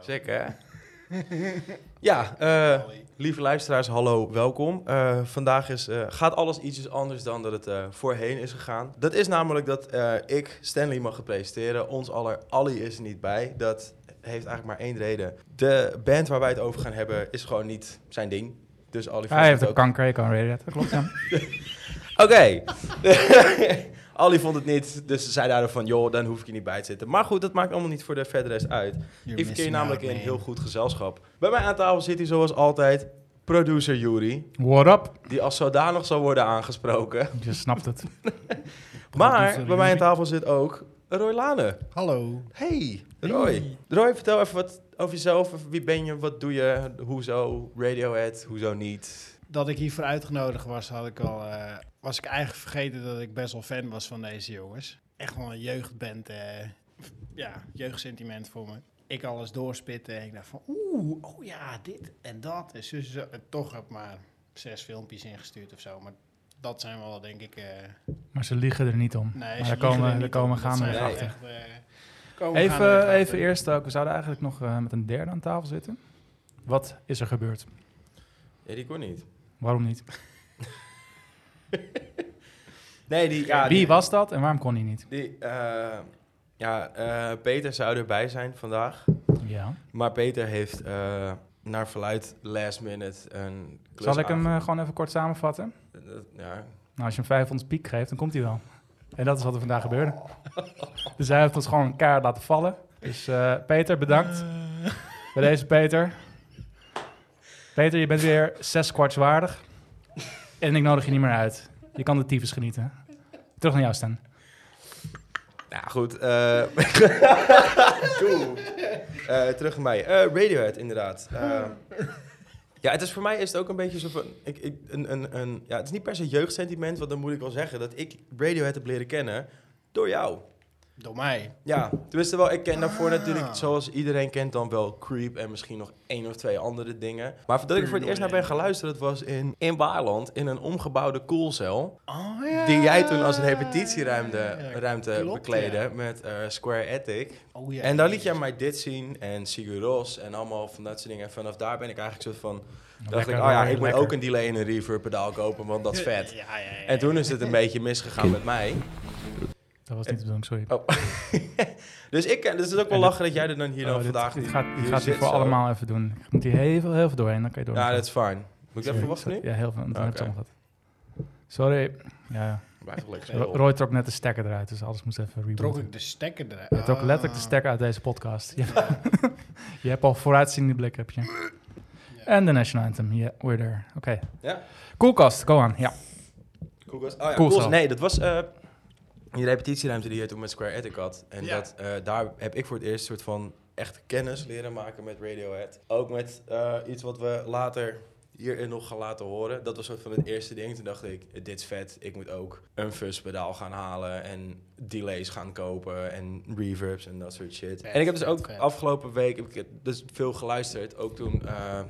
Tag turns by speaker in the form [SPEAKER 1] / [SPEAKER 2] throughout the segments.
[SPEAKER 1] Zeker, hè? ja, eh, lieve luisteraars, hallo, welkom. Eh, vandaag is, eh, gaat alles ietsjes anders dan dat het eh, voorheen is gegaan. Dat is namelijk dat eh, ik Stanley mag gaan presenteren. Ons aller Ali is er niet bij. Dat heeft eigenlijk maar één reden. De band waar wij het over gaan hebben is gewoon niet zijn ding. Dus Ali vond
[SPEAKER 2] Hij heeft
[SPEAKER 1] het
[SPEAKER 2] ook
[SPEAKER 1] ook...
[SPEAKER 2] kanker, je kan reden dat klopt ja.
[SPEAKER 1] Oké. Ali vond het niet, dus ze zei daardoor van... joh, dan hoef ik je niet bij te zitten. Maar goed, dat maakt allemaal niet voor de verdere rest uit. Ik keer namelijk in
[SPEAKER 3] nou
[SPEAKER 1] een heel goed gezelschap. Bij mij aan tafel zit hij zoals altijd producer Yuri,
[SPEAKER 2] What up?
[SPEAKER 1] die als zodanig zal worden aangesproken.
[SPEAKER 2] Je snapt het.
[SPEAKER 1] Maar bij mij aan
[SPEAKER 2] Yuri.
[SPEAKER 1] tafel zit ook Roy Lane.
[SPEAKER 3] Hallo.
[SPEAKER 1] Hey, Roy.
[SPEAKER 2] Hey.
[SPEAKER 1] Roy, vertel even wat over jezelf. Even Wie ben je? Wat doe je? Hoezo? Radiohead? Hoezo niet?
[SPEAKER 3] Dat ik hiervoor uitgenodigd was, had ik al, eh, was ik eigenlijk vergeten dat ik best wel fan was van deze jongens. Echt wel een jeugdband, eh, ja, jeugdsentiment voor me. Ik alles doorspitten en ik dacht van, oeh, oh ja, dit en dat. En zus, en zo. En toch heb ik maar zes filmpjes ingestuurd of zo. Maar dat zijn wel, denk ik, eh,
[SPEAKER 2] Maar ze liegen er niet om.
[SPEAKER 3] nee,
[SPEAKER 2] maar
[SPEAKER 3] ze
[SPEAKER 2] daar
[SPEAKER 3] liegen er
[SPEAKER 2] komen, daar
[SPEAKER 3] niet
[SPEAKER 2] komen
[SPEAKER 3] om. Dat
[SPEAKER 2] gaan we
[SPEAKER 3] zijn
[SPEAKER 2] weer
[SPEAKER 3] wel
[SPEAKER 1] Nee,
[SPEAKER 2] achter.
[SPEAKER 3] echt, eh, komen gaandeweg
[SPEAKER 2] Even,
[SPEAKER 3] achter.
[SPEAKER 2] even eerst ook, we zouden eigenlijk nog eh, met een derde aan tafel zitten. Wat is er gebeurd?
[SPEAKER 1] Ja, die kon niet.
[SPEAKER 2] Waarom niet?
[SPEAKER 1] Nee, die... Ja,
[SPEAKER 2] Wie
[SPEAKER 1] die,
[SPEAKER 2] was dat en waarom kon hij niet?
[SPEAKER 1] die, eh, ja, eh, Peter zou erbij zijn vandaag.
[SPEAKER 2] Ja.
[SPEAKER 1] Maar Peter heeft eh, naar verluid last minute een
[SPEAKER 2] Zal ik hem
[SPEAKER 1] klusavond.
[SPEAKER 2] eh, gewoon even kort samenvatten?
[SPEAKER 1] Dat- Ja,
[SPEAKER 2] Nou, als je hem 500 piek geeft, dan komt hij wel. En dat is wat er vandaag gebeurde. Dus hij heeft ons gewoon een kaart laten vallen. Dus eh, Peter, bedankt. Bij deze Peter. Peter, je bent weer zes kwarts waardig. En ik nodig je niet meer uit. Je kan de tyfus genieten. Terug naar jou, Stan.
[SPEAKER 1] Nou goed, eh Doe. Eh, terug naar mij. Eh, Radiohead, inderdaad. Eh, ja, het is voor mij is het ook een beetje zo van... Ik, ik, een, een, een, ja, het is niet per se jeugdsentiment, want dan moet ik wel zeggen... dat ik Radiohead heb leren kennen door jou.
[SPEAKER 3] Door mij.
[SPEAKER 1] Ja, tenminste wel, ik ken daarvoor
[SPEAKER 3] Ah.
[SPEAKER 1] natuurlijk, zoals iedereen kent, dan wel Creep en misschien nog één of twee andere dingen. Maar voordat ik voor het eerst naar ben gaan luisteren, dat was in, in Waarland, in een omgebouwde koelcel.
[SPEAKER 3] Oh, ja.
[SPEAKER 1] Die jij toen als repetitieruimte
[SPEAKER 3] Ja,
[SPEAKER 1] ruimte
[SPEAKER 3] klopt,
[SPEAKER 1] bekleedde
[SPEAKER 3] ja.
[SPEAKER 1] met eh, Square Attic.
[SPEAKER 3] Oh, ja.
[SPEAKER 1] En daar liet jij mij dit zien en Sigur Ros en allemaal van dat soort dingen. En vanaf daar ben ik eigenlijk soort van... dacht ik, oh
[SPEAKER 2] eh,
[SPEAKER 1] ja, ik moet ook een delay en een reverb pedaal kopen, want dat is vet.
[SPEAKER 3] Ja, ja, ja, ja.
[SPEAKER 1] En toen is het een beetje misgegaan met mij.
[SPEAKER 2] Dat was niet de bedoeling, sorry.
[SPEAKER 1] Oh. dus ik ken, dus het is ook wel
[SPEAKER 2] En dit-
[SPEAKER 1] lachen dat jij er dan hier dan
[SPEAKER 2] Oh, dit,
[SPEAKER 1] vandaag
[SPEAKER 2] dit gaat, dit
[SPEAKER 1] hier
[SPEAKER 2] gaat hij
[SPEAKER 1] zit
[SPEAKER 2] voor
[SPEAKER 1] zo.
[SPEAKER 2] allemaal even doen. Ik moet hier heel veel, heel veel doorheen, dan kan je door.
[SPEAKER 1] Ja, dat is fijn. Moet ik dat
[SPEAKER 2] Sorry,
[SPEAKER 1] verwachten nu?
[SPEAKER 2] sorry. Ja, heel veel. Dan heb je het
[SPEAKER 1] Oké.
[SPEAKER 2] allemaal gehad. Sorry. Ja, ja.
[SPEAKER 1] Blijf toch lekker
[SPEAKER 2] Ro-
[SPEAKER 1] spelen.
[SPEAKER 2] Roy trok net de stekker eruit, dus alles moest even
[SPEAKER 3] trok
[SPEAKER 2] rebooten.
[SPEAKER 3] ik de stekker Ah. eruit.
[SPEAKER 2] Je trok letterlijk de
[SPEAKER 1] Ah.
[SPEAKER 2] stekker uit deze podcast. Je, je hebt al vooruitziende blik, heb je. En de National Anthem, yeah, we're there. Oké.
[SPEAKER 1] Ja.
[SPEAKER 2] Koelkast, go aan. Ja.
[SPEAKER 1] Cool Ghost. Oh ja,
[SPEAKER 2] Cool
[SPEAKER 1] Cool
[SPEAKER 2] zo.
[SPEAKER 1] Nee, dat was eh, die repetitieruimte die je toen met Square Attic had. En
[SPEAKER 3] Ja.
[SPEAKER 1] dat, eh, daar heb ik voor het eerst soort van echt kennis leren maken met Radiohead. Ook met eh, iets wat we later hierin nog gaan laten horen. Dat was soort van het eerste ding. Toen dacht ik, dit is vet. Ik moet ook een fuzz-pedaal gaan halen en delays gaan kopen en reverbs en dat soort shit.
[SPEAKER 3] Vet,
[SPEAKER 1] en ik heb dus
[SPEAKER 3] vet,
[SPEAKER 1] ook
[SPEAKER 3] vet.
[SPEAKER 1] afgelopen week heb ik dus veel geluisterd. Ook toen eh,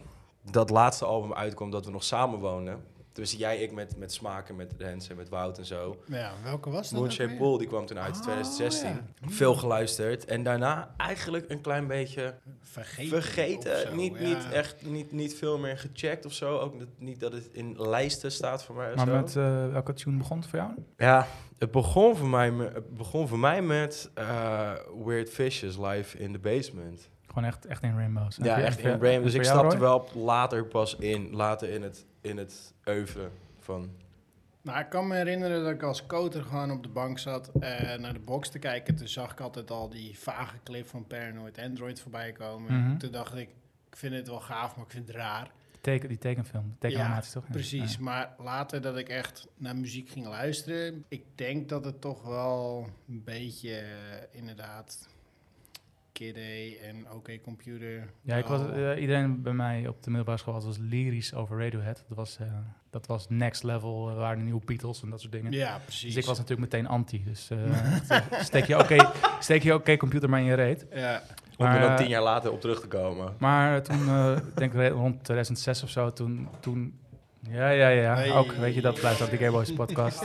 [SPEAKER 1] dat laatste album uitkwam dat we nog samen wonen. Dus jij, ik met, met Smaken, met Rens en met Wout en zo.
[SPEAKER 3] Ja, welke was dat? ook
[SPEAKER 1] Moonshaped
[SPEAKER 3] weer?
[SPEAKER 1] Pool, die kwam toen uit in
[SPEAKER 3] Ah,
[SPEAKER 1] 2016.
[SPEAKER 3] ja.
[SPEAKER 1] Veel geluisterd. En daarna eigenlijk een klein beetje
[SPEAKER 3] Vergeten.
[SPEAKER 1] vergeten.
[SPEAKER 3] of zo,
[SPEAKER 1] eh, niet,
[SPEAKER 3] ja.
[SPEAKER 1] niet echt, niet, niet veel meer gecheckt of zo. Ook niet- niet dat het in lijsten staat voor mij of
[SPEAKER 2] Maar
[SPEAKER 1] zo.
[SPEAKER 2] met eh, welke tune begon het voor jou?
[SPEAKER 1] Ja, het begon voor mij, me- het begon voor mij met eh, Weird Fishes live in the basement.
[SPEAKER 2] Gewoon echt, echt in Rainbows. En
[SPEAKER 1] Ja,
[SPEAKER 2] voor-
[SPEAKER 1] echt
[SPEAKER 2] en voor-
[SPEAKER 1] in Brain.
[SPEAKER 2] en
[SPEAKER 1] Dus
[SPEAKER 2] voor
[SPEAKER 1] ik
[SPEAKER 2] jou,
[SPEAKER 1] stapte
[SPEAKER 2] Roy?
[SPEAKER 1] wel later pas in, later in het, in het oeuvre van...
[SPEAKER 3] Nou, ik kan me herinneren dat ik als coter gewoon op de bank zat eh, naar de box te kijken. Toen zag ik altijd al die vage clip van Paranoid Android voorbij komen.
[SPEAKER 2] Mhm.
[SPEAKER 3] Toen dacht ik, ik vind het wel gaaf, maar ik vind het raar.
[SPEAKER 2] Die, teken, die tekenfilm, de tekenanimatie toch? Ja.
[SPEAKER 3] Precies,
[SPEAKER 2] Ja.
[SPEAKER 3] maar later dat ik echt naar muziek ging luisteren, ik denk dat het toch wel een beetje eh, inderdaad Kid A en OK Computer.
[SPEAKER 2] Ja, ik was,
[SPEAKER 3] wel-
[SPEAKER 1] Oh.
[SPEAKER 2] eh, iedereen bij mij op de middelbare school was, was lyrisch over Radiohead. Dat was, eh, dat was next level, eh, waren de nieuwe Beatles en dat soort dingen.
[SPEAKER 3] ja, precies.
[SPEAKER 2] Dus ik was natuurlijk meteen anti. Dus eh, echt, eh, steek je oké steek je oké computer maar in je reet.
[SPEAKER 3] ja.
[SPEAKER 1] Om er
[SPEAKER 2] Maar,
[SPEAKER 1] dan
[SPEAKER 2] eh,
[SPEAKER 1] tien jaar later op terug te komen.
[SPEAKER 2] Maar toen, eh, ik denk re- rond 2006 of zo, toen, toen Ja, ja, ja.
[SPEAKER 3] Hey.
[SPEAKER 2] Ook, weet je, dat blijft ook de Gameboys podcast.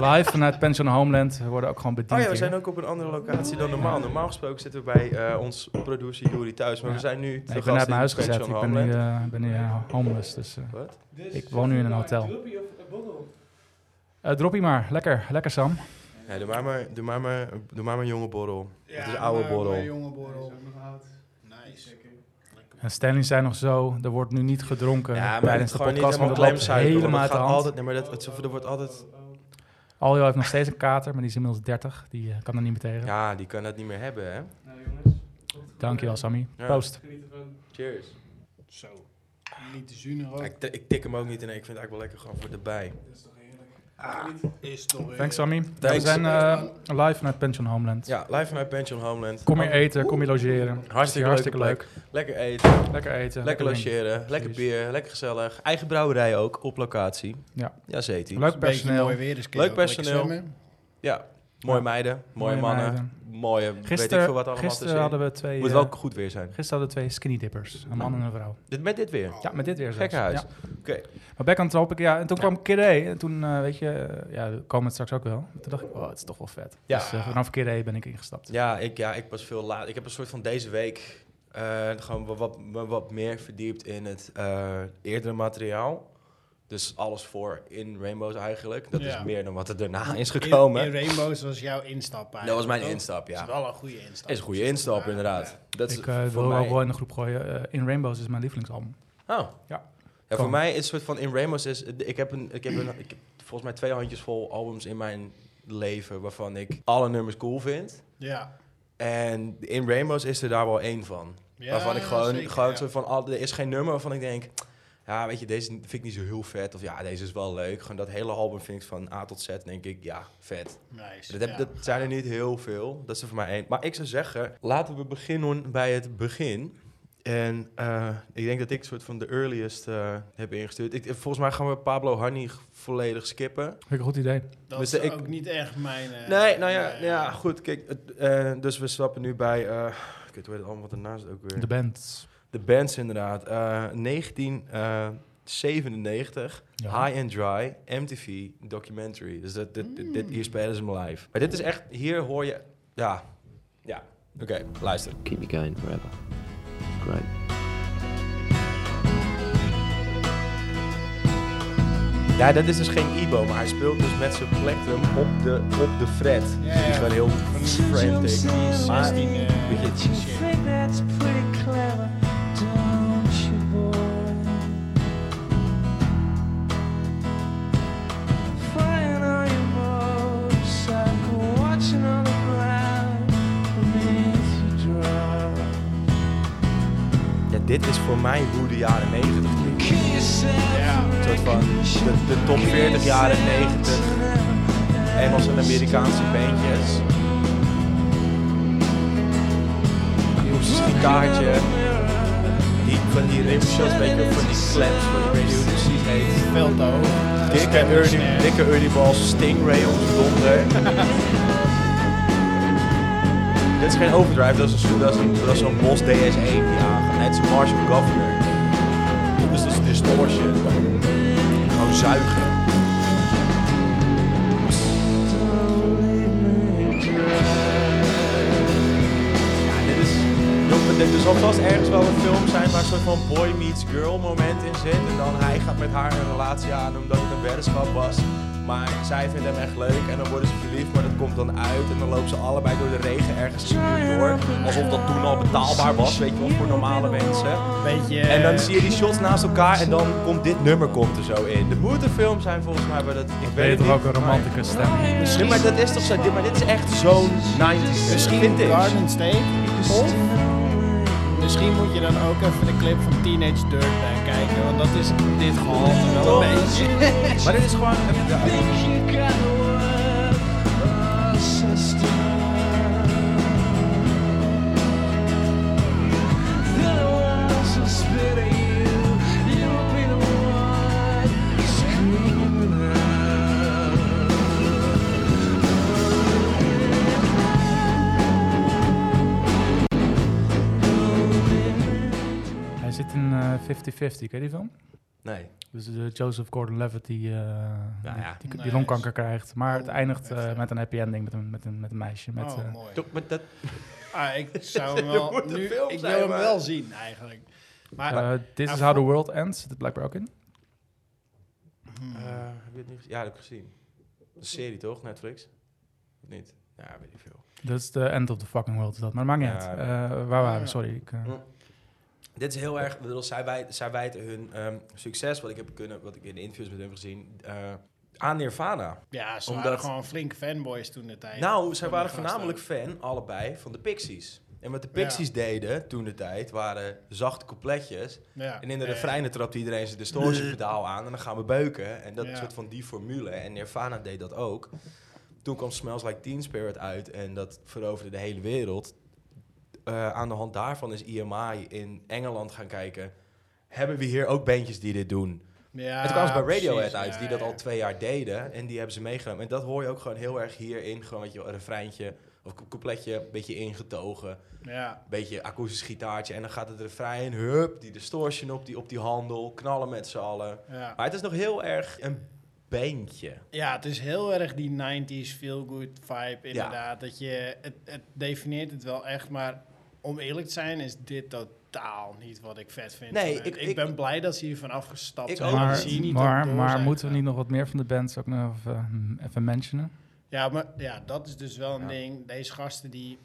[SPEAKER 2] Live vanuit Pension Homeland. We worden ook gewoon bediend
[SPEAKER 1] Oh ja, we
[SPEAKER 2] hier.
[SPEAKER 1] zijn ook op een andere locatie dan normaal. Normaal gesproken zitten we bij eh, ons producer Jury thuis, maar
[SPEAKER 2] Ja.
[SPEAKER 1] we zijn nu te
[SPEAKER 2] Nee, ik
[SPEAKER 1] gast
[SPEAKER 2] ben uit
[SPEAKER 1] in
[SPEAKER 2] mijn huis gezet.
[SPEAKER 1] Pension
[SPEAKER 2] Ik ben nu,
[SPEAKER 1] Homeland.
[SPEAKER 2] eh, ben nu eh, homeless, dus... eh,
[SPEAKER 1] Wat?
[SPEAKER 2] Ik woon nu in een hotel. Eh, droppie maar. Lekker. Lekker, Sam.
[SPEAKER 1] Ja, doe maar maar, doe maar maar, doe maar maar een jonge borrel. Het is
[SPEAKER 3] Ja,
[SPEAKER 1] oude
[SPEAKER 3] maar-
[SPEAKER 1] borrel.
[SPEAKER 3] maar Jonge borrel. Nice.
[SPEAKER 2] En Eh, Stanley zijn nog zo. Er wordt nu niet gedronken
[SPEAKER 1] Ja, maar het
[SPEAKER 2] tijdens
[SPEAKER 1] is
[SPEAKER 2] de
[SPEAKER 1] gewoon niet helemaal
[SPEAKER 2] podcast, want het
[SPEAKER 1] klem
[SPEAKER 2] loopt
[SPEAKER 1] zuipen.
[SPEAKER 2] helemaal uit de hand.
[SPEAKER 1] Altijd, nee, maar dat, het, er wordt altijd...
[SPEAKER 2] Aljo heeft nog steeds een kater, maar die is inmiddels 30. Die eh, kan er niet meer tegen.
[SPEAKER 1] Ja, die kan dat niet meer hebben, hè?
[SPEAKER 2] Dankjewel, Sammy.
[SPEAKER 1] Ja.
[SPEAKER 2] Proost.
[SPEAKER 1] Cheers.
[SPEAKER 3] Zo. Niet te zuinig ook.
[SPEAKER 1] Ik, ti- ik tik hem ook niet in. Ik vind het eigenlijk wel lekker gewoon voor de bij. ah.
[SPEAKER 3] Is toch weer-
[SPEAKER 2] Thanks, Sammy. Ja, we
[SPEAKER 1] Thanks.
[SPEAKER 2] zijn eh, live vanuit Pension Homeland.
[SPEAKER 1] Ja, live vanuit Pension Homeland. Oh,
[SPEAKER 2] Kom hier eten, kom hier logeren.
[SPEAKER 1] Hartstikke,
[SPEAKER 2] Hartstikke
[SPEAKER 1] leuke
[SPEAKER 2] leuk.
[SPEAKER 1] plek. Lekker eten,
[SPEAKER 2] Lekker eten.
[SPEAKER 1] lekker
[SPEAKER 2] drinken.
[SPEAKER 1] logeren, lekker
[SPEAKER 2] Precies.
[SPEAKER 1] bier, lekker gezellig. Eigen brouwerij ook, op locatie.
[SPEAKER 2] Ja.
[SPEAKER 1] Ja, zeet ie.
[SPEAKER 2] Leuk
[SPEAKER 3] Beetje mooi
[SPEAKER 2] personeel.
[SPEAKER 3] weer, dus kun
[SPEAKER 1] Leuk
[SPEAKER 3] je ook lekker
[SPEAKER 1] personeel.
[SPEAKER 3] zwemmen.
[SPEAKER 1] Ja, mooie
[SPEAKER 2] Ja.
[SPEAKER 1] meiden, mooie,
[SPEAKER 2] Mooie
[SPEAKER 1] mannen,
[SPEAKER 2] meiden.
[SPEAKER 1] mooie weet ik veel wat
[SPEAKER 2] Gisteren
[SPEAKER 1] allemaal
[SPEAKER 2] gisteren
[SPEAKER 1] tussenin.
[SPEAKER 2] hadden we twee...
[SPEAKER 1] Moet
[SPEAKER 2] eh,
[SPEAKER 1] wel goed weer zijn.
[SPEAKER 2] Gisteren hadden we twee skinny dippers. Een man en een vrouw.
[SPEAKER 1] Dit, met dit weer.
[SPEAKER 2] Ja, met dit weer zelfs.
[SPEAKER 1] Gekhuis.
[SPEAKER 2] Ja.
[SPEAKER 1] Oké.
[SPEAKER 2] Maar back on topic, ja. En toen kwam Kiré. En toen, eh, weet je, eh, ja, we komen het straks ook wel. Toen dacht ik, oh, het is toch wel vet.
[SPEAKER 1] Ja.
[SPEAKER 2] Dus eh, vanaf Kiré ben ik ingestapt.
[SPEAKER 1] Ja, ik, ja, ik was veel laat. Ik heb een soort van deze week eh, gewoon wat, wat, me wat meer verdiept in het eh, eerdere materiaal. Dus alles voor in Rainbows eigenlijk. Dat
[SPEAKER 3] Ja.
[SPEAKER 1] is meer dan wat er daarna is
[SPEAKER 3] In-
[SPEAKER 1] gekomen.
[SPEAKER 3] In, Rainbows was jouw instap
[SPEAKER 1] dat was mijn
[SPEAKER 3] toch?
[SPEAKER 1] instap, ja.
[SPEAKER 3] Dat is wel een goede instap.
[SPEAKER 1] is een goede instap,
[SPEAKER 3] Ja,
[SPEAKER 1] inderdaad. Dat is
[SPEAKER 2] ik eh,
[SPEAKER 1] voor
[SPEAKER 2] wil
[SPEAKER 1] mij...
[SPEAKER 2] ook wel in de groep gooien. eh, in Rainbows is mijn lieblingsalbum.
[SPEAKER 1] Oh.
[SPEAKER 2] Ja.
[SPEAKER 1] Ja,
[SPEAKER 2] Kan.
[SPEAKER 1] voor mij is het soort van in Rainbows is... Ik heb, een, ik, heb een, ik heb volgens mij twee handjes vol albums in mijn leven... waarvan ik alle nummers cool vind.
[SPEAKER 3] Ja.
[SPEAKER 1] En in Rainbows is er daar wel één van.
[SPEAKER 3] Ja,
[SPEAKER 1] waarvan ik gewoon,
[SPEAKER 3] zeker,
[SPEAKER 1] gewoon
[SPEAKER 3] ja.
[SPEAKER 1] soort van, al, er is geen nummer waarvan ik denk, ja, weet je, deze vind ik niet zo heel vet. Of ja, deze is wel leuk. Gewoon dat hele album vind ik van A tot Z, denk ik, ja, vet.
[SPEAKER 3] Nice.
[SPEAKER 1] Dat, heb,
[SPEAKER 3] ja.
[SPEAKER 1] dat zijn er niet heel veel. Dat is er voor mij één. Maar ik zou zeggen, laten we beginnen bij het begin. En eh, ik denk dat ik soort van de earliest eh, heb ingestuurd. Ik, volgens mij gaan we Pablo Honey volledig skippen.
[SPEAKER 2] Vind ik een goed idee.
[SPEAKER 3] Dat
[SPEAKER 1] dus
[SPEAKER 3] is
[SPEAKER 1] ik-
[SPEAKER 3] ook niet echt mijn... eh,
[SPEAKER 1] Nee, nou ja,
[SPEAKER 3] nee.
[SPEAKER 1] ja goed. Kijk, het, eh, dus we stappen nu bij. eh ik weet het allemaal wat ernaast ook weer.
[SPEAKER 2] De band.
[SPEAKER 1] De bands inderdaad. Eh, 1997,
[SPEAKER 2] Ja.
[SPEAKER 1] High and Dry, MTV, Documentary. Dus dat, dit, dit, dit- hier spelen ze me live. Maar dit is echt, hier hoor je... Ja, ja. Oké, luister.
[SPEAKER 4] keep you going forever. Great.
[SPEAKER 1] Ja, dat is dus geen Ibo, maar hij speelt dus met zijn plectrum op de, op de fret.
[SPEAKER 3] Ja,
[SPEAKER 1] Dus die
[SPEAKER 3] ja.
[SPEAKER 1] is gewoon heel frantic. Maar-
[SPEAKER 3] 16, eh,
[SPEAKER 1] Weet je,
[SPEAKER 5] You think that's pretty clever, don't you, boy? Flying on your motorcycle, watching on the ground beneath you drive.
[SPEAKER 1] Ja, dit is voor mij hoe de jaren 90 klinkt.
[SPEAKER 5] Kill yourself.
[SPEAKER 3] Ja.
[SPEAKER 1] Een soort van de, de top 40 jaren 90 Engelse en Amerikaanse bandjes. Akoestisch gitaartje. Die, van die rimshots, weet je, wel, van die claps, van ik weet niet hoe het precies heet.
[SPEAKER 3] Veel te hoog.
[SPEAKER 1] Dikke early, dikke early balls, stingray op de donder. Dit is geen overdrive, dat is een, dat is een, dat is een Bos DS1 die aangaat. Nee, het is een Marshall Governor. Dus dat is distortion. Gewoon zuigen. Ja, dit is, joh, dit- er zal vast ergens wel een film zijn waar een soort van boy meets girl moment in zit. En dan hij gaat met haar een relatie aan omdat het een weddenschap was. Maar zij vindt hem echt leuk en dan worden ze verliefd, maar dat komt dan uit. En dan lopen ze allebei door de regen ergens in New York. Alsof dat toen al betaalbaar was, weet je wel, voor normale mensen.
[SPEAKER 3] Beetje... eh,
[SPEAKER 1] En dan zie je die shots naast elkaar en dan komt dit nummer komt er zo in. Er moet een film zijn volgens mij waar dat... Ik
[SPEAKER 2] Ben
[SPEAKER 1] weet
[SPEAKER 2] je
[SPEAKER 1] het
[SPEAKER 2] toch
[SPEAKER 1] niet,
[SPEAKER 2] ook een
[SPEAKER 1] maar-
[SPEAKER 2] romanticus stem?
[SPEAKER 1] Nee, maar dat is toch zo... Dit, maar dit is echt zo'n 90s.
[SPEAKER 3] Misschien
[SPEAKER 1] vind ik.
[SPEAKER 3] Garden State. Of misschien moet je dan ook even de clip van Teenage Dirtbag kijken. Want dat is dit
[SPEAKER 1] Oh,
[SPEAKER 3] gehalte wel een beetje.
[SPEAKER 1] Maar dit is gewoon... Ja,
[SPEAKER 5] Think you got the word, oh, sister. The world's a spit at you. You'll be the one screaming out.
[SPEAKER 2] Hij zit in eh, 50-50, ken je die film?
[SPEAKER 1] Nee.
[SPEAKER 2] Dus de Joseph Gordon-Levitt die, eh, die,
[SPEAKER 1] ja.
[SPEAKER 2] die, die
[SPEAKER 3] Nee,
[SPEAKER 2] longkanker krijgt. Maar het
[SPEAKER 3] Oh,
[SPEAKER 2] eindigt eh,
[SPEAKER 3] heftig.
[SPEAKER 2] met een happy ending met een, met een, met een meisje. Met,
[SPEAKER 3] oh,
[SPEAKER 2] eh,
[SPEAKER 3] mooi.
[SPEAKER 1] Toch, maar dat,
[SPEAKER 3] Ah, ik zou hem
[SPEAKER 1] Er
[SPEAKER 3] wel
[SPEAKER 1] moet een
[SPEAKER 3] nu,
[SPEAKER 1] film
[SPEAKER 3] ik
[SPEAKER 1] zijn,
[SPEAKER 3] wil hem
[SPEAKER 1] maar-
[SPEAKER 3] wel zien eigenlijk. Maar
[SPEAKER 2] eh, This
[SPEAKER 3] Ah,
[SPEAKER 2] is how the world ends. Zit het blijkbaar ook in.
[SPEAKER 3] hmm,
[SPEAKER 1] eh, heb je het niet gezien? Ja, dat heb ik gezien. Een serie toch, Netflix? Of niet? Ja, weet ik veel.
[SPEAKER 2] Dat is de end of the fucking world is dat. Maar dat maakt niet
[SPEAKER 1] Ja,
[SPEAKER 2] uit.
[SPEAKER 1] nee.
[SPEAKER 2] Eh, waar waren
[SPEAKER 3] Ja. Oh,
[SPEAKER 2] we? Sorry. Ik, eh,
[SPEAKER 1] Hm. Dit is heel erg, ik bedoel, zij, wij, zij wijten hun ehm, succes, wat ik heb kunnen, wat ik in de interviews met hem heb gezien, eh, aan Nirvana.
[SPEAKER 3] ja, ze
[SPEAKER 1] omdat-
[SPEAKER 3] waren gewoon flinke fanboys toen de tijd.
[SPEAKER 1] Nou, zij
[SPEAKER 3] Van
[SPEAKER 1] waren
[SPEAKER 3] die gasten.
[SPEAKER 1] voornamelijk fan, allebei, van de Pixies. En wat de Pixies deden toen de tijd waren zachte coupletjes.
[SPEAKER 3] Ja.
[SPEAKER 1] En in de
[SPEAKER 3] Eh,
[SPEAKER 1] refreinen trapte iedereen zijn distortiepedaal aan en dan gaan we beuken. En dat
[SPEAKER 3] Ja.
[SPEAKER 1] soort van die formule. En Nirvana deed dat ook. Toen kwam Smells Like Teen Spirit uit en dat veroverde de hele wereld. Eh, aan de hand daarvan is EMI in Engeland gaan kijken. Hebben we hier ook bandjes die dit doen?
[SPEAKER 3] Ja,
[SPEAKER 1] het kwam eens bij Radiohead
[SPEAKER 3] Ah, precies,
[SPEAKER 1] uit,
[SPEAKER 3] ja,
[SPEAKER 1] die dat
[SPEAKER 3] ja.
[SPEAKER 1] al twee jaar deden. En die hebben ze meegenomen. En dat hoor je ook gewoon heel erg hierin. Gewoon wat je een refreintje of een coupletje, een beetje ingetogen.
[SPEAKER 3] Ja,
[SPEAKER 1] Een beetje akoestisch gitaartje. En dan gaat het refrein, hup, die distortion op die, op die handel. Knallen met z'n allen.
[SPEAKER 3] ja.
[SPEAKER 1] Maar het is nog heel erg een bandje.
[SPEAKER 3] ja, het is heel erg die 90s feel-good vibe inderdaad. Dat je, het, het definieert het wel echt, maar om eerlijk te zijn is dit totaal niet wat ik vet vind.
[SPEAKER 1] Nee,
[SPEAKER 3] van hun.
[SPEAKER 1] ik-
[SPEAKER 3] ik,
[SPEAKER 1] ik-
[SPEAKER 3] ben blij dat ze hiervan afgestapt
[SPEAKER 1] Ik
[SPEAKER 3] zijn.
[SPEAKER 1] ook.
[SPEAKER 3] want
[SPEAKER 2] maar
[SPEAKER 3] dan zie je niet dat
[SPEAKER 2] maar,
[SPEAKER 3] door
[SPEAKER 2] maar
[SPEAKER 3] zijn
[SPEAKER 2] moeten we
[SPEAKER 3] gegaan.
[SPEAKER 2] niet nog wat meer van de bands ook nog even, even mentionen?
[SPEAKER 3] Ja, maar ja, dat is dus wel een
[SPEAKER 1] Ja.
[SPEAKER 3] ding. Deze gasten die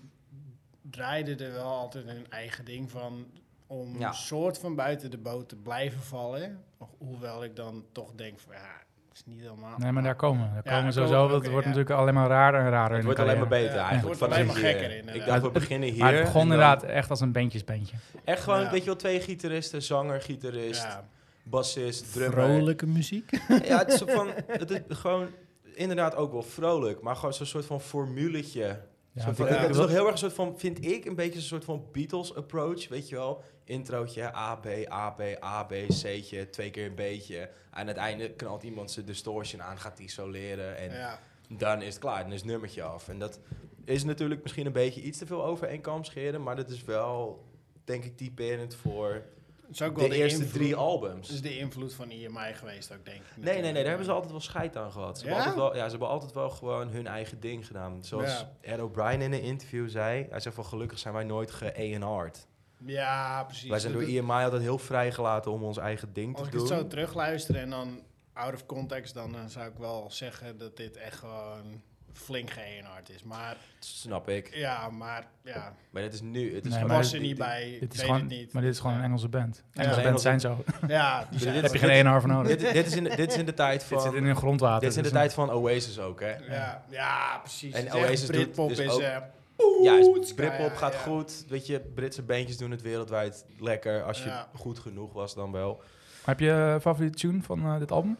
[SPEAKER 3] draaiden er wel altijd hun eigen ding van. Om
[SPEAKER 1] Ja.
[SPEAKER 3] een soort van buiten de boot te blijven vallen. Ho- Hoewel ik dan toch denk van ja, het is niet helemaal.
[SPEAKER 2] Nee, maar daar komen. Daar
[SPEAKER 3] Ja,
[SPEAKER 2] komen
[SPEAKER 3] daar
[SPEAKER 2] we sowieso.
[SPEAKER 3] komen we,
[SPEAKER 2] want
[SPEAKER 3] oké,
[SPEAKER 2] het wordt
[SPEAKER 3] ja.
[SPEAKER 2] natuurlijk alleen maar raarder en raarder.
[SPEAKER 1] Het
[SPEAKER 2] in
[SPEAKER 1] wordt
[SPEAKER 2] de
[SPEAKER 1] alleen maar
[SPEAKER 2] carrière.
[SPEAKER 1] beter
[SPEAKER 3] Ja, het
[SPEAKER 1] eigenlijk.
[SPEAKER 3] wordt
[SPEAKER 1] Van
[SPEAKER 3] alleen maar
[SPEAKER 1] hier.
[SPEAKER 3] gekker, inderdaad.
[SPEAKER 1] Ik dacht, we beginnen hier.
[SPEAKER 2] Maar het begon
[SPEAKER 1] en dan
[SPEAKER 2] inderdaad echt als een bandjesbandje.
[SPEAKER 1] Echt gewoon,
[SPEAKER 3] Ja.
[SPEAKER 1] weet je wel, twee gitaristen. Zanger, gitarist,
[SPEAKER 3] Ja,
[SPEAKER 1] bassist, drummer.
[SPEAKER 3] vrolijke muziek.
[SPEAKER 1] Ja, het is zo van, het is gewoon inderdaad ook wel vrolijk, maar gewoon zo'n soort van formuletje. Zo'n
[SPEAKER 2] Ja, want
[SPEAKER 1] van-
[SPEAKER 2] ik-
[SPEAKER 3] ja,
[SPEAKER 1] het is
[SPEAKER 2] wil-
[SPEAKER 1] nog heel erg een soort van, vind ik, een beetje een soort van Beatles approach, weet je wel? Introotje, A, B, A, B, A, B, C'tje, twee keer een beetje. Aan het einde knalt iemand zijn distortion aan, gaat die isoleren en
[SPEAKER 3] Ja.
[SPEAKER 1] dan is het klaar, dan is het nummertje af. En dat is natuurlijk misschien een beetje iets te veel over één kam scheren, maar dat is wel, denk ik, typerend voor
[SPEAKER 3] Dat is dus ook wel
[SPEAKER 1] de,
[SPEAKER 3] de,
[SPEAKER 1] eerste
[SPEAKER 3] invloed-
[SPEAKER 1] drie
[SPEAKER 3] Dat
[SPEAKER 1] albums.
[SPEAKER 3] is de invloed van IMI geweest ook, denk ik.
[SPEAKER 1] Nee, nee, nee,
[SPEAKER 3] natuurlijk.
[SPEAKER 1] daar hebben ze altijd wel scheid aan gehad. Ze,
[SPEAKER 3] Ja?
[SPEAKER 1] hebben, altijd wel, ja, ze hebben altijd wel gewoon hun eigen ding gedaan. Zoals
[SPEAKER 3] Ja.
[SPEAKER 1] Ed O'Brien in een interview zei, hij zei van gelukkig zijn wij nooit ge-A&R'd.
[SPEAKER 3] Ja, precies.
[SPEAKER 1] Wij zijn door
[SPEAKER 3] Dat-
[SPEAKER 1] EMI altijd heel vrijgelaten om ons eigen ding
[SPEAKER 3] Als
[SPEAKER 1] te
[SPEAKER 3] ik het
[SPEAKER 1] doen.
[SPEAKER 3] Oh, zo terugluister en dan out of context, dan, eh, zou ik wel zeggen dat dit echt gewoon flink geënhard is. Maar
[SPEAKER 1] Snap ik.
[SPEAKER 3] ja, maar ja,
[SPEAKER 1] Maar dit is nu, het is
[SPEAKER 2] Nee,
[SPEAKER 1] gewoon-
[SPEAKER 2] maar
[SPEAKER 3] was er
[SPEAKER 1] dit-
[SPEAKER 3] niet
[SPEAKER 1] dit-
[SPEAKER 3] bij,
[SPEAKER 2] Dit is
[SPEAKER 3] weet
[SPEAKER 2] gewoon,
[SPEAKER 3] het niet.
[SPEAKER 2] maar dit is gewoon een
[SPEAKER 3] Ja.
[SPEAKER 2] Engelse band.
[SPEAKER 3] Ja.
[SPEAKER 2] Engelse bands zijn zo.
[SPEAKER 3] Ja, die
[SPEAKER 1] Dit
[SPEAKER 3] zijn
[SPEAKER 2] Daar
[SPEAKER 1] is-
[SPEAKER 2] heb je geen ENR voor nodig.
[SPEAKER 1] Dit, dit is in, de- dit is in de tijd
[SPEAKER 2] Dit zit
[SPEAKER 1] van...
[SPEAKER 2] in hun grondwater.
[SPEAKER 1] Dit is in de
[SPEAKER 2] dus, eh,
[SPEAKER 1] tijd van Oasis ook, hè?
[SPEAKER 3] ja, ja, precies.
[SPEAKER 1] En
[SPEAKER 3] Het is echt
[SPEAKER 1] Oasis doet
[SPEAKER 3] Britpop
[SPEAKER 1] dus
[SPEAKER 3] is
[SPEAKER 1] ook-
[SPEAKER 3] eh,
[SPEAKER 1] Ja, is-
[SPEAKER 3] Oeh,
[SPEAKER 1] Britpop
[SPEAKER 3] ja,
[SPEAKER 1] gaat
[SPEAKER 3] ja.
[SPEAKER 1] goed. Weet je, Britse bandjes doen het wereldwijd lekker. Als je
[SPEAKER 3] Ja.
[SPEAKER 1] goed genoeg was dan wel.
[SPEAKER 2] Heb je eh, favoriete tune van eh, dit album?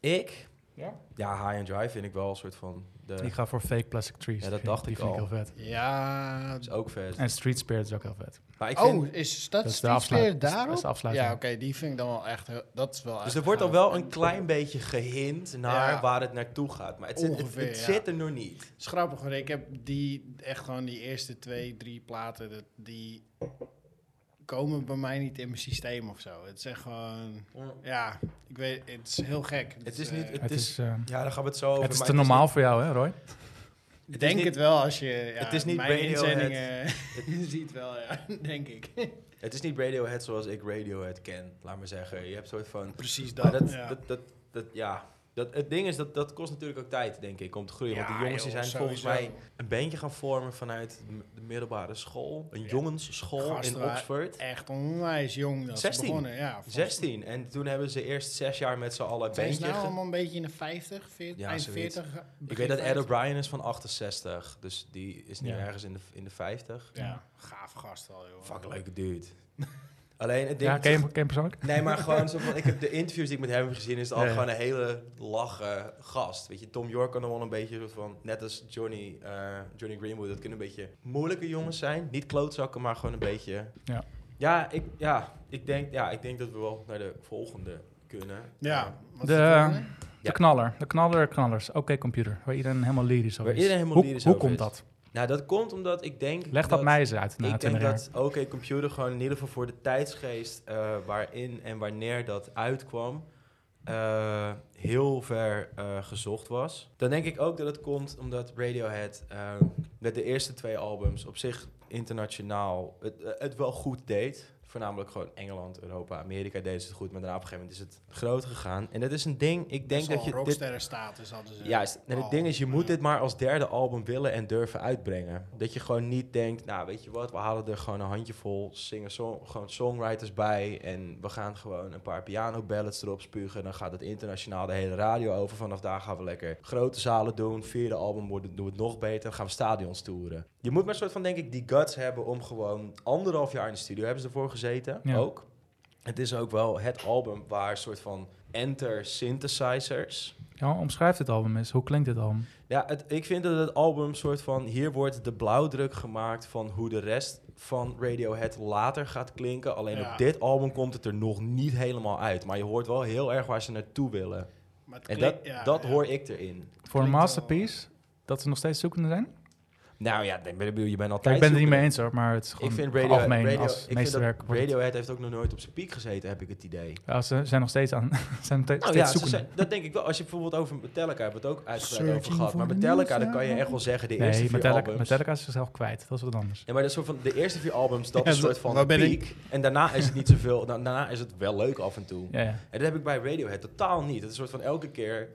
[SPEAKER 1] Ik?
[SPEAKER 2] Ja?
[SPEAKER 1] Ja, High and Dry vind ik wel een soort van... De,
[SPEAKER 2] Ik ga voor Fake Plastic Trees.
[SPEAKER 1] Ja,
[SPEAKER 2] Die
[SPEAKER 1] dat
[SPEAKER 2] vind
[SPEAKER 1] dacht
[SPEAKER 2] die
[SPEAKER 1] ik
[SPEAKER 2] vind
[SPEAKER 1] al.
[SPEAKER 2] heel vet.
[SPEAKER 3] ja.
[SPEAKER 1] is dus ook vet.
[SPEAKER 2] En Street Spirit is ook heel vet.
[SPEAKER 1] Maar ik vind,
[SPEAKER 3] Oh, is
[SPEAKER 2] Dat
[SPEAKER 3] dat
[SPEAKER 2] is de
[SPEAKER 3] Steve
[SPEAKER 2] afsluiting.
[SPEAKER 3] Spear
[SPEAKER 2] Dat is- dat is
[SPEAKER 3] daarop?
[SPEAKER 2] de afsluiting.
[SPEAKER 3] Ja, oké, die vind ik dan wel echt... heel- Dat is wel
[SPEAKER 1] Dus
[SPEAKER 3] echt
[SPEAKER 1] er wordt al
[SPEAKER 3] gaaf.
[SPEAKER 1] wel een klein beetje gehind naar
[SPEAKER 3] Ja.
[SPEAKER 1] waar het naartoe gaat. Maar het, zit, het-
[SPEAKER 3] Ongeveer,
[SPEAKER 1] het
[SPEAKER 3] ja.
[SPEAKER 1] zit er nog niet.
[SPEAKER 3] Het is grappig, want ik heb die, echt gewoon die eerste twee, drie platen, dat, die komen bij mij niet in mijn systeem of zo. Het is echt gewoon, ja, ik weet, het is heel gek.
[SPEAKER 1] Het is niet, het,
[SPEAKER 2] Het
[SPEAKER 1] is,
[SPEAKER 2] is, eh,
[SPEAKER 1] ja, daar gaan we het zo over.
[SPEAKER 2] het is
[SPEAKER 1] maar
[SPEAKER 2] te normaal voor jou, hè Roy?
[SPEAKER 1] is
[SPEAKER 3] denk
[SPEAKER 1] niet-
[SPEAKER 3] het wel als je ja,
[SPEAKER 1] het is niet
[SPEAKER 3] mijn
[SPEAKER 1] Radiohead.
[SPEAKER 3] inzendingen ziet wel, ja, denk ik.
[SPEAKER 1] niet- het is niet Radiohead zoals ik Radiohead ken, laat maar zeggen. Je hebt een soort van...
[SPEAKER 3] Precies dat.
[SPEAKER 1] Maar dat,
[SPEAKER 3] ja.
[SPEAKER 1] dat, dat, dat, ja. Dat, het ding is, dat, dat kost natuurlijk ook tijd, denk ik, om te groeien. Want
[SPEAKER 3] Ja,
[SPEAKER 1] die jongens die
[SPEAKER 3] joh,
[SPEAKER 1] zijn volgens mij
[SPEAKER 3] sowieso.
[SPEAKER 1] een bandje gaan vormen vanuit de m- de middelbare school. Een
[SPEAKER 3] Ja.
[SPEAKER 1] jongensschool
[SPEAKER 3] Gasten
[SPEAKER 1] in
[SPEAKER 3] waren
[SPEAKER 1] Oxford.
[SPEAKER 3] Echt onwijs jong dat
[SPEAKER 1] 16.
[SPEAKER 3] ze begonnen. Ja, volgens-
[SPEAKER 1] 16. En toen hebben ze eerst zes jaar met z'n allen een
[SPEAKER 3] Zijn ze
[SPEAKER 1] bandje...
[SPEAKER 3] nou
[SPEAKER 1] ge-
[SPEAKER 3] allemaal een beetje in de 50, 40,
[SPEAKER 1] Ja,
[SPEAKER 3] eind
[SPEAKER 1] zoiets.
[SPEAKER 3] 40?
[SPEAKER 1] Ik
[SPEAKER 3] begin
[SPEAKER 1] weet dat Ed
[SPEAKER 3] 50?
[SPEAKER 1] O'Brien is van 68, dus die is nu
[SPEAKER 2] Ja.
[SPEAKER 1] ergens in de, in de 50.
[SPEAKER 3] Ja, gaaf gast al, joh.
[SPEAKER 1] Fuck, leuke dude. Alleen het ding...
[SPEAKER 2] Ja, ken je, ken je hem persoonlijk?
[SPEAKER 1] Nee, maar gewoon zo van... Ik heb de interviews die ik met hem heb gezien, is het al
[SPEAKER 2] Ja, ja.
[SPEAKER 1] gewoon een hele lachen gast. Weet je, Tom York kan dan wel een beetje soort van... Net als Johnny, eh, Johnny Greenwood, dat kunnen een beetje moeilijke jongens zijn. Niet klootzakken, maar gewoon een beetje...
[SPEAKER 2] Ja.
[SPEAKER 1] Ja, ik, ja, ik, denk, ja, ik denk dat we wel naar de volgende kunnen. Eh,
[SPEAKER 3] Ja, wat
[SPEAKER 2] De-
[SPEAKER 3] is het volgende?
[SPEAKER 1] Ja.
[SPEAKER 2] De knaller. De knaller knallers. Oké, computer. Waar iedereen helemaal lyrisch over
[SPEAKER 1] Waar
[SPEAKER 2] is.
[SPEAKER 1] iedereen helemaal
[SPEAKER 2] hoe,
[SPEAKER 1] lyrisch
[SPEAKER 2] Hoe
[SPEAKER 1] over
[SPEAKER 2] komt
[SPEAKER 1] is.
[SPEAKER 2] dat?
[SPEAKER 1] Nou, dat komt omdat ik denk
[SPEAKER 2] Leg dat, mij eens uit. Nou,
[SPEAKER 1] ik denk dat oké computer gewoon in ieder geval voor de tijdsgeest eh, waarin en wanneer dat uitkwam, eh, heel ver eh, gezocht was. Dan denk ik ook dat het komt omdat Radiohead eh, met de eerste twee albums op zich internationaal het, eh, het wel goed deed. Voornamelijk gewoon Engeland, Europa, Amerika deden ze het goed. Maar daarna op een gegeven moment is het groot gegaan. En dat is een ding, ik denk dat je dit...
[SPEAKER 3] rocksterrenstatus hadden ze.
[SPEAKER 1] Juist. En het
[SPEAKER 3] al.
[SPEAKER 1] ding is, je moet
[SPEAKER 3] Ja.
[SPEAKER 1] dit maar als derde album willen en durven uitbrengen. Dat je gewoon niet denkt, nou weet je wat, we halen er gewoon een handjevol zingen, gewoon songwriters bij. En we gaan gewoon een paar piano ballads erop spugen. Dan gaat het internationaal de hele radio over. Vanaf daar gaan we lekker grote zalen doen. Vierde album worden, doen we het nog beter. Dan gaan we stadions toeren. Je moet maar een soort van, denk ik, die guts hebben om gewoon anderhalf jaar in de studio hebben ze ervoor gezeten.
[SPEAKER 2] Ja.
[SPEAKER 1] Ook. Het is ook wel het album waar een soort van enter synthesizers.
[SPEAKER 2] Ja, omschrijf dit album eens. Hoe klinkt dit album?
[SPEAKER 1] Ja, het, ik vind dat het album soort van... Hier wordt de blauwdruk gemaakt van hoe de rest van Radiohead later gaat klinken. Alleen
[SPEAKER 3] Ja.
[SPEAKER 1] op dit album komt het er nog niet helemaal uit. Maar je hoort wel heel erg waar ze naartoe willen.
[SPEAKER 3] Maar het
[SPEAKER 1] En dat,
[SPEAKER 3] klinkt- ja,
[SPEAKER 1] dat
[SPEAKER 3] ja.
[SPEAKER 1] hoor ik erin.
[SPEAKER 2] Voor een
[SPEAKER 3] Klinkt wel-
[SPEAKER 2] masterpiece, dat ze nog steeds zoekende zijn?
[SPEAKER 1] Nou ja, ik bedoel, je bent
[SPEAKER 2] Kijk,
[SPEAKER 1] altijd...
[SPEAKER 2] ik ben het niet
[SPEAKER 1] zoekende.
[SPEAKER 2] mee eens hoor, maar het is gewoon
[SPEAKER 1] Ik vind radio,
[SPEAKER 2] algemeen
[SPEAKER 1] radio-
[SPEAKER 2] als
[SPEAKER 1] ik vind dat
[SPEAKER 2] meesterwerk. wordt het-
[SPEAKER 1] Radiohead heeft ook nog nooit op zijn piek gezeten, heb ik het idee.
[SPEAKER 2] Ja, ze zijn nog steeds aan, zijn nog steeds
[SPEAKER 1] Nou ja, ze
[SPEAKER 2] zoekende.
[SPEAKER 1] zijn- dat denk ik wel. Als je bijvoorbeeld over Metallica hebt, we het ook uitgebreid over
[SPEAKER 3] Searching
[SPEAKER 1] gehad.
[SPEAKER 3] for
[SPEAKER 1] Maar
[SPEAKER 3] the
[SPEAKER 1] Metallica,
[SPEAKER 3] news,
[SPEAKER 1] dan kan je echt wel zeggen, de eerste
[SPEAKER 2] nee,
[SPEAKER 1] vier
[SPEAKER 2] Metallica,
[SPEAKER 1] albums...
[SPEAKER 2] Metallica is zichzelf kwijt. Dat is wat anders.
[SPEAKER 1] Ja, maar dat is soort van de eerste vier albums, dat
[SPEAKER 3] Ja,
[SPEAKER 1] is een
[SPEAKER 3] dat-
[SPEAKER 1] soort van de
[SPEAKER 3] waar ben
[SPEAKER 1] piek. En daarna is het niet zoveel. da- daarna is het wel leuk af en toe.
[SPEAKER 2] Ja, ja.
[SPEAKER 1] En dat heb ik bij Radiohead totaal niet. Het is een soort van elke keer.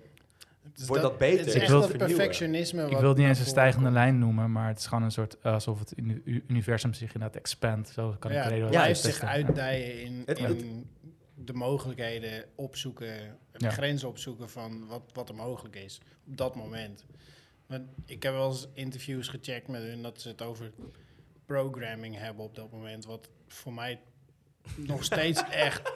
[SPEAKER 3] Dus
[SPEAKER 1] Wordt dat beter?
[SPEAKER 3] Het is
[SPEAKER 2] Ik
[SPEAKER 3] echt
[SPEAKER 2] wil-
[SPEAKER 3] dat perfectionisme.
[SPEAKER 2] Ik
[SPEAKER 3] wat
[SPEAKER 2] wil het
[SPEAKER 3] naar
[SPEAKER 2] niet eens een
[SPEAKER 3] voren
[SPEAKER 2] stijgende
[SPEAKER 3] komt.
[SPEAKER 2] lijn noemen, maar het is gewoon een soort eh, alsof het uni- u- universum zich inderdaad expand. Zo kan ik
[SPEAKER 3] Ja,
[SPEAKER 2] de reden
[SPEAKER 3] het
[SPEAKER 2] wel
[SPEAKER 3] blijft zich
[SPEAKER 2] uittesten.
[SPEAKER 3] uitdijen in,
[SPEAKER 1] Het-
[SPEAKER 3] in de mogelijkheden opzoeken, de
[SPEAKER 2] Ja.
[SPEAKER 3] grenzen opzoeken van wat, wat er mogelijk is op dat moment. Maar ik heb wel eens interviews gecheckt met hun dat ze het over programming hebben op dat moment, wat voor mij nog steeds echt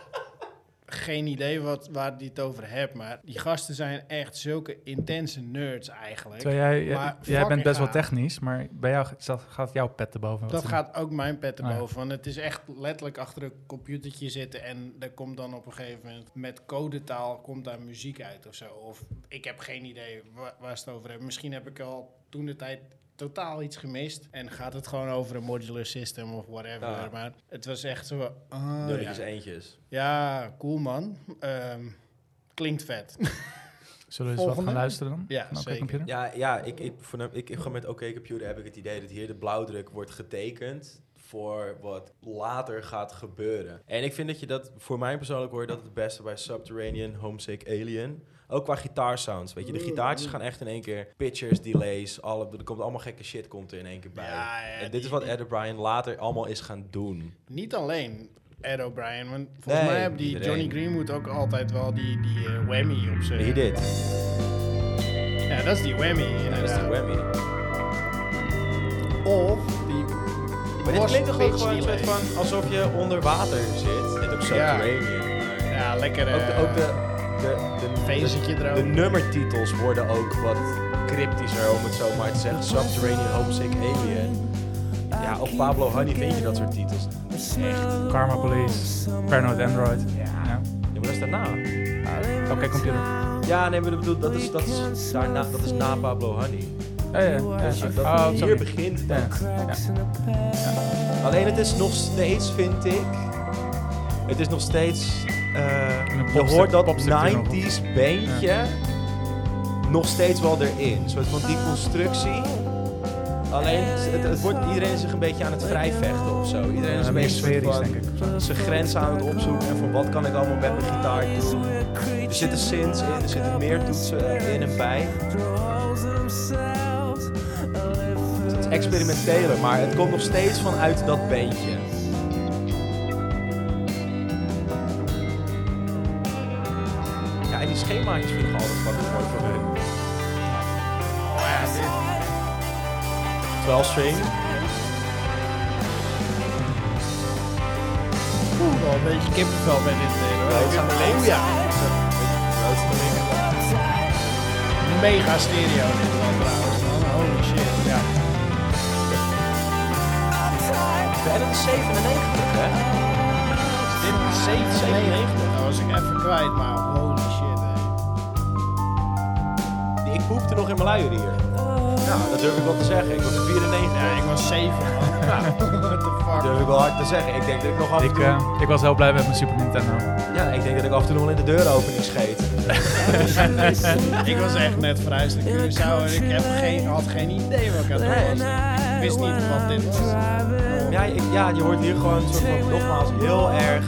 [SPEAKER 3] geen idee wat, waar die het over hebt, maar die gasten zijn echt zulke intense nerds eigenlijk.
[SPEAKER 2] Terwijl jij, jij-
[SPEAKER 3] Maar
[SPEAKER 2] jij bent best wel
[SPEAKER 3] fucking gaaf.
[SPEAKER 2] technisch, maar bij jou staat- gaat jouw pet erboven. Wat
[SPEAKER 3] Dat
[SPEAKER 2] ze-
[SPEAKER 3] gaat ook mijn pet
[SPEAKER 2] Ah, ja.
[SPEAKER 3] erboven. Want het is echt letterlijk achter een computertje zitten. En er komt dan op een gegeven moment met codetaal komt daar muziek uit of zo. Of ik heb geen idee wa- waar, ze het over hebben. Misschien heb ik al toen de tijd totaal iets gemist. En gaat het gewoon over een modular system of whatever.
[SPEAKER 1] Ja.
[SPEAKER 3] Maar het was echt zo. ah,
[SPEAKER 1] Nulletjes,
[SPEAKER 3] ja.
[SPEAKER 1] eentjes.
[SPEAKER 3] ja, cool man. Ehm, klinkt vet.
[SPEAKER 2] Zullen we eens wat gaan
[SPEAKER 3] Volgende?
[SPEAKER 2] luisteren dan?
[SPEAKER 3] Ja,
[SPEAKER 2] Van Oké
[SPEAKER 3] zeker.
[SPEAKER 2] Computer?
[SPEAKER 1] Ja, ja ik, ik, voornaam- ik, ik gewoon met OK Computer heb ik het idee dat hier de blauwdruk wordt getekend voor wat later gaat gebeuren. En ik vind dat je dat, voor mij persoonlijk hoor je dat het beste bij Subterranean, Homesick, Alien. Ook qua gitaarsounds, weet je. De gitaartjes gaan echt in één keer pitchers, delays, alle, er komt allemaal gekke shit komt er in één keer bij.
[SPEAKER 3] Ja, ja,
[SPEAKER 1] en dit
[SPEAKER 3] die-
[SPEAKER 1] is wat Ed O'Brien later allemaal is gaan doen.
[SPEAKER 3] Niet alleen Ed O'Brien. Want volgens
[SPEAKER 1] Nee,
[SPEAKER 3] mij hebben die
[SPEAKER 1] iedereen.
[SPEAKER 3] Johnny Greenwood ook altijd wel die, die eh, whammy op zijn...
[SPEAKER 1] He did.
[SPEAKER 3] Ja, dat is die whammy
[SPEAKER 1] Dat is
[SPEAKER 3] inderdaad.
[SPEAKER 1] de whammy.
[SPEAKER 3] Eh, Of die.
[SPEAKER 1] Maar dit
[SPEAKER 3] was
[SPEAKER 1] klinkt toch ook
[SPEAKER 3] pitch
[SPEAKER 1] gewoon een soort
[SPEAKER 3] delay.
[SPEAKER 1] van alsof je onder water zit. En ook subterranean. maar-
[SPEAKER 3] Ja, lekker.
[SPEAKER 1] Ook de,
[SPEAKER 3] eh,
[SPEAKER 1] ook de, de, de,
[SPEAKER 3] Vezentje
[SPEAKER 1] de, de
[SPEAKER 3] erover.
[SPEAKER 1] nummertitels worden ook wat cryptischer, om het zo maar te zeggen. Subterranean, Homesick, Alien. Ja, op Pablo Honey vind je dat soort titels.
[SPEAKER 2] Karma Police, Paranoid Android. Ja.
[SPEAKER 1] Ja, maar dat is daarna.
[SPEAKER 2] Oké Computer.
[SPEAKER 1] Ja, nee, maar dat bedoel, dat is, dat is, daarna, dat is na Pablo Honey.
[SPEAKER 2] Ja, ja, ja.
[SPEAKER 1] Dus je- dat,
[SPEAKER 2] Oh, op zo'n
[SPEAKER 1] hier
[SPEAKER 2] manier.
[SPEAKER 1] begint
[SPEAKER 2] Ja,
[SPEAKER 1] het.
[SPEAKER 2] ja.
[SPEAKER 1] Alleen het is nog steeds, vind ik, het is nog steeds, eh,
[SPEAKER 2] Een
[SPEAKER 1] je
[SPEAKER 2] popstuk-
[SPEAKER 1] hoort dat
[SPEAKER 2] popstuk er nog op.
[SPEAKER 1] 90s beentje nog steeds wel erin. Een soort van die constructie. Alleen, het, het wordt, iedereen is zich een beetje aan het vrijvechten of zo. Iedereen is
[SPEAKER 2] Ja,
[SPEAKER 1] een
[SPEAKER 2] meer
[SPEAKER 1] beetje een soort
[SPEAKER 2] sferisch, denk
[SPEAKER 1] van
[SPEAKER 2] ik.
[SPEAKER 1] zijn grenzen aan het opzoeken. En voor wat kan ik allemaal met mijn gitaar doen. Er zitten synths in, er zitten meer toetsen in en bij. Dus het is experimenteler, maar het komt nog steeds vanuit dat beentje. Ja, en die schemaatjes vind ik altijd fucking mooi voor hun. Terwijl string.
[SPEAKER 3] Oeh, wel een beetje kippenvel bij dit ding. hoor.
[SPEAKER 1] het gaat alleen-
[SPEAKER 3] Oeh, ja. Mega stereo dit wel trouwens. man. Holy shit. Ja.
[SPEAKER 1] En dat is 97, hè?
[SPEAKER 3] Dit is 97. Dat was ik even kwijt, maar holy shit. hè.
[SPEAKER 1] Die- Ik poepte nog in mijn luier hier. Nou, dat durf ik wel te zeggen. Ik was 94.
[SPEAKER 3] Ja, ik was 7 man. What the fuck.
[SPEAKER 1] Dat durf ik wel hard te zeggen. Ik denk dat ik nog af en
[SPEAKER 2] Ik,
[SPEAKER 1] toe...
[SPEAKER 2] eh, ik was heel blij met mijn Super Nintendo.
[SPEAKER 1] Ja, ik denk dat ik af en toe nog wel in de deuropening scheet.
[SPEAKER 3] Ik was echt net verhuisd naar Curaçao en ik heb geen, had geen idee wat ik aan het doen was. Ik wist niet wat dit was.
[SPEAKER 1] Ja, ik, ja, je hoort hier gewoon soort van, nogmaals heel erg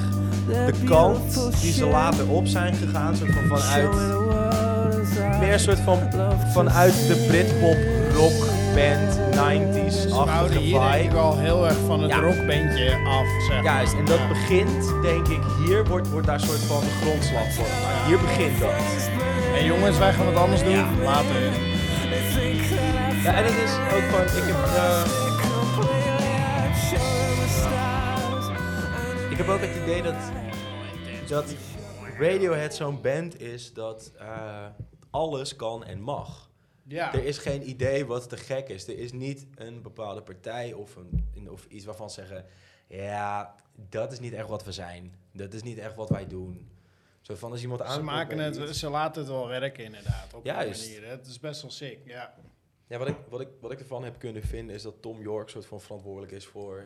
[SPEAKER 1] de kant die ze later op zijn gegaan. Soort van vanuit... Meer soort van vanuit de Britpop rock band 90s-achtige
[SPEAKER 3] Bouwde hier denk ik
[SPEAKER 1] vibe.
[SPEAKER 3] al heel erg van het
[SPEAKER 1] Ja.
[SPEAKER 3] rockbandje af, zeg maar.
[SPEAKER 1] Juist, en dat
[SPEAKER 3] Ja.
[SPEAKER 1] begint, denk ik, hier wordt, wordt daar soort van de grondslag voor. gemaakt. Hier begint dat.
[SPEAKER 3] En jongens, wij gaan wat anders doen. Later.
[SPEAKER 1] Ja, en het is ook gewoon, ik heb, eh, ik heb ook het idee dat, dat Radiohead zo'n band is dat eh, alles kan en mag.
[SPEAKER 3] Ja.
[SPEAKER 1] Er is geen idee wat te gek is. Er is niet een bepaalde partij of, een, in- of iets waarvan ze zeggen... ja, dat is niet echt wat we zijn. Dat is niet echt wat wij doen. Zo van als iemand aan...
[SPEAKER 3] Ze, maken het, ze laten het wel werken inderdaad, op
[SPEAKER 1] Juist.
[SPEAKER 3] die manier. Het is best wel sick, ja.
[SPEAKER 1] Ja, wat ik, wat, ik, wat ik ervan heb kunnen vinden is dat Tom York soort van verantwoordelijk is voor...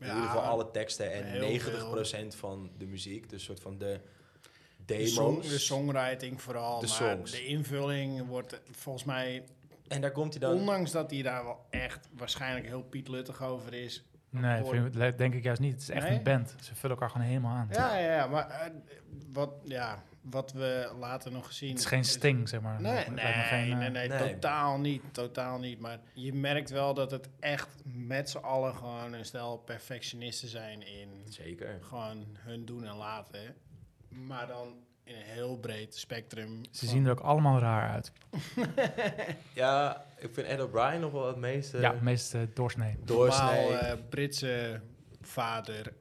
[SPEAKER 1] In
[SPEAKER 3] Ja,
[SPEAKER 1] ieder geval alle teksten en
[SPEAKER 3] heel
[SPEAKER 1] 90% van de muziek. Dus soort van de
[SPEAKER 3] De,
[SPEAKER 1] demo's.
[SPEAKER 3] song, de songwriting vooral,
[SPEAKER 1] De
[SPEAKER 3] maar
[SPEAKER 1] songs.
[SPEAKER 3] de invulling wordt volgens mij...
[SPEAKER 1] En daar komt hij dan...
[SPEAKER 3] Ondanks dat hij daar wel echt waarschijnlijk heel pietluttig over is.
[SPEAKER 2] Nee, vind ik- denk ik juist niet. Het is echt
[SPEAKER 3] Nee?
[SPEAKER 2] een band. Ze vullen elkaar gewoon helemaal aan.
[SPEAKER 3] Ja, ja, ja, maar eh, wat, ja, wat we later nog gezien...
[SPEAKER 2] Het is geen sting, zeg maar.
[SPEAKER 3] Nee,
[SPEAKER 2] Het lijkt me
[SPEAKER 3] nee,
[SPEAKER 2] geen, eh,
[SPEAKER 3] nee, nee,
[SPEAKER 1] nee.
[SPEAKER 3] totaal niet, totaal niet. Maar je merkt wel dat het echt met z'n allen gewoon een stel perfectionisten zijn in
[SPEAKER 1] Zeker.
[SPEAKER 3] gewoon hun doen en laten. Maar dan in een heel breed spectrum.
[SPEAKER 2] Ze zien er ook allemaal raar uit.
[SPEAKER 1] Ja, ik vind Ed O'Brien nog wel het meeste
[SPEAKER 2] ja, meest eh, doorsnee.
[SPEAKER 1] doorsnee.
[SPEAKER 3] Britse vader.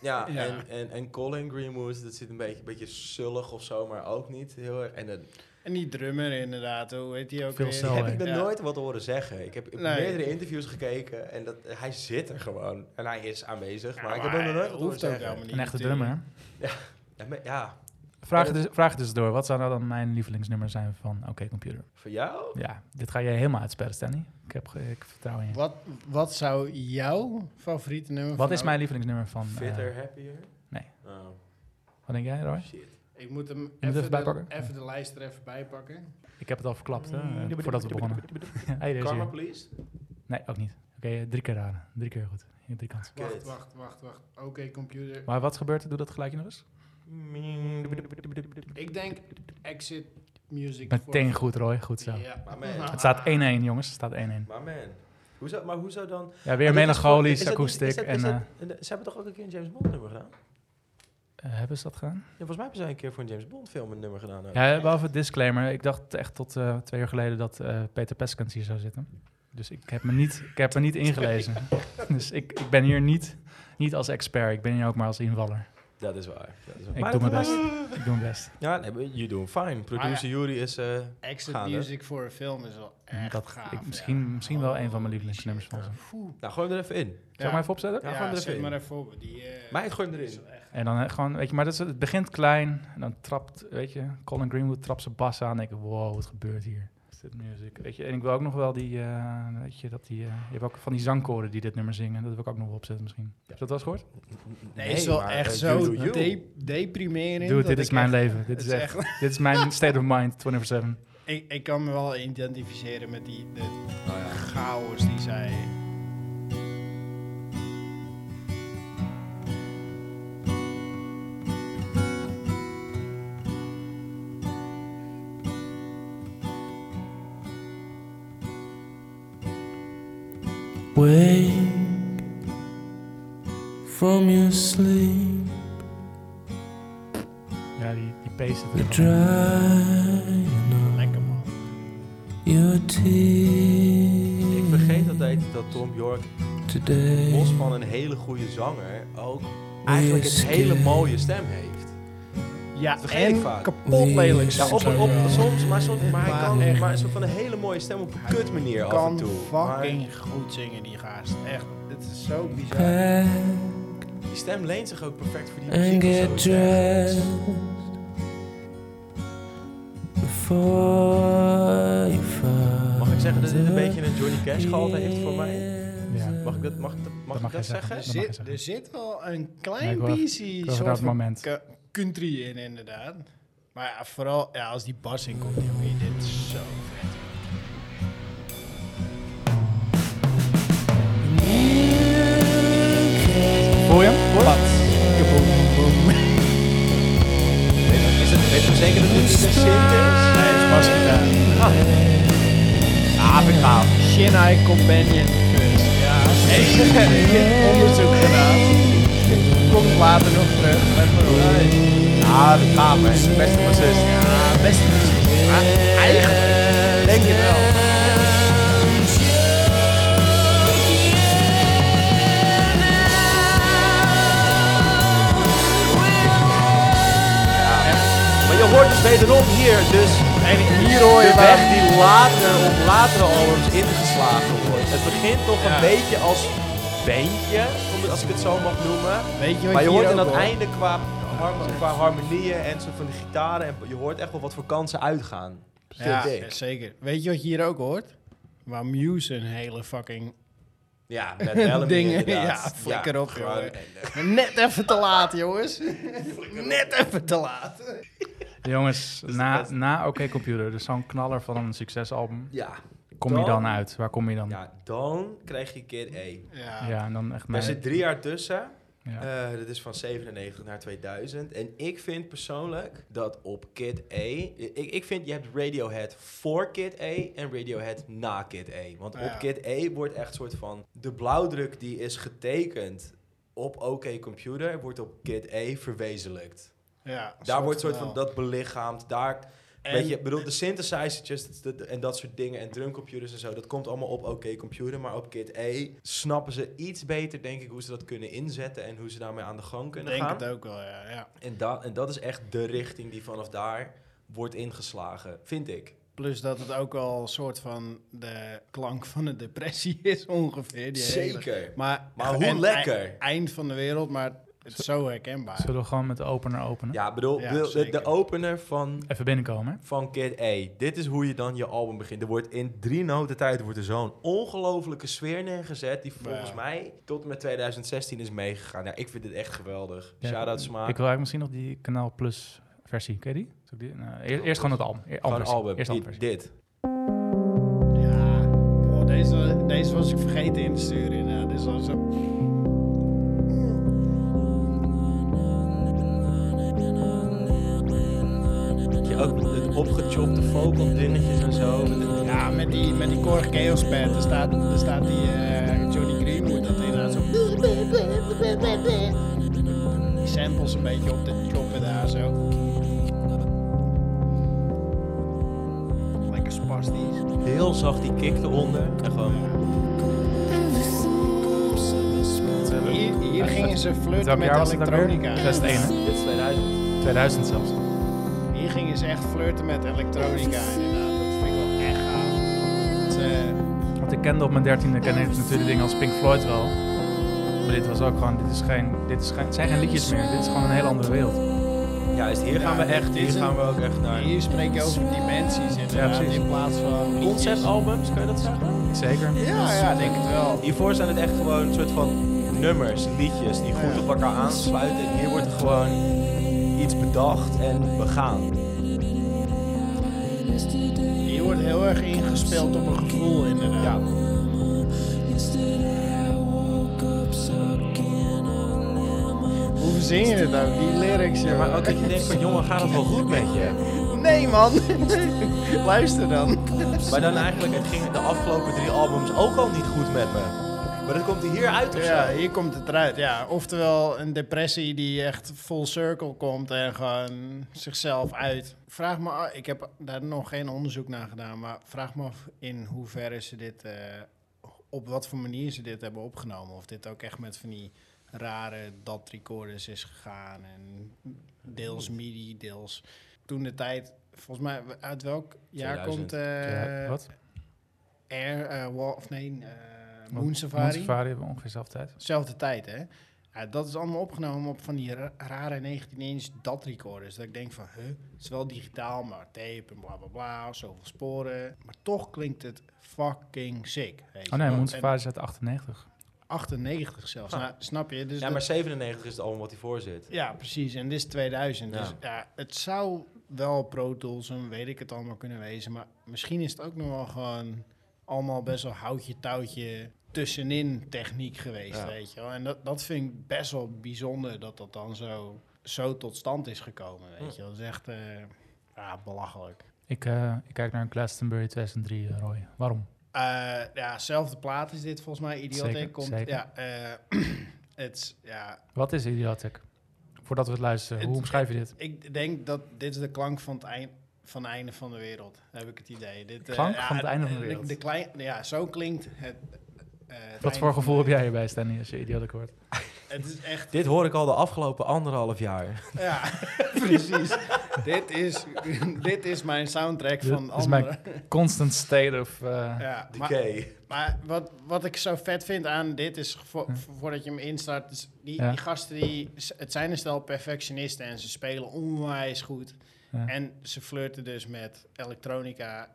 [SPEAKER 1] ja,
[SPEAKER 3] eh, ja.
[SPEAKER 1] En, en, en Colin Greenwood, dat zit een beetje, beetje sullig of zo, maar ook niet heel erg. En dan
[SPEAKER 3] En die drummer inderdaad, hoe heet die ook
[SPEAKER 2] Phil
[SPEAKER 3] weer?
[SPEAKER 2] Selway.
[SPEAKER 1] heb ik nog
[SPEAKER 3] Ja.
[SPEAKER 1] nooit wat horen zeggen. Ik heb ik heb
[SPEAKER 3] Nee.
[SPEAKER 1] meerdere interviews gekeken en dat, hij zit er gewoon. En hij is aanwezig,
[SPEAKER 3] Ja,
[SPEAKER 1] maar, ik heb hem nog
[SPEAKER 3] hij
[SPEAKER 1] nooit wat horen
[SPEAKER 3] hoeft ook
[SPEAKER 1] zeggen.
[SPEAKER 3] helemaal niet.
[SPEAKER 2] Een echte
[SPEAKER 3] natuurlijk.
[SPEAKER 2] drummer. hè?
[SPEAKER 1] Ja, maar- ja,
[SPEAKER 2] Vraag het, dus, vraag het dus door. Wat zou nou dan mijn lievelingsnummer zijn van Oké Computer?
[SPEAKER 1] voor jou?
[SPEAKER 2] Ja, dit ga jij helemaal uitspellen, Stanley. Ik heb ge- ik vertrouw in je.
[SPEAKER 3] Wat, wat zou jouw favoriete nummer
[SPEAKER 2] Wat
[SPEAKER 3] van nou-
[SPEAKER 2] is mijn lievelingsnummer van... eh,
[SPEAKER 1] Fitter, happier?
[SPEAKER 2] nee.
[SPEAKER 1] Oh,
[SPEAKER 2] wat denk jij, Roy?
[SPEAKER 1] shit.
[SPEAKER 3] Ik moet hem
[SPEAKER 2] het even
[SPEAKER 3] even, de,
[SPEAKER 2] bijpakken?
[SPEAKER 3] even de lijst er even bij pakken.
[SPEAKER 2] Ik heb het al verklapt, hè, eh, voordat we begonnen. hey, deze
[SPEAKER 1] Karma,
[SPEAKER 2] hier.
[SPEAKER 1] please?
[SPEAKER 2] Nee, ook niet. Oké, eh, drie keer raden. Drie keer goed. Hier, Drie kansen.
[SPEAKER 1] Kut.
[SPEAKER 3] Wacht, wacht, wacht, wacht. Oké, computer.
[SPEAKER 2] Maar wat gebeurt er? Doe dat geluidje nog eens.
[SPEAKER 3] Ik denk exit music.
[SPEAKER 2] Meteen goed, Roy. Goed zo.
[SPEAKER 3] Ja.
[SPEAKER 1] Maar man.
[SPEAKER 2] Het staat 1-1, jongens. Het staat 1-1.
[SPEAKER 1] Maar man, hoezo, maar hoezo dan?
[SPEAKER 2] Ja,
[SPEAKER 1] Maar
[SPEAKER 2] weer
[SPEAKER 1] dit is gewoon- is dat
[SPEAKER 2] melancholisch,
[SPEAKER 1] niet- is
[SPEAKER 2] akoestiek.
[SPEAKER 1] dat-
[SPEAKER 2] En,
[SPEAKER 1] is
[SPEAKER 2] eh,
[SPEAKER 1] dat- Ze hebben toch ook een keer een James Bond nummer gedaan?
[SPEAKER 2] eh, hebben ze dat gedaan?
[SPEAKER 1] Ja, volgens mij hebben ze een keer voor een James Bond film een nummer gedaan. ook.
[SPEAKER 2] Ja, behalve het disclaimer. Ik dacht echt tot eh, twee uur geleden dat eh, Peter Peskens hier zou zitten. Dus ik heb me niet, ik heb me niet ingelezen. Dus ik, ik ben hier niet, niet als expert. Ik ben hier ook maar als invaller.
[SPEAKER 1] Dat is waar. Dat is waar.
[SPEAKER 2] Ik
[SPEAKER 1] Maar
[SPEAKER 2] doe
[SPEAKER 1] dat
[SPEAKER 2] mijn
[SPEAKER 1] was-
[SPEAKER 2] best. Ik doe mijn best.
[SPEAKER 1] Ja, nee, maar je doet hem fijn.
[SPEAKER 3] Ah,
[SPEAKER 1] Producer Jury is... eh,
[SPEAKER 3] Exit
[SPEAKER 1] Gaande.
[SPEAKER 3] music voor een film is wel echt
[SPEAKER 2] Mm, Dat-
[SPEAKER 3] gaaf.
[SPEAKER 2] ik-
[SPEAKER 3] ja.
[SPEAKER 2] misschien- misschien wel een van mijn
[SPEAKER 3] Holy
[SPEAKER 2] lievelingsnummers
[SPEAKER 3] shit.
[SPEAKER 2] van ze.
[SPEAKER 3] Foe.
[SPEAKER 1] nou, gooi hem er even in.
[SPEAKER 2] Zal ik maar even opzetten?
[SPEAKER 1] Ja,
[SPEAKER 3] Ja,
[SPEAKER 1] gooi hem er even
[SPEAKER 3] zet maar
[SPEAKER 1] in.
[SPEAKER 3] even op. Die, eh,
[SPEAKER 1] Mij gooi hem
[SPEAKER 3] die is
[SPEAKER 1] erin.
[SPEAKER 3] wel echt-
[SPEAKER 2] En dan eh, gewoon, weet je, maar dat is, het begint klein. En dan trapt, weet je, Colin Greenwood trapt zijn bas aan. En ik, wow, wat gebeurt hier? Is dit music? Weet je, en ik wil ook nog wel die, eh, weet je, dat die, eh, je hebt ook van die zangkoren die dit nummer zingen. Dat wil ik ook nog wel opzetten misschien. Heb je dat wel eens gehoord?
[SPEAKER 3] Nee, is wel
[SPEAKER 1] maar,
[SPEAKER 3] echt
[SPEAKER 1] eh,
[SPEAKER 3] zo
[SPEAKER 1] you do you.
[SPEAKER 3] de- deprimerend.
[SPEAKER 2] Dude,
[SPEAKER 3] dat
[SPEAKER 2] dit is
[SPEAKER 3] ik
[SPEAKER 2] mijn
[SPEAKER 3] echt-
[SPEAKER 2] leven. Dit
[SPEAKER 3] het
[SPEAKER 2] is,
[SPEAKER 3] is
[SPEAKER 2] echt, dit is mijn state of mind, 24-7.
[SPEAKER 3] Ik, ik kan me wel identificeren met die de
[SPEAKER 1] Oh, ja.
[SPEAKER 3] chaos die zij...
[SPEAKER 5] Wake from your sleep.
[SPEAKER 2] Ja, die, die pace
[SPEAKER 5] You're
[SPEAKER 2] zit er gewoon in.
[SPEAKER 5] drying up
[SPEAKER 3] Lekker man.
[SPEAKER 5] your tears.
[SPEAKER 1] Ik vergeet altijd dat Tom York,
[SPEAKER 5] today.
[SPEAKER 1] los van een hele goede zanger, ook eigenlijk een hele mooie stem heeft.
[SPEAKER 3] Ja,
[SPEAKER 1] vergeet ik
[SPEAKER 3] en
[SPEAKER 1] vaak.
[SPEAKER 3] kapot lelijk
[SPEAKER 1] Ja,
[SPEAKER 3] soms
[SPEAKER 1] op,
[SPEAKER 3] ook
[SPEAKER 1] op,
[SPEAKER 3] wel.
[SPEAKER 1] soms, maar, soms, maar hij
[SPEAKER 3] Maar
[SPEAKER 1] kan
[SPEAKER 3] echt.
[SPEAKER 1] maar een soort van een hele mooie stem op een
[SPEAKER 3] Hij
[SPEAKER 1] kut manier af en
[SPEAKER 3] kan
[SPEAKER 1] toe.
[SPEAKER 3] fucking goed zingen die gaast. Echt, het is zo bizar.
[SPEAKER 5] Pack
[SPEAKER 1] Maar die stem leent zich ook perfect voor die
[SPEAKER 5] and
[SPEAKER 1] muziek.
[SPEAKER 5] get
[SPEAKER 1] of zo, ergens.
[SPEAKER 5] dressed before you
[SPEAKER 1] Mag ik
[SPEAKER 5] find
[SPEAKER 1] zeggen dat dit een
[SPEAKER 5] the
[SPEAKER 1] beetje een Johnny Cash gehalte heeft voor mij?
[SPEAKER 5] answer.
[SPEAKER 2] Ja.
[SPEAKER 1] Mag ik dat, mag ik dat, mag ik
[SPEAKER 2] mag
[SPEAKER 1] dat
[SPEAKER 2] je zeggen.
[SPEAKER 1] zeggen?
[SPEAKER 3] Er
[SPEAKER 2] Dat mag je
[SPEAKER 3] zit,
[SPEAKER 2] zeggen.
[SPEAKER 3] er zit wel een
[SPEAKER 2] Nee, ik
[SPEAKER 3] klein
[SPEAKER 2] wil even-
[SPEAKER 3] beetje
[SPEAKER 2] wil even
[SPEAKER 3] soort
[SPEAKER 2] dat
[SPEAKER 3] van
[SPEAKER 2] moment.
[SPEAKER 3] cu- country in, inderdaad. Maar ja, vooral ja, als die bas in komt, jongen, dit is zo vet.
[SPEAKER 2] Voel je hem? Voel je hem?
[SPEAKER 1] Is het, weet je zeker dat dit niet een synth is?
[SPEAKER 3] Nee, het is bas gedaan.
[SPEAKER 1] Ah, vind ik gaaf.
[SPEAKER 3] Shinai Companion Curse. Ja, ik onderzoek gedaan. Komt later nog terug. Let maar op.
[SPEAKER 1] Ah, vind ik gaaf, hè. Beste bassist.
[SPEAKER 3] Ja, best precies. Maar eigenlijk denk je wel.
[SPEAKER 1] Maar je hoort dus wederom hier dus
[SPEAKER 3] En hier hoor je
[SPEAKER 1] de
[SPEAKER 3] wel.
[SPEAKER 1] weg die later op latere albums ingeslagen wordt. Het begint toch een
[SPEAKER 3] Ja.
[SPEAKER 1] beetje als bandje, om het- als ik het zo mag noemen.
[SPEAKER 3] Weet je wat
[SPEAKER 1] Maar je hoort
[SPEAKER 3] hier
[SPEAKER 1] aan
[SPEAKER 3] ook
[SPEAKER 1] het
[SPEAKER 3] hoort?
[SPEAKER 1] einde qua, harmo- qua harmonieën en zo van de gitaren. En je hoort echt wel wat voor kansen uitgaan.
[SPEAKER 3] Ja,
[SPEAKER 1] Vind ik.
[SPEAKER 3] zeker. Weet je wat je hier ook hoort? Waar Muse een hele fucking...
[SPEAKER 1] Ja, met Bellamy
[SPEAKER 3] Dingen,
[SPEAKER 1] inderdaad.
[SPEAKER 3] ja, flikker op,
[SPEAKER 1] gewoon-
[SPEAKER 3] jongen. Net even te laat, jongens. Net even te laat.
[SPEAKER 2] Jongens,
[SPEAKER 1] is
[SPEAKER 2] na,
[SPEAKER 1] best.
[SPEAKER 2] na OK Computer, dus zo'n knaller van een succesalbum,
[SPEAKER 1] Ja,
[SPEAKER 2] kom je
[SPEAKER 1] Dan-
[SPEAKER 2] dan uit? Waar kom je dan? Ja,
[SPEAKER 1] ja, dan krijg je keer E.
[SPEAKER 3] Ja.
[SPEAKER 2] en dan echt...
[SPEAKER 1] Er
[SPEAKER 2] naar-
[SPEAKER 1] zit drie jaar tussen.
[SPEAKER 2] ja.
[SPEAKER 1] Eh, dat is van 97 naar 2000. En ik vind persoonlijk dat op Kid A... Ik, ik vind, je hebt Radiohead voor Kid A en Radiohead na Kid A. Want
[SPEAKER 3] Ja.
[SPEAKER 1] op Kid A wordt echt soort van... De blauwdruk die is getekend op OK Computer... wordt op Kid A verwezenlijkt.
[SPEAKER 3] Ja,
[SPEAKER 1] Daar wordt soort van
[SPEAKER 3] wel.
[SPEAKER 1] dat belichaamd. Daar,
[SPEAKER 3] En-
[SPEAKER 1] weet je, ik bedoel, de synthesizertjes dat- dat- en dat soort dingen... en drumcomputers en zo, dat komt allemaal op OK Computer. Maar op Kid A snappen ze iets beter, denk ik... hoe ze dat kunnen inzetten en hoe ze daarmee aan de gang
[SPEAKER 3] Ik
[SPEAKER 1] kunnen
[SPEAKER 3] denk
[SPEAKER 1] gaan.
[SPEAKER 3] het ook wel, ja. ja.
[SPEAKER 1] En, da en dat is echt de richting die vanaf daar wordt ingeslagen, vind ik.
[SPEAKER 3] Plus dat het ook al een soort van de klank van een depressie is ongeveer. Die hele-
[SPEAKER 1] Zeker.
[SPEAKER 3] Maar,
[SPEAKER 1] Maar hoe
[SPEAKER 3] en-
[SPEAKER 1] lekker.
[SPEAKER 3] e- Eind van de wereld, maar het is zo herkenbaar.
[SPEAKER 2] Zullen we gewoon met de opener openen?
[SPEAKER 1] Ja, bedoel,
[SPEAKER 3] Ja,
[SPEAKER 1] bedoel, de,
[SPEAKER 3] zeker.
[SPEAKER 1] de opener van,
[SPEAKER 2] Even binnenkomen, hè?
[SPEAKER 1] van Kid A. Dit is hoe je dan je album begint. Er wordt in drie noten tijd wordt er zo'n ongelofelijke sfeer neergezet... die volgens
[SPEAKER 3] Ja.
[SPEAKER 1] mij tot en met 2016 is meegegaan. Ja, ik vind dit echt geweldig.
[SPEAKER 2] Ja,
[SPEAKER 1] Shout-out Smaak.
[SPEAKER 2] Ik wil eigenlijk misschien nog die Kanaal Plus versie, ken je die? Zal ik die? Nou, eer- eerst gewoon het album. Eer-
[SPEAKER 1] Gewoon
[SPEAKER 2] albumversie.
[SPEAKER 1] album.
[SPEAKER 2] Eerst
[SPEAKER 1] Dit-
[SPEAKER 2] albumversie.
[SPEAKER 1] dit.
[SPEAKER 3] Ja, boah, deze, deze was ik vergeten in te sturen. inderdaad. Dit was zo...
[SPEAKER 1] Dat je ook het opgechopte vocal dingetjes en zo. met het-
[SPEAKER 3] Ja, met die, met die Korg Chaos Band, daar staat, daar staat die eh, Johnny Greenwood, dat inderdaad zo... Die samples een beetje op de choppen daar zo. Lekker spastisch.
[SPEAKER 1] Heel zacht die kick eronder. En gewoon...
[SPEAKER 3] Hier, hier gingen ze flirten
[SPEAKER 2] Welk
[SPEAKER 3] met
[SPEAKER 2] jaar was het ook weer?
[SPEAKER 3] elektronica.
[SPEAKER 2] 2001,
[SPEAKER 1] Dit is 2000.
[SPEAKER 2] hè? 2000 zelfs.
[SPEAKER 3] Hier gingen ze echt flirten met elektronica inderdaad. Dat vind ik wel echt gaaf. Het, eh,
[SPEAKER 2] Want ik kende op mijn dertiende ken ik natuurlijk dingen als Pink Floyd wel. Maar dit was ook gewoon, dit, is geen, dit is geen, het zijn geen liedjes meer. Dit is gewoon een hele andere wereld.
[SPEAKER 1] Ja, dus hier gaan we echt, hier gaan we ook echt naar.
[SPEAKER 3] hier spreek je over dimensies inderdaad,
[SPEAKER 2] precies.
[SPEAKER 3] in plaats van liedjes.
[SPEAKER 1] Conceptalbums, kan je dat zeggen?
[SPEAKER 2] Zeker.
[SPEAKER 3] Ja, ja, denk het wel.
[SPEAKER 1] Hiervoor zijn het echt gewoon een soort van nummers, liedjes die goed op elkaar aansluiten. En hier wordt er gewoon iets bedacht en begaan.
[SPEAKER 3] Hier wordt heel erg ingespeeld op een gevoel inderdaad.
[SPEAKER 1] Ja.
[SPEAKER 3] Hoe verzin je het ook, die lyrics? joh.
[SPEAKER 1] Maar ook dat je denkt van jongen, gaat het wel goed met je?
[SPEAKER 3] Nee man, luister dan.
[SPEAKER 1] Maar dan eigenlijk, het ging de afgelopen drie albums ook al niet goed met me. Maar dat komt er hier uit of zo?
[SPEAKER 3] Ja, hier komt het eruit. Ja. Oftewel een depressie die echt full circle komt en gewoon zichzelf uit. Vraag me, af- ik heb daar nog geen onderzoek naar gedaan, maar vraag me af in hoeverre ze dit, eh, op wat voor manier ze dit hebben opgenomen. Of dit ook echt met van die rare dat recorders is gegaan en deels MIDI, deels toen de tijd. Volgens mij, uit welk jaar
[SPEAKER 1] 2000.
[SPEAKER 3] komt eh
[SPEAKER 2] Ja, wat?
[SPEAKER 3] Air, eh, Wa- of nee, eh, Moon
[SPEAKER 2] Oh, Moon
[SPEAKER 3] Safari?
[SPEAKER 2] Safari hebben we ongeveer dezelfde tijd.
[SPEAKER 3] Zelfde tijd, hè? Ja, dat is allemaal opgenomen op van die ra- rare 19-inch dat recorders. Dat ik denk van, huh, het is wel digitaal, maar tape en bla bla bla, zoveel sporen. Maar toch klinkt het fucking sick. weet je
[SPEAKER 2] Oh nee,
[SPEAKER 3] wel.
[SPEAKER 2] Moon
[SPEAKER 3] En-
[SPEAKER 2] Safari is uit 98.
[SPEAKER 3] 98 zelfs.
[SPEAKER 1] Ah.
[SPEAKER 3] Nou, snap je? Dus
[SPEAKER 1] Ja,
[SPEAKER 3] dat-
[SPEAKER 1] maar 97 is het album wat hij voor zit.
[SPEAKER 3] Ja, precies. En dit is 2000. Dus
[SPEAKER 1] Ja.
[SPEAKER 3] ja, het zou wel Pro Tools en weet ik het allemaal kunnen wezen. Maar misschien is het ook nog wel gewoon allemaal best wel houtje touwtje tussenin techniek geweest,
[SPEAKER 1] Ja.
[SPEAKER 3] weet je wel. En dat, dat vind ik best wel bijzonder dat dat dan zo, zo tot stand is gekomen, weet je wel. Dat is echt eh, ja, belachelijk.
[SPEAKER 2] Ik, eh, ik kijk naar een Glastonbury 2003, eh, Roy. Waarom?
[SPEAKER 3] Eh, ja, zelfde plaat is dit volgens mij. Idiotic
[SPEAKER 2] Zeker,
[SPEAKER 3] komt...
[SPEAKER 2] zeker.
[SPEAKER 3] Ja, eh, het, is- ja,
[SPEAKER 2] Wat is Idiotic? Voordat we het luisteren, hoe
[SPEAKER 3] Het-
[SPEAKER 2] omschrijf je dit?
[SPEAKER 3] Ik denk dat dit is de klank van het eind van het einde van de wereld, heb ik het idee. Dit, eh,
[SPEAKER 2] Klank van het einde van de
[SPEAKER 3] de-
[SPEAKER 2] wereld.
[SPEAKER 3] De klein, ja, zo klinkt het. eh, het einde
[SPEAKER 2] Wat voor
[SPEAKER 3] van eh,
[SPEAKER 2] gevoel heb
[SPEAKER 3] de-
[SPEAKER 2] jij hierbij, Stanley, als je Idiotic hoort?
[SPEAKER 3] Het is echt,
[SPEAKER 1] Dit hoor ik al de afgelopen anderhalf jaar.
[SPEAKER 3] ja, precies. dit, is, dit is mijn soundtrack
[SPEAKER 2] Dit
[SPEAKER 3] van
[SPEAKER 2] is
[SPEAKER 3] anderen.
[SPEAKER 2] mijn constant state of... eh,
[SPEAKER 3] Ja, maar
[SPEAKER 1] Decay.
[SPEAKER 3] maar wat, wat ik zo vet vind aan dit is, vo- voordat je hem instart, is die,
[SPEAKER 2] Hm. Ja.
[SPEAKER 3] die gasten die, het zijn een stel perfectionisten en ze spelen onwijs goed.
[SPEAKER 2] Ja.
[SPEAKER 3] En ze flirten dus met elektronica.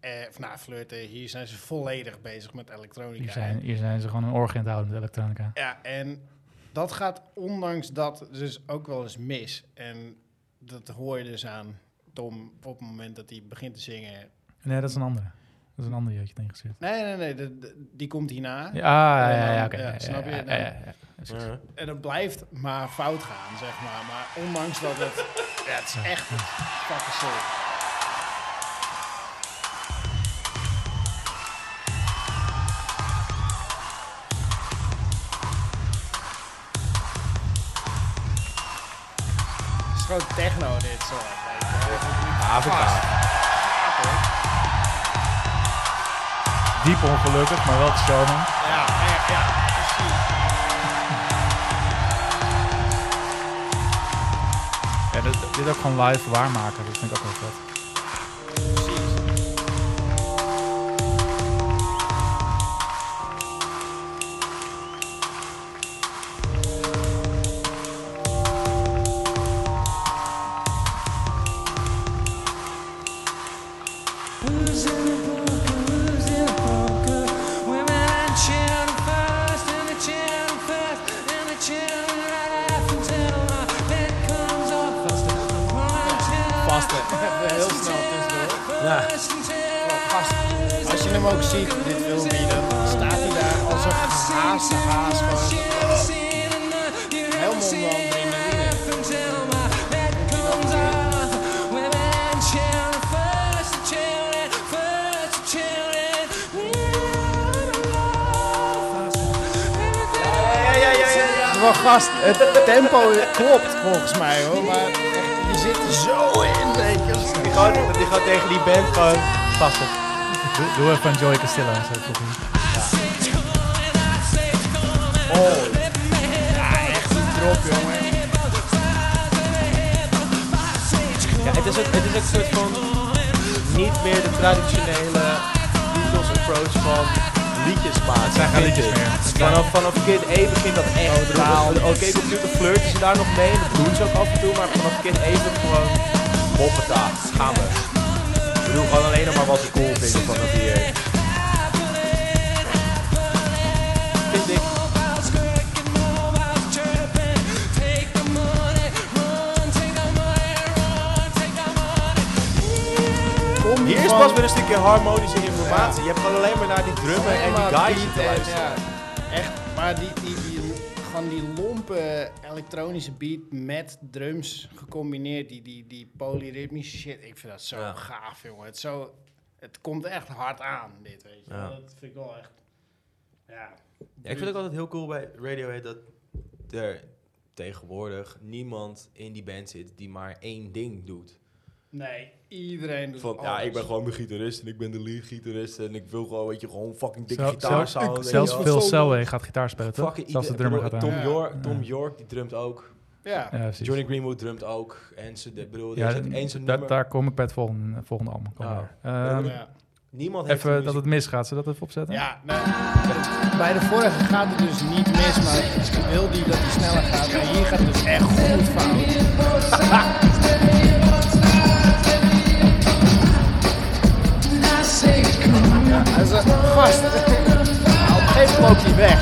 [SPEAKER 3] Eh, of nou, flirten, hier zijn ze volledig bezig met elektronica.
[SPEAKER 2] hier, zijn, hier zijn ze gewoon een orgie aan het houden met elektronica.
[SPEAKER 3] Ja, en dat gaat ondanks dat dus ook wel eens mis. En dat hoor je dus aan Tom op het moment dat hij begint te zingen.
[SPEAKER 2] Nee, dat is een andere. Dat is een ander jeugdje ingestuurd.
[SPEAKER 3] Nee, nee, nee, de- de- die komt hierna.
[SPEAKER 2] Ja, ah, ja, ja,
[SPEAKER 3] Ja,
[SPEAKER 2] ja,
[SPEAKER 3] dan,
[SPEAKER 2] oké.
[SPEAKER 3] ja,
[SPEAKER 2] ja,
[SPEAKER 3] snap
[SPEAKER 2] ja,
[SPEAKER 3] je?
[SPEAKER 2] ja,
[SPEAKER 3] Dan-
[SPEAKER 2] ja, ja, ja. Precies.
[SPEAKER 1] Ja.
[SPEAKER 3] En het blijft maar fout gaan, zeg maar. Maar ondanks dat het... Ja, het is echt fucking sick. Het is gewoon techno dit soort. weet je wel.
[SPEAKER 1] Ah, AVK.
[SPEAKER 2] Diep ongelukkig, maar wel te showman.
[SPEAKER 3] Ja, ja, ja, precies.
[SPEAKER 2] Ja, dit, dit ook gewoon live waarmaken, dat vind ik ook wel vet.
[SPEAKER 3] precies.
[SPEAKER 5] Who's in the bunker? Who's in the bunker? Women chant fast and they chant fast and they chant laugh until my head comes off. Faster.
[SPEAKER 1] Vaste.
[SPEAKER 3] Heel snel tussendoor.
[SPEAKER 1] Ja.
[SPEAKER 3] Als je hem ook ziet, dit filmpje, dan staat hij daar als een gehaaste haas. gewoon. Helemaal wel adrenaline. Het is wel gast, het tempo klopt volgens mij hoor, maar echt, je zit er zo in, weet je.
[SPEAKER 1] Gewoon, dat hij gewoon tegen die band gewoon passen.
[SPEAKER 2] Doe, doe even een Joey Castillo. Zo even.
[SPEAKER 3] Drop jongen.
[SPEAKER 1] Ja, het is ook, het is ook een soort van niet meer de traditionele Beatles approach van liedjes maken. Het zijn
[SPEAKER 2] geen liedjes meer.
[SPEAKER 1] Vanaf, vanaf Kid A begint dat echt taal. Oké, computer flirten ze daar nog mee, en dat doen ze ook af en toe, maar vanaf Kid A is het gewoon hoppata, gaan we. We doen gewoon alleen nog maar wat we cool vinden vanaf hier. Vind ik.
[SPEAKER 3] Kom
[SPEAKER 1] Hier is
[SPEAKER 3] gewoon
[SPEAKER 1] pas weer een stukje harmonische informatie. Je hebt gewoon alleen maar naar die drummen en die
[SPEAKER 3] maar
[SPEAKER 1] guys
[SPEAKER 3] beat
[SPEAKER 1] te
[SPEAKER 3] en,
[SPEAKER 1] luisteren.
[SPEAKER 3] ja. Echt, maar die, die, die, gewoon die lompe elektronische beat met drums gecombineerd, die, die, die polyritmische shit, ik vind dat zo
[SPEAKER 1] Ja.
[SPEAKER 3] gaaf jongen. Het, is zo, het komt echt hard aan dit, weet je.
[SPEAKER 1] Ja.
[SPEAKER 3] Dat vind ik wel echt, ja.
[SPEAKER 1] Ja, ik vind het ook altijd heel cool bij Radiohead dat er tegenwoordig niemand in die band zit die maar één ding doet.
[SPEAKER 3] Nee, iedereen doet
[SPEAKER 1] Van,
[SPEAKER 3] alles.
[SPEAKER 1] ja, ik ben gewoon de gitarist en ik ben de lead gitarist en ik wil gewoon, weet je, gewoon fucking dikke
[SPEAKER 2] Zo-
[SPEAKER 1] gitaar
[SPEAKER 2] zelf- Zelfs
[SPEAKER 3] Ja.
[SPEAKER 2] Phil Selway gaat gitaar spelen, toch?
[SPEAKER 1] eh, Fucking
[SPEAKER 2] Zelfs de
[SPEAKER 1] ieder-
[SPEAKER 2] drummer gaat
[SPEAKER 1] bedoel,
[SPEAKER 2] aan.
[SPEAKER 1] Tom,
[SPEAKER 3] Ja.
[SPEAKER 1] York, Tom
[SPEAKER 2] Ja.
[SPEAKER 1] York, die drumt ook.
[SPEAKER 3] Ja,
[SPEAKER 2] Ja, precies.
[SPEAKER 1] Johnny Greenwood drumt ook. En ze, de- bedoel,
[SPEAKER 2] Ja,
[SPEAKER 1] er is ook één zijn
[SPEAKER 2] dat-
[SPEAKER 1] nummer.
[SPEAKER 2] daar kom ik bij het volgende, eh, volgende album. Kom
[SPEAKER 1] Ja.
[SPEAKER 2] maar. Ehm,
[SPEAKER 3] Oh. ja.
[SPEAKER 1] Niemand heeft
[SPEAKER 2] even
[SPEAKER 1] een
[SPEAKER 2] dat het misgaat, zullen we dat even opzetten?
[SPEAKER 3] Ja, nou, het- bij de vorige gaat het dus niet mis, maar ik wil die dat hij sneller gaat. Maar hier gaat het dus echt goed fout. Ja, hij is een gast. Op een gegeven moment loopt hij weg.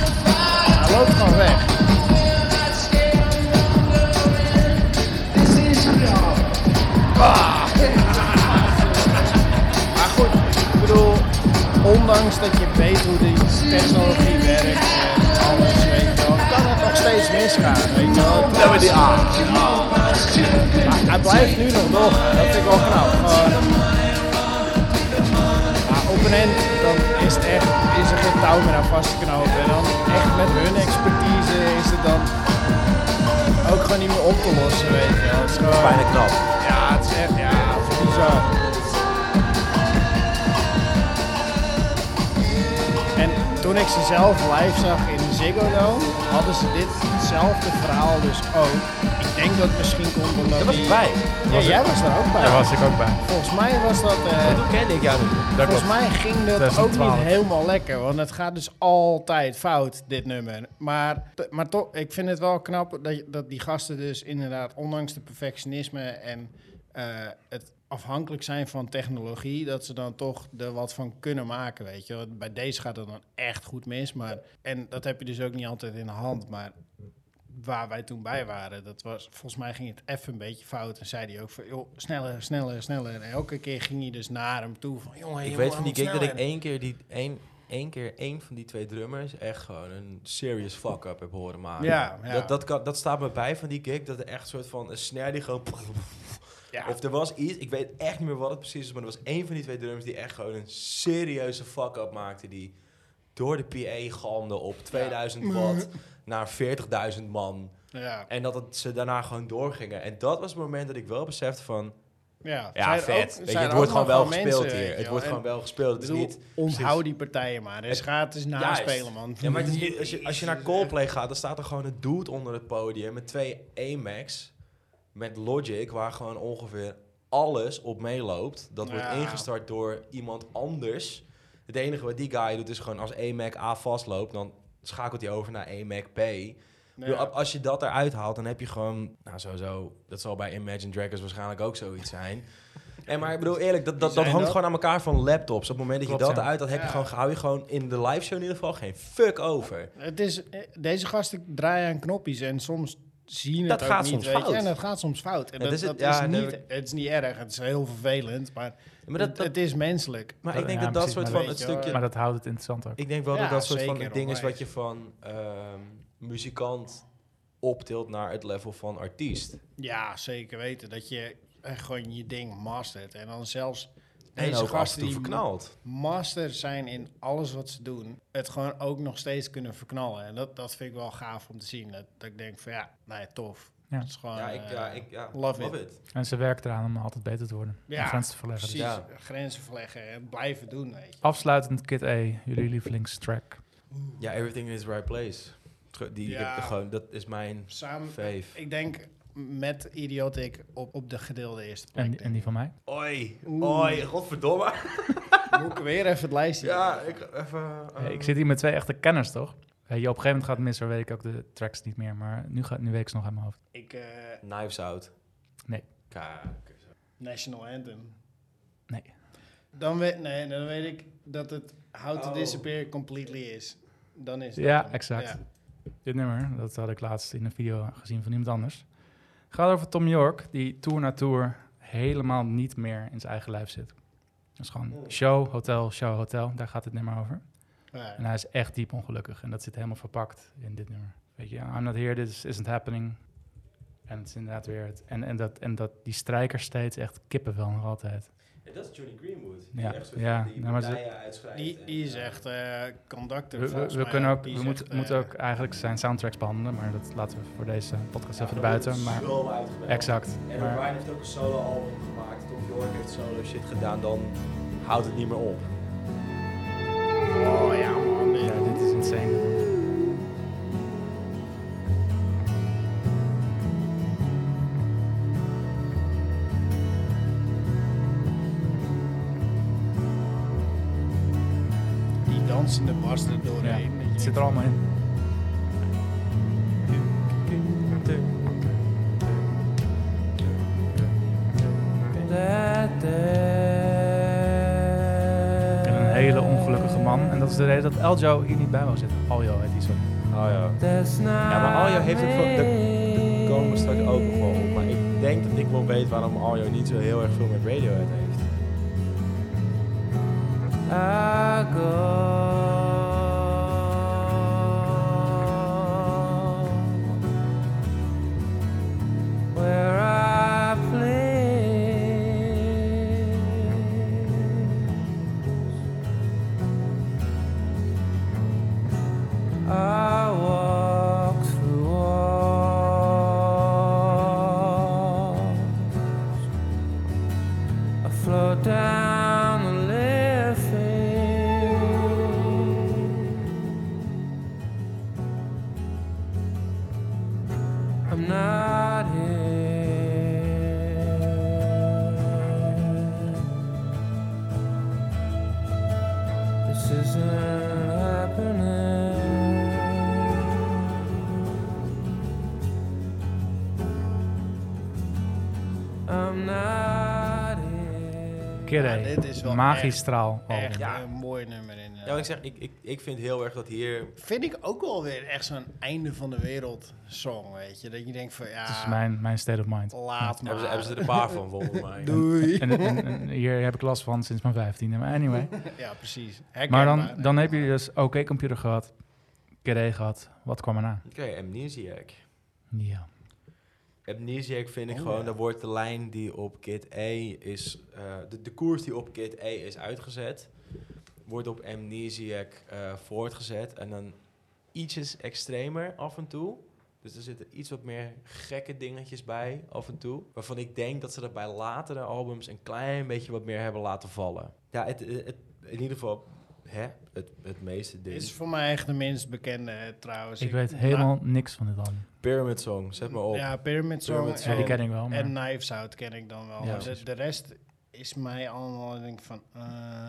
[SPEAKER 3] loopt gewoon weg. Maar goed, ik bedoel, ondanks dat je weet hoe die technologie werkt en alles, weet je wel, kan het nog steeds misgaan, weet je wel. Dat we die aan. Maar hij blijft nu nog doorgaan, dat vind ik wel knap. Gewoon, maar op een end, dan is het echt, is er geen touw meer aan vast te knopen. En dan echt met hun expertise is het dan ook gewoon niet meer op te lossen, weet je wel. Het is gewoon,
[SPEAKER 1] Bijna knap.
[SPEAKER 3] ja, het is echt, ja, het is bizar. En toen ik ze zelf live zag in de Ziggo Dome, hadden ze ditzelfde verhaal dus ook. Ik denk dat het misschien komt omdat
[SPEAKER 1] Dat was
[SPEAKER 3] die-
[SPEAKER 1] bij.
[SPEAKER 3] Ja, jij was daar ook bij.
[SPEAKER 2] Daar was ik ook bij.
[SPEAKER 3] Volgens mij was dat... eh,
[SPEAKER 1] Toen kende ik jou niet.
[SPEAKER 2] Dat klopt.
[SPEAKER 3] Volgens mij ging dat ook
[SPEAKER 2] 2012.
[SPEAKER 3] niet helemaal lekker, want het gaat dus altijd fout, dit nummer. Maar, t- maar toch, ik vind het wel knap dat, je- dat die gasten dus inderdaad, ondanks de perfectionisme en eh, het afhankelijk zijn van technologie, dat ze dan toch er wat van kunnen maken, weet je. Want Bij deze gaat het dan echt goed mis, maar, en dat heb je dus ook niet altijd in de hand, maar waar wij toen bij waren, dat was volgens mij ging het even een beetje fout. En zei hij ook van, joh, sneller, sneller, sneller. En elke keer ging hij dus naar hem toe van, jongen,
[SPEAKER 1] Ik
[SPEAKER 3] je
[SPEAKER 1] weet
[SPEAKER 3] moet
[SPEAKER 1] van die
[SPEAKER 3] hem
[SPEAKER 1] gig dat ik
[SPEAKER 3] sneller.
[SPEAKER 1] één keer die één, één keer één van die twee drummers echt gewoon een serious fuck up heb horen maken.
[SPEAKER 3] Ja, ja.
[SPEAKER 1] Dat, dat, kan, dat staat me bij van die gig dat er echt soort van een snare die gewoon
[SPEAKER 3] Ja,
[SPEAKER 1] of er was iets, ik weet echt niet meer wat het precies is, maar er was één van die twee drummers die echt gewoon een serieuze fuck up maakte die door de PA galmde op 2000 watt naar 40.000 man.
[SPEAKER 3] ja,
[SPEAKER 1] En dat het, ze daarna gewoon doorgingen. En dat was het moment dat ik wel besefte van...
[SPEAKER 3] ja. Zijn
[SPEAKER 1] Ja,
[SPEAKER 3] er ook-
[SPEAKER 1] vet. Weet je,
[SPEAKER 3] zijn er
[SPEAKER 1] het
[SPEAKER 3] ook
[SPEAKER 1] wordt gewoon
[SPEAKER 3] nog
[SPEAKER 1] wel gespeeld
[SPEAKER 3] mensen, weet
[SPEAKER 1] hier.
[SPEAKER 3] je
[SPEAKER 1] Het
[SPEAKER 3] wel.
[SPEAKER 1] wordt
[SPEAKER 3] En
[SPEAKER 1] gewoon wel gespeeld. Het is
[SPEAKER 3] ik bedoel,
[SPEAKER 1] niet...
[SPEAKER 3] Onthoud die partijen maar. Dus
[SPEAKER 1] Het-
[SPEAKER 3] ga het eens naspelen, man.
[SPEAKER 1] Ja, maar het is niet, als, je, als je naar Coldplay gaat, dan staat er gewoon een dude onder het podium met twee Amax. Met Logic, waar gewoon ongeveer alles op meeloopt. Dat
[SPEAKER 3] Ja.
[SPEAKER 1] wordt ingestart door iemand anders. Het enige wat die guy doet is gewoon als Amac A vastloopt, dan schakelt hij over naar Amac B. Ik bedoel,
[SPEAKER 3] Ja.
[SPEAKER 1] Als je dat eruit haalt, dan heb je gewoon, nou sowieso, dat zal bij Imagine Dragons waarschijnlijk ook zoiets zijn. En maar ik bedoel eerlijk, dat, dat,
[SPEAKER 3] zijn
[SPEAKER 1] dat hangt
[SPEAKER 3] dat?
[SPEAKER 1] gewoon aan elkaar van laptops. Op het moment dat
[SPEAKER 2] Klopt,
[SPEAKER 1] je dat
[SPEAKER 2] ja.
[SPEAKER 1] eruit haalt, heb je
[SPEAKER 3] Ja.
[SPEAKER 1] gewoon, hou je gewoon in de live show in ieder geval geen fuck over.
[SPEAKER 3] Het is, eh, deze gasten draaien aan knopjes en soms zien het
[SPEAKER 1] Dat
[SPEAKER 3] ook
[SPEAKER 1] gaat
[SPEAKER 3] niet,
[SPEAKER 1] soms
[SPEAKER 3] weet je.
[SPEAKER 1] fout.
[SPEAKER 3] En dat gaat soms fout. En
[SPEAKER 1] Dat
[SPEAKER 3] dat,
[SPEAKER 1] is
[SPEAKER 3] is,
[SPEAKER 1] het-
[SPEAKER 3] dat
[SPEAKER 1] ja,
[SPEAKER 3] is
[SPEAKER 1] nee,
[SPEAKER 3] niet,
[SPEAKER 1] maar-
[SPEAKER 3] het is niet erg, het is heel vervelend, maar,
[SPEAKER 1] Maar, dat, dat-
[SPEAKER 3] het is menselijk.
[SPEAKER 1] maar ik denk
[SPEAKER 2] Ja,
[SPEAKER 1] dat dat
[SPEAKER 2] precies,
[SPEAKER 1] soort
[SPEAKER 2] maar
[SPEAKER 1] van
[SPEAKER 3] weet
[SPEAKER 1] het
[SPEAKER 3] je wel,
[SPEAKER 1] stukje...
[SPEAKER 2] Maar dat houdt het interessant ook.
[SPEAKER 1] Ik denk wel
[SPEAKER 3] Ja,
[SPEAKER 1] dat dat soort van
[SPEAKER 3] zeker,
[SPEAKER 1] het ding is wat
[SPEAKER 3] onwijs.
[SPEAKER 1] je van ehm, muzikant optilt naar het level van artiest.
[SPEAKER 3] Ja, zeker weten. Dat je echt gewoon je ding mastert. En dan zelfs
[SPEAKER 1] en
[SPEAKER 3] deze
[SPEAKER 1] ook af en
[SPEAKER 3] gasten
[SPEAKER 1] toe
[SPEAKER 3] die
[SPEAKER 1] verknald.
[SPEAKER 3] master zijn in alles wat ze doen, het gewoon ook nog steeds kunnen verknallen. En dat, dat vind ik wel gaaf om te zien. Dat, dat ik denk van ja, nou ja, tof.
[SPEAKER 2] Ja.
[SPEAKER 3] Dat is gewoon,
[SPEAKER 1] Ja, ik, ja,
[SPEAKER 3] eh,
[SPEAKER 1] ik ja,
[SPEAKER 3] love
[SPEAKER 1] love
[SPEAKER 3] it.
[SPEAKER 1] it.
[SPEAKER 2] En ze werkt eraan om altijd beter te worden.
[SPEAKER 3] Ja,
[SPEAKER 2] en grenzen te verleggen.
[SPEAKER 3] precies.
[SPEAKER 2] Dus
[SPEAKER 1] Ja.
[SPEAKER 3] Grenzen verleggen en blijven doen, weet je.
[SPEAKER 2] Afsluitend Kid A, jullie lievelingstrack.
[SPEAKER 1] Ja, everything in its right place. Tru- Die,
[SPEAKER 3] Ja.
[SPEAKER 1] ik- gewoon, dat is mijn
[SPEAKER 3] Samen,
[SPEAKER 1] fave.
[SPEAKER 3] ik denk met Idiotic op, op de gedeelde eerste plek.
[SPEAKER 2] En, en die van mij.
[SPEAKER 1] Oi, oi, godverdomme.
[SPEAKER 3] Moet ik weer even het lijstje
[SPEAKER 1] Oh. Ja, ik even.
[SPEAKER 3] Ehm.
[SPEAKER 2] Hey,
[SPEAKER 1] eh,
[SPEAKER 2] ik zit hier met twee echte kenners, toch? Hey, je op een gegeven moment gaat Mr. Week ook de tracks niet meer. Maar nu, gaat, nu weet ik ze nog uit mijn hoofd.
[SPEAKER 3] Ik, eh,
[SPEAKER 1] Knives out.
[SPEAKER 2] Nee.
[SPEAKER 1] Kaak.
[SPEAKER 3] National Anthem.
[SPEAKER 2] Nee.
[SPEAKER 3] Dan weet, nee, dan weet ik dat het How to
[SPEAKER 1] Oh.
[SPEAKER 3] Disappear Completely is. Dan is dat
[SPEAKER 2] Ja,
[SPEAKER 3] hem.
[SPEAKER 2] exact.
[SPEAKER 3] Ja.
[SPEAKER 2] Dit nummer, dat had ik laatst in een video gezien van iemand anders. Gaat over Tom York, die tour na tour helemaal niet meer in zijn eigen lijf zit. Dat is
[SPEAKER 3] Oh.
[SPEAKER 2] gewoon show, hotel, show, hotel. Daar gaat het nummer over.
[SPEAKER 3] Ja.
[SPEAKER 2] En hij is echt diep ongelukkig. En dat zit helemaal verpakt in dit nummer. Weet je, I'm not here, this isn't happening. En het is inderdaad weer het. En, en, dat, en dat die strijkers steeds echt kippenvel nog altijd.
[SPEAKER 1] En dat is Johnny Greenwood.
[SPEAKER 2] die Ja, echt soort ja, van die nou, maar ze-
[SPEAKER 3] Die is echt eh conductor.
[SPEAKER 2] We, we,
[SPEAKER 3] volgens
[SPEAKER 2] we
[SPEAKER 3] mij
[SPEAKER 2] kunnen ook,
[SPEAKER 3] Die
[SPEAKER 2] we
[SPEAKER 3] is
[SPEAKER 2] moeten
[SPEAKER 3] echt, eh,
[SPEAKER 2] moeten ook eigenlijk zijn soundtracks behandelen. Maar dat laten we voor deze podcast even buiten. Maar exact.
[SPEAKER 1] En
[SPEAKER 2] Maar-
[SPEAKER 1] Ryan heeft ook een solo album gemaakt. Tom York heeft solo shit gedaan. Dan houdt het niet meer op.
[SPEAKER 3] Oh ja, man. dit-
[SPEAKER 2] Ja, dit is insane.
[SPEAKER 3] Die dansende bas er
[SPEAKER 2] Ja,
[SPEAKER 3] doorheen.
[SPEAKER 2] het zit er allemaal in. En een hele ongelukkige man. En dat is de reden dat Eljo hier niet bij wou zitten. Aljo heet die, sorry.
[SPEAKER 1] ja.
[SPEAKER 5] That's not
[SPEAKER 1] Ja, maar Aljo heeft het gewoon-
[SPEAKER 5] me.
[SPEAKER 1] Komen we straks ook nog wel op. Maar ik denk dat ik wel weet waarom Aljo niet zo heel erg veel met Radiohead heeft.
[SPEAKER 5] I go where I please. I walk through walls. I float down the living. I'm not here. This isn't happening. I'm not here.
[SPEAKER 2] Kidday.
[SPEAKER 3] Ja, dit is wel
[SPEAKER 2] Magistraal. album.
[SPEAKER 3] Echt
[SPEAKER 1] Ja.
[SPEAKER 3] een mooi nummer in. eh.
[SPEAKER 1] Ja, wat ik zeg, ik, ik, ik vind heel erg dat hier...
[SPEAKER 3] Vind ik ook wel weer echt zo'n einde van de wereld song, weet je. Dat je denkt van, ja,
[SPEAKER 2] Dat is mijn, mijn state of mind.
[SPEAKER 3] laat maar.
[SPEAKER 1] Hebben ze, hebben ze er een paar van, volgens mij.
[SPEAKER 3] Doei.
[SPEAKER 2] En, en- en hier heb ik last van sinds mijn vijftiende. Maar anyway.
[SPEAKER 3] Ja, precies.
[SPEAKER 2] Maar
[SPEAKER 3] Herkenbaar,
[SPEAKER 2] dan, dan heb je dus oké computer gehad. Kidday gehad. Wat kwam erna?
[SPEAKER 1] Oké, Amnesiac.
[SPEAKER 2] Ja.
[SPEAKER 1] Amnesiac vind ik
[SPEAKER 3] Oh,
[SPEAKER 1] gewoon,
[SPEAKER 3] ja.
[SPEAKER 1] daar wordt de lijn die op Kid A is, eh, de, de koers die op Kid A is uitgezet, wordt op Amnesiac eh, voortgezet en dan ietsjes extremer af en toe. Dus er zitten iets wat meer gekke dingetjes bij af en toe. Waarvan ik denk dat ze dat bij latere albums een klein beetje wat meer hebben laten vallen. Ja, het, het, het- in ieder geval hè, het, het meeste ding.
[SPEAKER 3] Dit is voor mij echt de minst bekende eh, trouwens.
[SPEAKER 2] Ik weet helemaal niks van dit album.
[SPEAKER 1] Pyramid Song, zet me op.
[SPEAKER 3] Ja, Pyramid Song,
[SPEAKER 1] Pyramid
[SPEAKER 2] Ja,
[SPEAKER 1] Song.
[SPEAKER 2] die
[SPEAKER 3] En,
[SPEAKER 2] ken ik wel. Maar...
[SPEAKER 3] en Knives Out ken ik dan wel.
[SPEAKER 2] Ja,
[SPEAKER 3] Dus de,
[SPEAKER 2] precies.
[SPEAKER 3] de rest is mij allemaal, ik denk van... eh,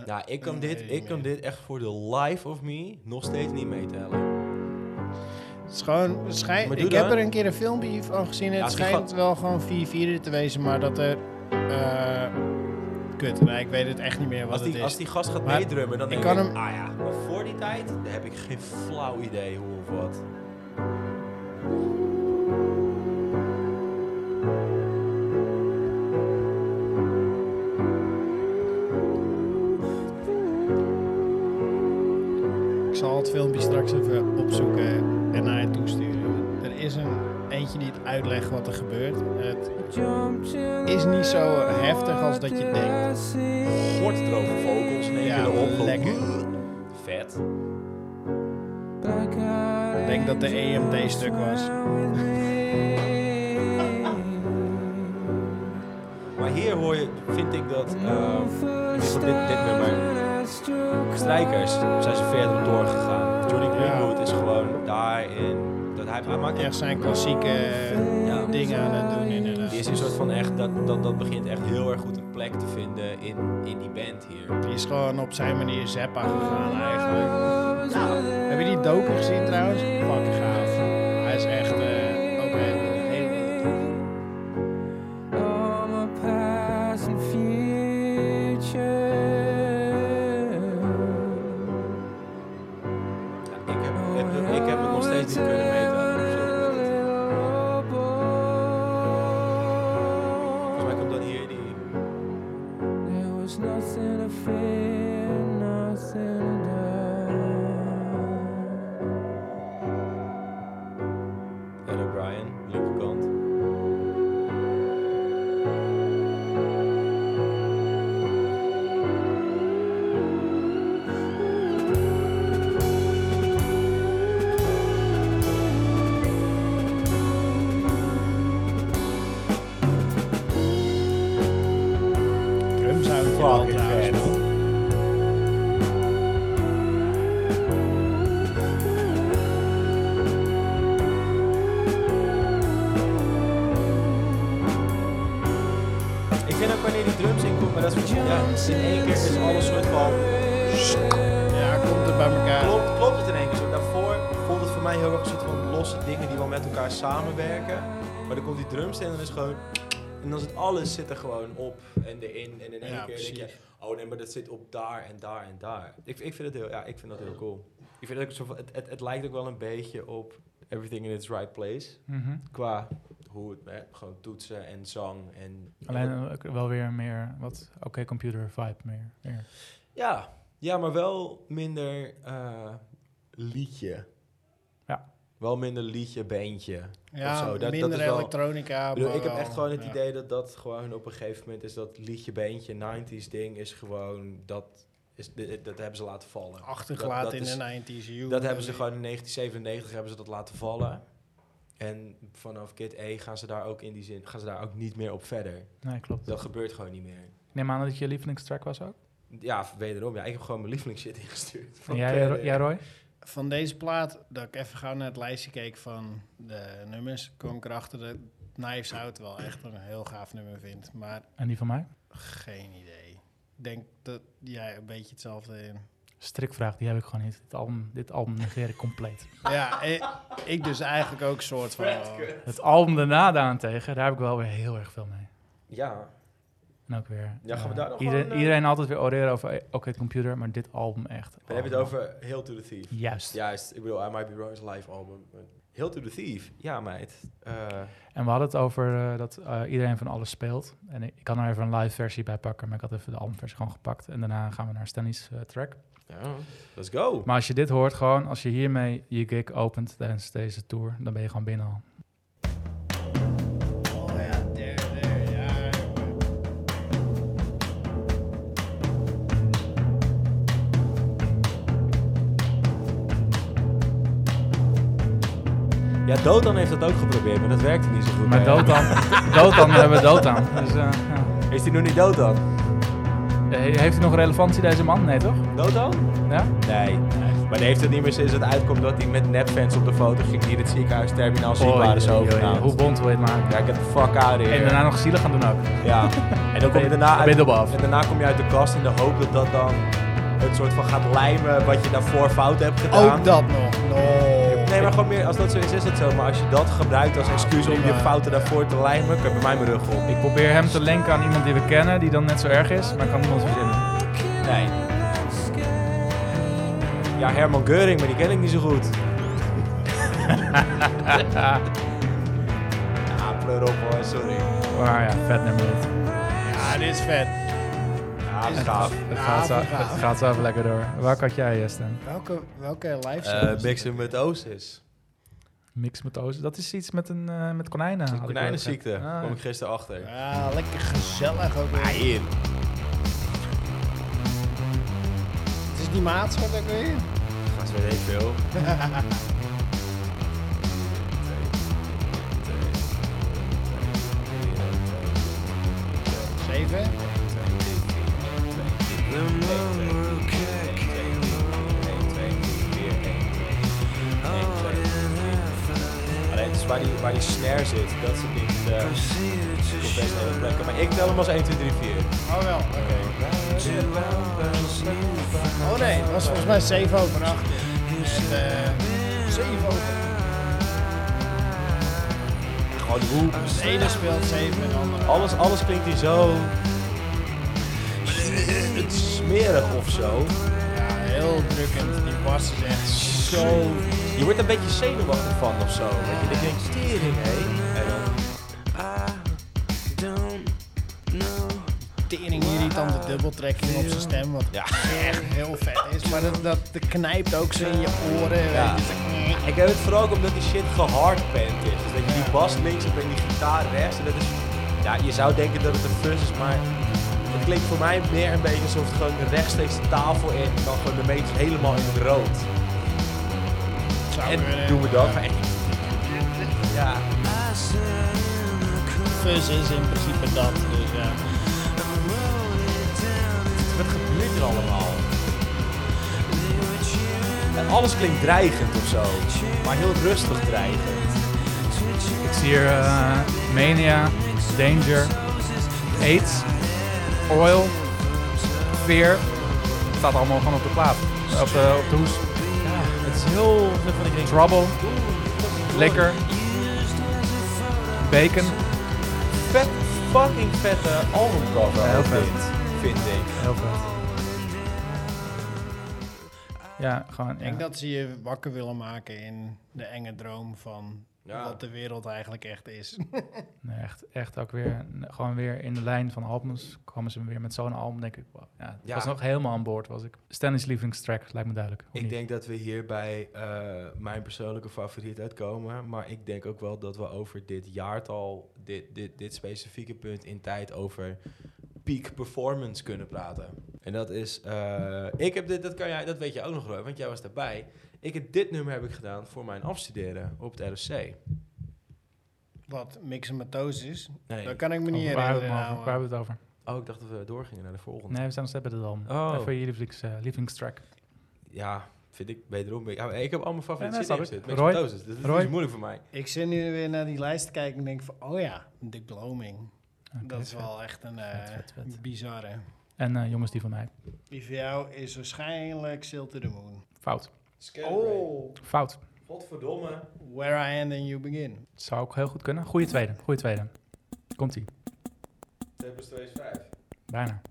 [SPEAKER 1] Nou, ik kan,
[SPEAKER 3] Nee,
[SPEAKER 1] dit, ik kan
[SPEAKER 3] nee.
[SPEAKER 1] dit echt voor de life of me nog steeds niet meetellen.
[SPEAKER 3] Het is gewoon, het schijnt-
[SPEAKER 1] Maar doe
[SPEAKER 3] ik heb
[SPEAKER 1] dan.
[SPEAKER 3] er een keer een filmpje van gezien. Het
[SPEAKER 1] Ja, het is
[SPEAKER 3] schijnt wel gewoon 4 4 te wezen, maar dat er... eh, kut, nou, ik weet het echt niet meer wat
[SPEAKER 1] Als die,
[SPEAKER 3] het is.
[SPEAKER 1] als die gast gaat
[SPEAKER 3] Maar
[SPEAKER 1] meedrummen, dan
[SPEAKER 3] ik
[SPEAKER 1] denk ik,
[SPEAKER 3] kan hem-
[SPEAKER 1] ah ja, maar voor die tijd daar heb ik geen flauw idee hoe of wat.
[SPEAKER 3] Ik zal het filmpje straks even opzoeken en naar je toesturen. Er is een eentje die het uitlegt wat er gebeurt. Het is niet zo eh, heftig als dat je denkt.
[SPEAKER 1] Gortdroge vocals in één
[SPEAKER 3] Ja,
[SPEAKER 1] keer erop. Gewoon,
[SPEAKER 3] lekker.
[SPEAKER 1] Vet.
[SPEAKER 3] Ik denk dat de
[SPEAKER 1] E
[SPEAKER 3] EMD-stuk was.
[SPEAKER 1] Maar hier hoor je, vind ik dat, eh, in ieder geval dit, dit nummer, strijkers zijn ze verder op doorgegaan. Johnny Greenwood is gewoon daarin, dat hij, hij maakt
[SPEAKER 3] Echt zijn klassieke eh,
[SPEAKER 1] Ja.
[SPEAKER 3] dingen aan het doen inderdaad.
[SPEAKER 1] Die is een soort van echt, dat, dat, dat begint echt heel erg goed een plek te vinden in, in die band hier.
[SPEAKER 3] Die is gewoon op zijn manier Zeppa gegaan eigenlijk. Nou, Heb je die docu gezien trouwens? Fucking gaaf. Hij is echt eh, ook een hele...
[SPEAKER 5] All my past and future.
[SPEAKER 1] Ja, ik, heb, ik, heb, ik heb het nog steeds niet kunnen meten. Volgens mij komt dat hier die...
[SPEAKER 5] There was nothing to fear, nothing to die.
[SPEAKER 1] Ed O'Brien, linkerkant.
[SPEAKER 3] Drumsound wel trouwens.
[SPEAKER 1] Ik vind ook wanneer die drums in komt, maar dat is ja, in één keer is alles soort van...
[SPEAKER 3] Ja, komt er bij elkaar.
[SPEAKER 1] Klopt, klopt het in één keer zo. Daarvoor voelt het voor mij heel erg een soort van losse dingen die wel met elkaar samenwerken. Maar dan komt die drums in en dan is het gewoon... en dan zit alles zit er gewoon op en erin. En in één
[SPEAKER 3] Ja,
[SPEAKER 1] keer denk
[SPEAKER 3] precies.
[SPEAKER 1] je, oh nee, maar dat zit op daar en daar en daar. Ik, ik, vind, het heel, ja, ik vind dat heel cool. Ik vind het, ook zo van- het, het, het lijkt ook wel een beetje op Everything in its Right Place.
[SPEAKER 2] Mhm.
[SPEAKER 1] Qua hoe het, hè, gewoon toetsen en zang en...
[SPEAKER 2] Alleen eh, wel weer meer wat oké computer vibe meer. meer.
[SPEAKER 1] Ja, ja maar wel minder eh, liedje.
[SPEAKER 2] Ja.
[SPEAKER 1] Wel minder liedje, bandje.
[SPEAKER 3] Ja,
[SPEAKER 1] of zo. Dat- dat
[SPEAKER 3] minder
[SPEAKER 1] is wel-
[SPEAKER 3] elektronica.
[SPEAKER 1] Ik bedoel,
[SPEAKER 3] maar
[SPEAKER 1] ik heb
[SPEAKER 3] wel-
[SPEAKER 1] echt gewoon het
[SPEAKER 3] ja.
[SPEAKER 1] idee dat dat gewoon op een gegeven moment is dat liedje, beentje, 90s ding is gewoon dat, is, di- dat hebben ze laten vallen.
[SPEAKER 3] Achtergelaten
[SPEAKER 1] Dat- dat is-
[SPEAKER 3] in de 90s. you
[SPEAKER 1] Dat hebben ze
[SPEAKER 3] know.
[SPEAKER 1] gewoon in 1997 hebben ze dat laten vallen. En vanaf Kid E gaan ze daar ook in die zin, gaan ze daar ook niet meer op verder.
[SPEAKER 2] Nee, klopt.
[SPEAKER 1] Dat gebeurt gewoon niet meer.
[SPEAKER 2] Ik Neem aan dat het je lievelingstrack was ook.
[SPEAKER 1] Ja, wederom. Ja, ik heb gewoon mijn lievelingsshit ingestuurd.
[SPEAKER 2] En
[SPEAKER 1] Van
[SPEAKER 2] jij,
[SPEAKER 1] Kid
[SPEAKER 2] Ro-
[SPEAKER 1] E.
[SPEAKER 2] jij Roy?
[SPEAKER 3] Van deze plaat, dat ik even gauw naar het lijstje keek van de nummers, kwam ik erachter dat Knives Out wel echt een heel gaaf nummer vind. Maar
[SPEAKER 2] En die van mij?
[SPEAKER 3] geen idee. Ik denk dat jij een beetje hetzelfde in.
[SPEAKER 2] Strikvraag, die heb ik gewoon niet. Dit album, dit album negeer ik compleet.
[SPEAKER 3] Ja, ik, ik dus eigenlijk ook soort van. wel.
[SPEAKER 2] Het album daarna daarentegen, daar heb ik wel weer heel erg veel mee.
[SPEAKER 1] Ja,
[SPEAKER 2] En ook weer.
[SPEAKER 1] Ja, gaan we
[SPEAKER 2] eh,
[SPEAKER 1] daar nog
[SPEAKER 2] iedereen,
[SPEAKER 1] gewoon, eh,
[SPEAKER 2] iedereen altijd weer oreren over eh, oké computer, maar dit album echt. Oh,
[SPEAKER 1] we hebben het over Hail to the Thief.
[SPEAKER 2] Juist.
[SPEAKER 1] Juist, ik bedoel, I Might Be Wrong's live album. Hail to the Thief. Ja, meid. Eh,
[SPEAKER 2] En we hadden het over eh, dat eh, iedereen van alles speelt. En ik, ik kan er even een live versie bij pakken, maar ik had even de albumversie gewoon gepakt. En daarna gaan we naar Stanley's eh, track.
[SPEAKER 1] ja, let's go.
[SPEAKER 2] Maar als je dit hoort, gewoon als je hiermee je gig opent tijdens deze tour, dan ben je gewoon binnen al.
[SPEAKER 3] Oh ja, there, there, ja.
[SPEAKER 1] Ja, Dotan heeft dat ook geprobeerd, maar dat werkte niet zo goed.
[SPEAKER 2] Maar
[SPEAKER 1] bij hem.
[SPEAKER 2] Dotan, Dotan hebben we Dotan. Dus, eh, ja.
[SPEAKER 1] Is die nog niet Dotan?
[SPEAKER 2] He- Eh, Heeft hij nog relevantie deze man? Nee toch?
[SPEAKER 1] Dotan?
[SPEAKER 2] Ja?
[SPEAKER 1] Nee. Maar die heeft het niet meer sinds het uitkomt dat hij met nepfans op de foto ging die het ziekenhuisterminaal ziek
[SPEAKER 2] Oei,
[SPEAKER 1] waren zo
[SPEAKER 2] oei, oei, Hoe
[SPEAKER 1] overgenaamd.
[SPEAKER 2] bond wil je het maken?
[SPEAKER 1] Ja, ik heb de fuck out
[SPEAKER 2] En
[SPEAKER 1] here.
[SPEAKER 2] daarna nog zielig gaan doen ook.
[SPEAKER 1] Ja. En dan kom je
[SPEAKER 2] Ben-
[SPEAKER 1] daarna
[SPEAKER 2] ben
[SPEAKER 1] uit,
[SPEAKER 2] je erop af.
[SPEAKER 1] en daarna kom je uit de kast in de hoop dat dat dan het soort van gaat lijmen wat je daarvoor fout hebt gedaan.
[SPEAKER 2] Oh,
[SPEAKER 3] Ook dat nog. No.
[SPEAKER 1] Nee, maar gewoon meer, als dat zo is, is het zo. Maar als je dat gebruikt als excuus om je
[SPEAKER 3] prima.
[SPEAKER 1] fouten daarvoor te lijmen, kun je bij mij mijn rug op.
[SPEAKER 2] Ik probeer hem te linken aan iemand die we kennen, die dan net zo erg is, maar ik kan niemand verzinnen.
[SPEAKER 1] Nee. Ja, Herman Geuring, maar die ken ik niet zo goed. ja, pleur op hoor, sorry.
[SPEAKER 2] Maar ja, vet nummer dit.
[SPEAKER 3] Ja, dit is vet.
[SPEAKER 1] Ja, gaaf.
[SPEAKER 2] Het gaat, zo,
[SPEAKER 3] Ja, gaaf.
[SPEAKER 2] het gaat zo even lekker door. Waar had jij, eh, Stan?
[SPEAKER 3] Welke, welke live
[SPEAKER 1] Eh
[SPEAKER 3] show?
[SPEAKER 1] Bixen met Osis.
[SPEAKER 2] Mix met ozen. Dat is iets met, een, eh, met konijnen. had ik wel
[SPEAKER 1] Konijnenziekte,
[SPEAKER 2] gezegd. Ah,
[SPEAKER 1] kwam ik gisteren achter.
[SPEAKER 3] Ja, lekker gezellig ook weer.
[SPEAKER 1] in.
[SPEAKER 3] Het is die maat wat ook weer.
[SPEAKER 1] Gaat weer even veel.
[SPEAKER 3] Zeven.
[SPEAKER 1] Alleen het is waar die, waar die snare zit, dat zit niet eh, op best heel plekken. Maar ik tel hem als 1, 2, 3, 4.
[SPEAKER 3] Oh wel, oké. Oh nee, het was volgens mij 7 over 8. En, eh 7 over
[SPEAKER 1] Gewoon de hoek.
[SPEAKER 3] De ene speelt 7 en de andere.
[SPEAKER 1] Alles, alles klinkt hier zo... Het is smerig of zo.
[SPEAKER 3] Ja, heel drukkend. Die bas is echt zo.
[SPEAKER 1] Je wordt een beetje zenuwachtig van of zo. Weet je, dat je denkt, stering hé. En dan...
[SPEAKER 3] Tering irritante dubbeltrekking op zijn stem, wat
[SPEAKER 1] Ja.
[SPEAKER 3] echt heel vet is. Maar dat, dat knijpt ook zo in je oren.
[SPEAKER 1] Ja.
[SPEAKER 3] Ja. Weet je.
[SPEAKER 1] Ik heb het vooral ook omdat die shit gehardband is. Dus dat je die bas links hebt en die gitaar rechts. En dat is, ja, je zou denken dat het een fuzz is, maar het klinkt voor mij meer een beetje alsof het gewoon rechtstreeks de tafel in. En dan gewoon de meters helemaal in het rood.
[SPEAKER 3] Zou
[SPEAKER 1] En
[SPEAKER 3] kunnen.
[SPEAKER 1] doen we dat. maar echt- Ja,
[SPEAKER 3] Fuzz is in principe dat, dus ja.
[SPEAKER 1] wat gebeurt er allemaal? En alles klinkt dreigend of zo. Maar heel rustig dreigend.
[SPEAKER 2] Ik zie hier eh, Mania, Danger, AIDS, Oil, Fear. Het staat allemaal gewoon op de plaat. Op de, op de hoes.
[SPEAKER 1] Het is heel... Van, ik denk,
[SPEAKER 2] Trouble, Lekker. Bacon.
[SPEAKER 1] vet fucking vette albumcover
[SPEAKER 2] Heel
[SPEAKER 1] als
[SPEAKER 2] vet.
[SPEAKER 1] dit, vind ik.
[SPEAKER 2] Heel vet. Ja, gewoon.
[SPEAKER 3] Ik
[SPEAKER 2] Ja.
[SPEAKER 3] denk dat ze je wakker willen maken in de enge droom van
[SPEAKER 1] Ja.
[SPEAKER 3] wat de wereld eigenlijk echt is.
[SPEAKER 2] Nee, echt, echt ook weer, gewoon weer in de lijn van albums kwamen ze weer met zo'n album, denk ik. wow. Ja, het
[SPEAKER 1] Ja.
[SPEAKER 2] was nog helemaal aan boord, was ik. Stanley's Lievelingstrack, lijkt me duidelijk. of
[SPEAKER 1] Ik
[SPEAKER 2] niet?
[SPEAKER 1] denk dat we hier bij eh, mijn persoonlijke favoriet uitkomen. Maar ik denk ook wel dat we over dit jaartal, dit, dit, dit specifieke punt in tijd, over peak performance kunnen praten. En dat is, eh, ik heb dit, dat kan jij, dat weet je ook nog, Roy, want jij was daarbij. Ik heb dit nummer heb ik gedaan voor mijn afstuderen op het ROC.
[SPEAKER 3] Wat mixematosis,
[SPEAKER 1] Nee,
[SPEAKER 3] dat kan ik me niet
[SPEAKER 2] Over waar hebben
[SPEAKER 3] herinneren.
[SPEAKER 2] we het over? Waar
[SPEAKER 3] nou,
[SPEAKER 2] hebben we het over?
[SPEAKER 1] oh, ik dacht dat we doorgingen naar de volgende.
[SPEAKER 2] Nee, we staan nog steeds bij dit album.
[SPEAKER 1] Oh.
[SPEAKER 2] Even je lievelings, eh, lievelingstrack.
[SPEAKER 1] Ja, vind ik wederom. Ik, ja, ik heb allemaal favoriete
[SPEAKER 2] Ja,
[SPEAKER 1] ja,
[SPEAKER 2] dat snap
[SPEAKER 1] zitten.
[SPEAKER 2] ik.
[SPEAKER 1] Met dus
[SPEAKER 2] Roy?
[SPEAKER 1] Dat is
[SPEAKER 2] Roy?
[SPEAKER 1] is moeilijk voor mij.
[SPEAKER 3] Ik zit nu weer naar die lijst te kijken en denk van, oh ja, The Gloaming. dat is wel echt een eh,
[SPEAKER 2] Vet, vet, vet.
[SPEAKER 3] bizarre.
[SPEAKER 2] En eh, jongens die van mij.
[SPEAKER 3] Die voor jou is waarschijnlijk Still to the Moon.
[SPEAKER 2] Fout.
[SPEAKER 3] Oh,
[SPEAKER 2] Fout.
[SPEAKER 1] godverdomme.
[SPEAKER 3] Where I End and You Begin.
[SPEAKER 2] Zou ook heel goed kunnen. Goeie tweede. Goeie tweede. Komt-ie.
[SPEAKER 1] 2 plus 2 is 5.
[SPEAKER 2] Bijna.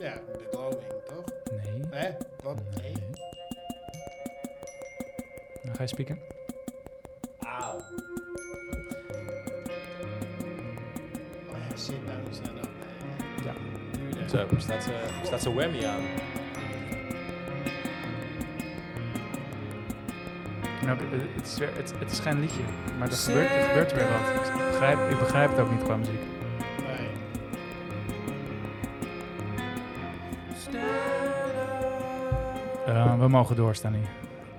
[SPEAKER 3] Ja, The Gloaming, toch?
[SPEAKER 2] Nee.
[SPEAKER 3] Hè? Wat?
[SPEAKER 2] Nee.
[SPEAKER 3] Nee.
[SPEAKER 2] Dan ga je spieken.
[SPEAKER 3] Oh, Sit down is dat ook.
[SPEAKER 2] Ja.
[SPEAKER 3] Duurde.
[SPEAKER 1] Zo, staat ze, staat ze whammy aan.
[SPEAKER 2] En ook, eh, het, is weer, het, het is geen liedje, maar er gebeurt, er gebeurt weer wat. Ik begrijp, ik begrijp het ook niet qua muziek.
[SPEAKER 3] Nee.
[SPEAKER 2] Eh, we mogen door, Stanley.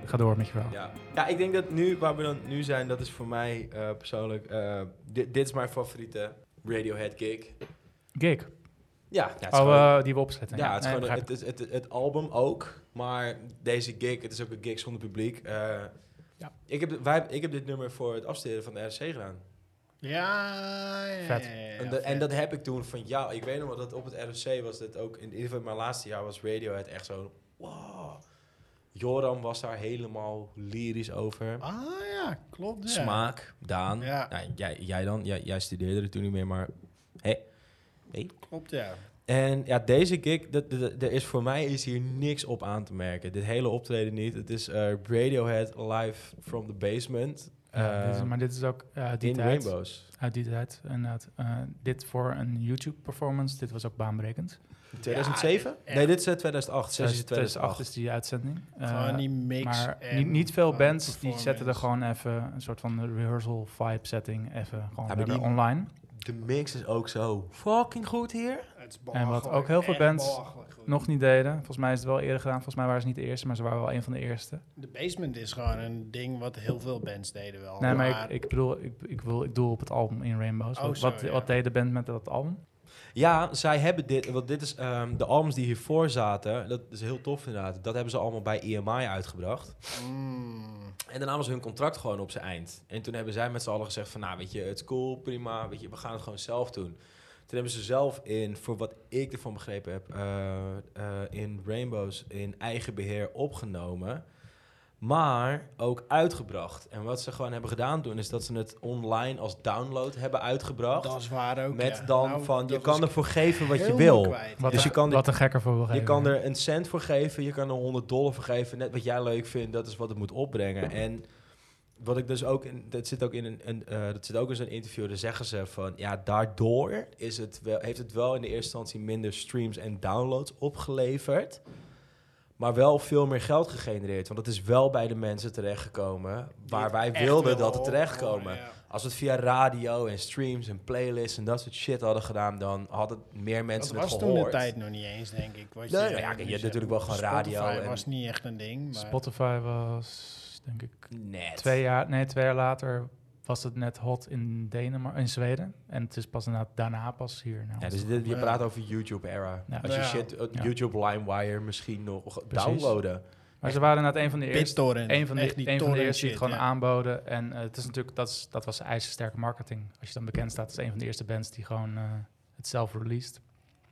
[SPEAKER 2] Ga door met je verhaal.
[SPEAKER 1] Ja. ja, ik denk dat nu, waar we dan nu zijn, dat is voor mij eh, persoonlijk, eh, dit, dit is mijn favoriete Radiohead gig.
[SPEAKER 2] Gig.
[SPEAKER 1] Ja, ja, het is
[SPEAKER 2] Oh,
[SPEAKER 1] gewoon-
[SPEAKER 2] eh, die we opzetten.
[SPEAKER 1] ja, het, is
[SPEAKER 2] Nee,
[SPEAKER 1] gewoon,
[SPEAKER 2] begrijp
[SPEAKER 1] het, is- het, het, album ook, maar deze gig, het is ook een gig zonder publiek. Eh,
[SPEAKER 2] Ja.
[SPEAKER 1] ik, heb, wij, ik heb dit nummer voor het afstuderen van de RC gedaan.
[SPEAKER 3] Ja, ja,
[SPEAKER 2] Vet.
[SPEAKER 3] ja, ja,
[SPEAKER 1] en, dat, en
[SPEAKER 3] vet.
[SPEAKER 1] dat heb ik toen van jou. Ik weet nog wel dat op het RFC was dit ook. In ieder geval in mijn laatste jaar was Radiohead echt zo. Wow. Joram was daar helemaal lyrisch over.
[SPEAKER 3] Ah ja, klopt. Ja.
[SPEAKER 1] Smaak, Daan.
[SPEAKER 3] Ja.
[SPEAKER 1] Nou, jij, jij dan? Jij, jij studeerde er toen niet meer, maar. Hé.
[SPEAKER 3] Klopt, ja.
[SPEAKER 1] En ja, deze gig, dat, dat- dat- er is voor mij is hier niks op aan te merken. Dit hele optreden niet. Het is eh, Radiohead live from the basement.
[SPEAKER 2] Ja, dit is-
[SPEAKER 1] eh,
[SPEAKER 2] maar dit is ook eh, uit die
[SPEAKER 1] in
[SPEAKER 2] tijd.
[SPEAKER 1] Rainbows.
[SPEAKER 2] Uit die tijd, inderdaad. Eh, dit voor een YouTube-performance, dit was ook baanbrekend.
[SPEAKER 1] 2007?
[SPEAKER 3] Ja,
[SPEAKER 1] nee, dit is eh, 2008. 6 is
[SPEAKER 2] 2008
[SPEAKER 1] 2008.
[SPEAKER 2] is die uitzending. Eh,
[SPEAKER 3] gewoon die mix.
[SPEAKER 2] maar
[SPEAKER 3] en
[SPEAKER 2] niet, niet veel
[SPEAKER 3] gewoon
[SPEAKER 2] bands die zetten er
[SPEAKER 3] performance.
[SPEAKER 2] gewoon even een soort van rehearsal vibe setting even gewoon
[SPEAKER 1] maar
[SPEAKER 2] lekker
[SPEAKER 1] die-
[SPEAKER 2] online.
[SPEAKER 1] De mix is ook zo fucking goed hier.
[SPEAKER 3] Het is
[SPEAKER 2] En wat ook
[SPEAKER 3] belachelijk,
[SPEAKER 2] heel veel
[SPEAKER 3] echt
[SPEAKER 2] bands
[SPEAKER 3] belachelijk goed.
[SPEAKER 2] Nog niet deden. Volgens mij is het wel eerder gedaan. Volgens mij waren ze niet de eerste, maar ze waren wel een van de eerste.
[SPEAKER 1] Oh,
[SPEAKER 3] De basement is gewoon een ding wat heel veel bands deden wel.
[SPEAKER 2] nee, maar ik, ik bedoel, ik, ik, wil, ik doel op het album in Rainbows.
[SPEAKER 3] Oh,
[SPEAKER 2] wat,
[SPEAKER 3] zo,
[SPEAKER 2] wat,
[SPEAKER 3] ja.
[SPEAKER 2] wat deed de band met dat album?
[SPEAKER 1] Dus Ja, zij hebben dit, want dit is ehm, de albums die hiervoor zaten. Dat is heel tof inderdaad. Dat hebben ze allemaal bij EMI uitgebracht.
[SPEAKER 3] Mm,
[SPEAKER 1] En daarna was hun contract gewoon op zijn eind. En toen hebben zij met z'n allen gezegd van, nou weet je, het is cool, prima, weet je, we gaan het gewoon zelf doen. Toen hebben ze zelf in, voor wat ik ervan begrepen heb, eh, eh, in Rainbows in eigen beheer opgenomen. Maar ook uitgebracht. En wat ze gewoon hebben gedaan toen, is dat ze het online als download hebben uitgebracht.
[SPEAKER 3] dat is waar ook.
[SPEAKER 1] met
[SPEAKER 3] ja.
[SPEAKER 1] dan
[SPEAKER 3] Nou,
[SPEAKER 1] van, je
[SPEAKER 3] dat
[SPEAKER 1] kan
[SPEAKER 3] was
[SPEAKER 1] ervoor geven wat je
[SPEAKER 3] helemaal
[SPEAKER 1] wil.
[SPEAKER 3] kwijt.
[SPEAKER 2] Wat,
[SPEAKER 1] Dus
[SPEAKER 2] er,
[SPEAKER 1] je kan dit-
[SPEAKER 2] wat er gekker voor wil
[SPEAKER 1] Je
[SPEAKER 2] geven.
[SPEAKER 1] kan er een cent voor geven, je kan er 100 dollar voor geven. Net wat jij leuk vindt, dat is wat het moet opbrengen. En wat ik dus ook, in, dat zit ook in een, een, eh, dat zit ook in zo'n interview, daar zeggen ze van, ja, daardoor is het wel, heeft het wel in de eerste instantie minder streams en downloads opgeleverd. Maar wel veel meer geld gegenereerd. Want dat is wel bij de mensen terechtgekomen waar
[SPEAKER 3] dit
[SPEAKER 1] wij
[SPEAKER 3] echt wel
[SPEAKER 1] wilden dat het terechtkomen.
[SPEAKER 3] horen, ja.
[SPEAKER 1] Als we het via radio en streams en playlists en dat soort shit hadden gedaan, dan hadden meer
[SPEAKER 3] Dat
[SPEAKER 1] mensen
[SPEAKER 3] was
[SPEAKER 1] het
[SPEAKER 3] toen
[SPEAKER 1] gehoord.
[SPEAKER 3] de tijd nog niet eens, denk ik. Wat
[SPEAKER 1] Nee,
[SPEAKER 3] je,
[SPEAKER 1] nou ja, kijk, je
[SPEAKER 3] nu
[SPEAKER 1] hebt
[SPEAKER 3] zegt.
[SPEAKER 1] natuurlijk wel gewoon radio
[SPEAKER 3] Spotify
[SPEAKER 1] en-
[SPEAKER 3] was niet echt een ding. Maar
[SPEAKER 2] Spotify was, denk ik,
[SPEAKER 1] Net.
[SPEAKER 2] twee jaar, nee, twee jaar later was het net hot in Denemarken, in Zweden. En het is pas inderdaad daarna pas hier. Nou,
[SPEAKER 1] Ja, dus dit, je
[SPEAKER 3] Ja.
[SPEAKER 1] praat over YouTube-era.
[SPEAKER 2] Ja.
[SPEAKER 1] Als je
[SPEAKER 3] Ja.
[SPEAKER 1] shit, eh,
[SPEAKER 2] Ja.
[SPEAKER 1] YouTube LimeWire misschien nog
[SPEAKER 2] Precies.
[SPEAKER 1] downloaden.
[SPEAKER 2] maar ze waren inderdaad een van de eerste.
[SPEAKER 3] BitTorrent.
[SPEAKER 2] Een van de,
[SPEAKER 3] echt
[SPEAKER 2] een van de
[SPEAKER 3] torrent
[SPEAKER 2] eerste die
[SPEAKER 3] shit,
[SPEAKER 2] het gewoon
[SPEAKER 3] ja.
[SPEAKER 2] aanboden. En eh, het is natuurlijk, dat, is, dat was ijzersterke marketing. Als je dan bekend staat, is een van de eerste bands die gewoon eh, het zelf released.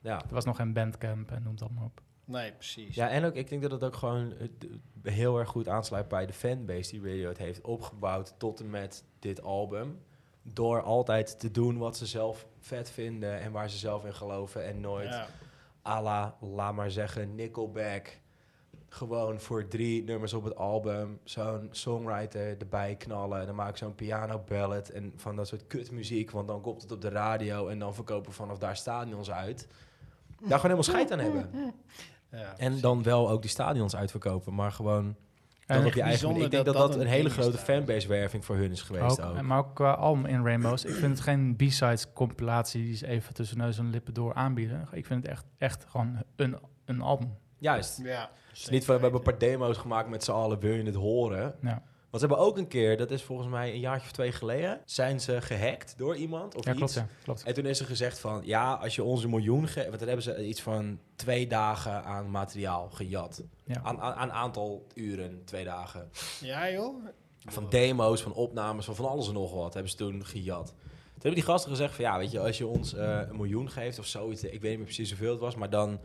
[SPEAKER 1] Ja.
[SPEAKER 2] Er was nog geen bandcamp en noem dat maar op.
[SPEAKER 3] Nee, precies.
[SPEAKER 1] Ja, en ook, ik denk dat het ook gewoon eh, d- heel erg goed aansluit bij de fanbase die Radiohead heeft opgebouwd tot en met dit album. Door altijd te doen wat ze zelf vet vinden en waar ze zelf in geloven en nooit
[SPEAKER 3] Ja.
[SPEAKER 1] à la, laat maar zeggen, Nickelback. Gewoon voor drie nummers op het album zo'n songwriter erbij knallen. En dan maak ik zo'n piano ballad en van dat soort kutmuziek. Want dan komt het op de radio en dan verkopen we vanaf daar stadions uit. Daar gewoon helemaal scheid aan hebben.
[SPEAKER 3] Ja.
[SPEAKER 1] En dan wel ook die stadions uitverkopen, maar gewoon dan
[SPEAKER 2] En
[SPEAKER 1] op je eigen
[SPEAKER 3] bijzonder
[SPEAKER 1] manier. Ik denk
[SPEAKER 3] dat
[SPEAKER 1] dat
[SPEAKER 3] dat
[SPEAKER 1] dat
[SPEAKER 3] een
[SPEAKER 1] een hele
[SPEAKER 3] ding is
[SPEAKER 1] grote
[SPEAKER 3] daar.
[SPEAKER 1] fanbase-werving voor hun is geweest
[SPEAKER 2] Ook,
[SPEAKER 1] ook.
[SPEAKER 2] en maar ook qua album in Rainbows. ik vind het geen B-sides compilatie die ze even tussen neus en lippen door aanbieden. Ik vind het echt, echt gewoon een, een album.
[SPEAKER 1] Juist.
[SPEAKER 3] Ja.
[SPEAKER 1] Het is Dus niet van, we hebben een paar demo's gemaakt met z'n allen, wil je het horen?
[SPEAKER 2] Ja.
[SPEAKER 1] Want ze hebben ook een keer, dat is volgens mij een jaartje of twee geleden, zijn ze gehackt door iemand of
[SPEAKER 2] Ja,
[SPEAKER 1] iets.
[SPEAKER 2] klopt. Ja, klopt.
[SPEAKER 1] En toen is er gezegd van, ja, als je ons een miljoen geeft... Want dan hebben ze iets van twee dagen aan materiaal gejat.
[SPEAKER 2] Ja.
[SPEAKER 1] Aan, aan, aan aantal uren, twee dagen.
[SPEAKER 3] Ja, joh.
[SPEAKER 1] Van demo's, van opnames, van van alles en nog wat hebben ze toen gejat. Toen hebben die gasten gezegd van, ja, weet je, als je ons eh, een miljoen geeft of zoiets... Ik weet niet meer precies hoeveel het was, maar dan...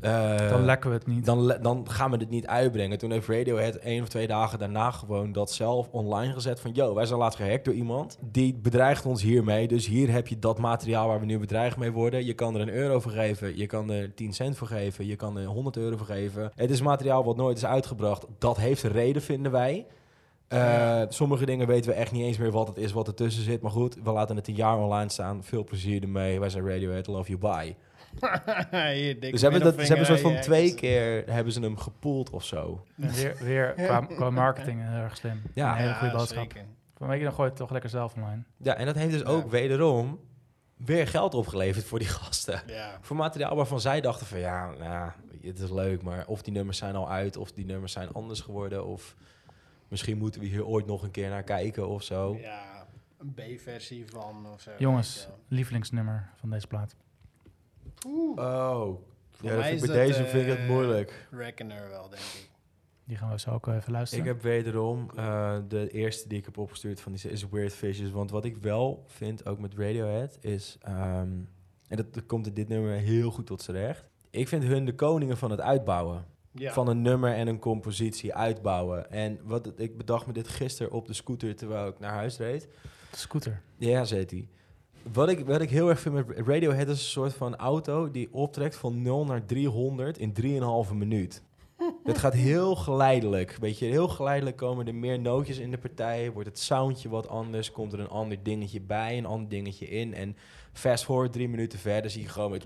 [SPEAKER 1] eh,
[SPEAKER 2] Dan lekken we het niet.
[SPEAKER 1] dan, le- dan gaan we dit niet uitbrengen. Toen heeft Radiohead één of twee dagen daarna gewoon dat zelf online gezet. Van, yo, wij zijn laatst gehackt door iemand. Die bedreigt ons hiermee. Dus hier heb je dat materiaal waar we nu bedreigd mee worden. Je kan er een euro voor geven. Je kan er 10 cent voor geven. Je kan er 100 euro voor geven. Het is materiaal wat nooit is uitgebracht. Dat heeft een reden, vinden wij. Eh, sommige dingen weten we echt niet eens meer wat het is, wat ertussen zit. Maar goed, we laten het een jaar online staan. Veel plezier ermee. Wij zijn Radiohead. Love you, bye.
[SPEAKER 3] Hier, dikke
[SPEAKER 1] Dus ze hebben, dat, ze hebben een
[SPEAKER 3] middelvinger,
[SPEAKER 1] soort van
[SPEAKER 3] ja,
[SPEAKER 1] twee keer hebben ze hem gepoeld of zo.
[SPEAKER 2] En Weer, weer qua, qua marketing heel erg slim.
[SPEAKER 1] Ja.
[SPEAKER 2] een hele
[SPEAKER 3] Ja,
[SPEAKER 2] goede boodschap.
[SPEAKER 3] zeker.
[SPEAKER 2] Van weet je, dan gooi je het toch lekker zelf online.
[SPEAKER 1] Ja, en dat heeft dus
[SPEAKER 3] Ja.
[SPEAKER 1] ook wederom weer geld opgeleverd voor die gasten.
[SPEAKER 3] Ja.
[SPEAKER 1] Voor materiaal waarvan zij dachten van ja, nou, het is leuk, maar of die nummers zijn al uit, of die nummers zijn anders geworden, of misschien moeten we hier ooit nog een keer naar kijken of zo.
[SPEAKER 3] ja, een B-versie van of zo. weet
[SPEAKER 2] Jongens,
[SPEAKER 3] je wel.
[SPEAKER 2] lievelingsnummer van deze plaat.
[SPEAKER 1] Oh,
[SPEAKER 3] Voor
[SPEAKER 1] ja, dat
[SPEAKER 3] mij
[SPEAKER 1] vind-
[SPEAKER 3] is
[SPEAKER 1] bij
[SPEAKER 3] dat,
[SPEAKER 1] deze vind ik het
[SPEAKER 3] eh,
[SPEAKER 1] moeilijk.
[SPEAKER 3] Reckoner wel, denk ik.
[SPEAKER 2] Die gaan we zo ook even luisteren.
[SPEAKER 1] Ik heb wederom eh, de eerste die ik heb opgestuurd van die is Weird Fishes. Want wat ik wel vind, ook met Radiohead, is... ehm, en dat, dat komt in dit nummer heel goed tot z'n recht. Ik vind hun de koningen van het uitbouwen.
[SPEAKER 3] Ja.
[SPEAKER 1] van een nummer en een compositie uitbouwen. En wat het- ik bedacht me dit gisteren op de scooter terwijl ik naar huis reed.
[SPEAKER 2] Scooter.
[SPEAKER 1] Ja, zet hij. Wat ik, wat ik heel erg vind met Radiohead is een soort van auto die optrekt van 0 naar 300 in 3,5 minuut. Het gaat heel geleidelijk. Weet je, heel geleidelijk komen er meer nootjes in de partij. Wordt het soundje wat anders. Komt er een ander dingetje bij, een ander dingetje in. En fast forward drie minuten verder zie je gewoon met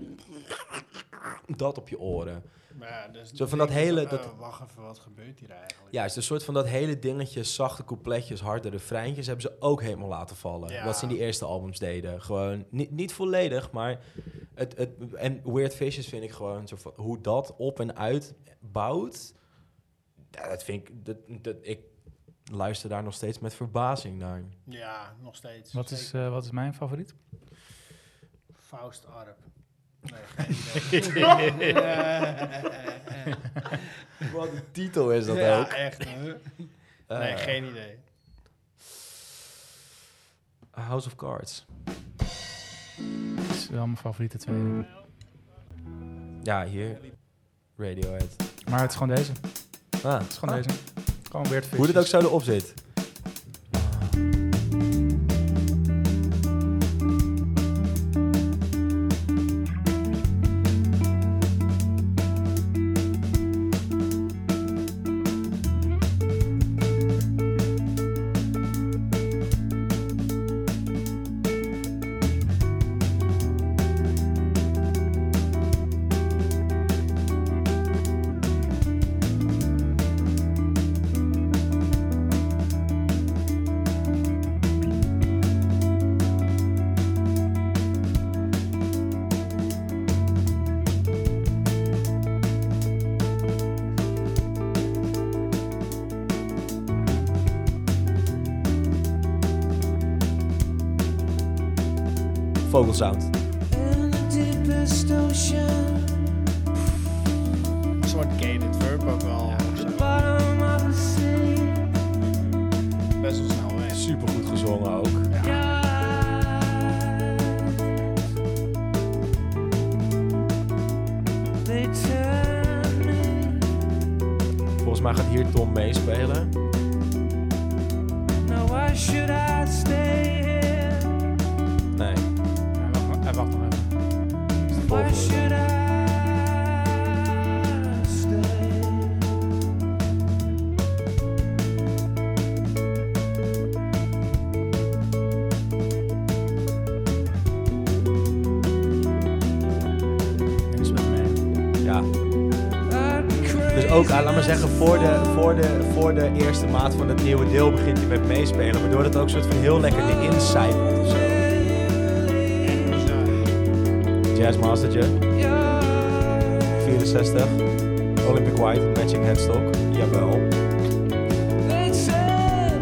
[SPEAKER 1] dat op je oren.
[SPEAKER 3] Maar ja, dus
[SPEAKER 1] Zo van
[SPEAKER 3] denk
[SPEAKER 1] dat
[SPEAKER 3] ik
[SPEAKER 1] hele-
[SPEAKER 3] oh,
[SPEAKER 1] dat-
[SPEAKER 3] wacht even, wat gebeurt hier eigenlijk?
[SPEAKER 1] Ja, het is een soort van dat hele dingetje, zachte coupletjes, harde refreintjes, hebben ze ook helemaal laten vallen.
[SPEAKER 3] Ja.
[SPEAKER 1] Wat ze in die eerste albums deden. Gewoon niet, niet volledig, maar het, het, en Weird Fishes vind ik gewoon zo van, hoe dat op en uit bouwt. ja, dat vind ik, dat, dat, ik luister daar nog steeds met verbazing naar.
[SPEAKER 3] Ja, nog steeds.
[SPEAKER 2] Wat is, eh, wat is mijn favoriet?
[SPEAKER 1] eh,
[SPEAKER 3] Faust Arp. Nee, geen idee.
[SPEAKER 1] Wat een titel is dat
[SPEAKER 3] ja,
[SPEAKER 1] ook.
[SPEAKER 3] echt. hè?
[SPEAKER 1] Eh,
[SPEAKER 3] Nee, geen idee.
[SPEAKER 1] House of Cards.
[SPEAKER 2] Dat is wel mijn favoriete tweede.
[SPEAKER 1] Ja, hier. Radiohead.
[SPEAKER 2] Maar het is gewoon deze. Het
[SPEAKER 1] Ah.
[SPEAKER 2] is gewoon
[SPEAKER 1] Ah.
[SPEAKER 2] deze. Gewoon Weird
[SPEAKER 1] Hoe dit ook
[SPEAKER 2] Fishes.
[SPEAKER 1] zo erop zit. Vogelsound.
[SPEAKER 3] Een soort gated verb ook wel. Best wel snel weg.
[SPEAKER 1] Supergoed gezongen ook.
[SPEAKER 5] They turn
[SPEAKER 1] mij gaat hier Tom meespelen.
[SPEAKER 5] Now why should I stay here?
[SPEAKER 1] Nee.
[SPEAKER 2] Hij wacht, nog- hij wacht nog even.
[SPEAKER 1] is de
[SPEAKER 5] Why
[SPEAKER 1] volgende.
[SPEAKER 5] should I stay?
[SPEAKER 1] Ja.
[SPEAKER 5] I'd be
[SPEAKER 1] Dus
[SPEAKER 5] crazy
[SPEAKER 1] ook, ah, laat maar zeggen, voor de,
[SPEAKER 5] as fuck.
[SPEAKER 1] voor, de, voor de eerste maat van het nieuwe deel begint hij met meespelen. Waardoor het ook soort van heel lekker erin zijpelt of zo. Jazzmastertje, 64. Olympic White, matching headstock. Jawel.
[SPEAKER 5] They said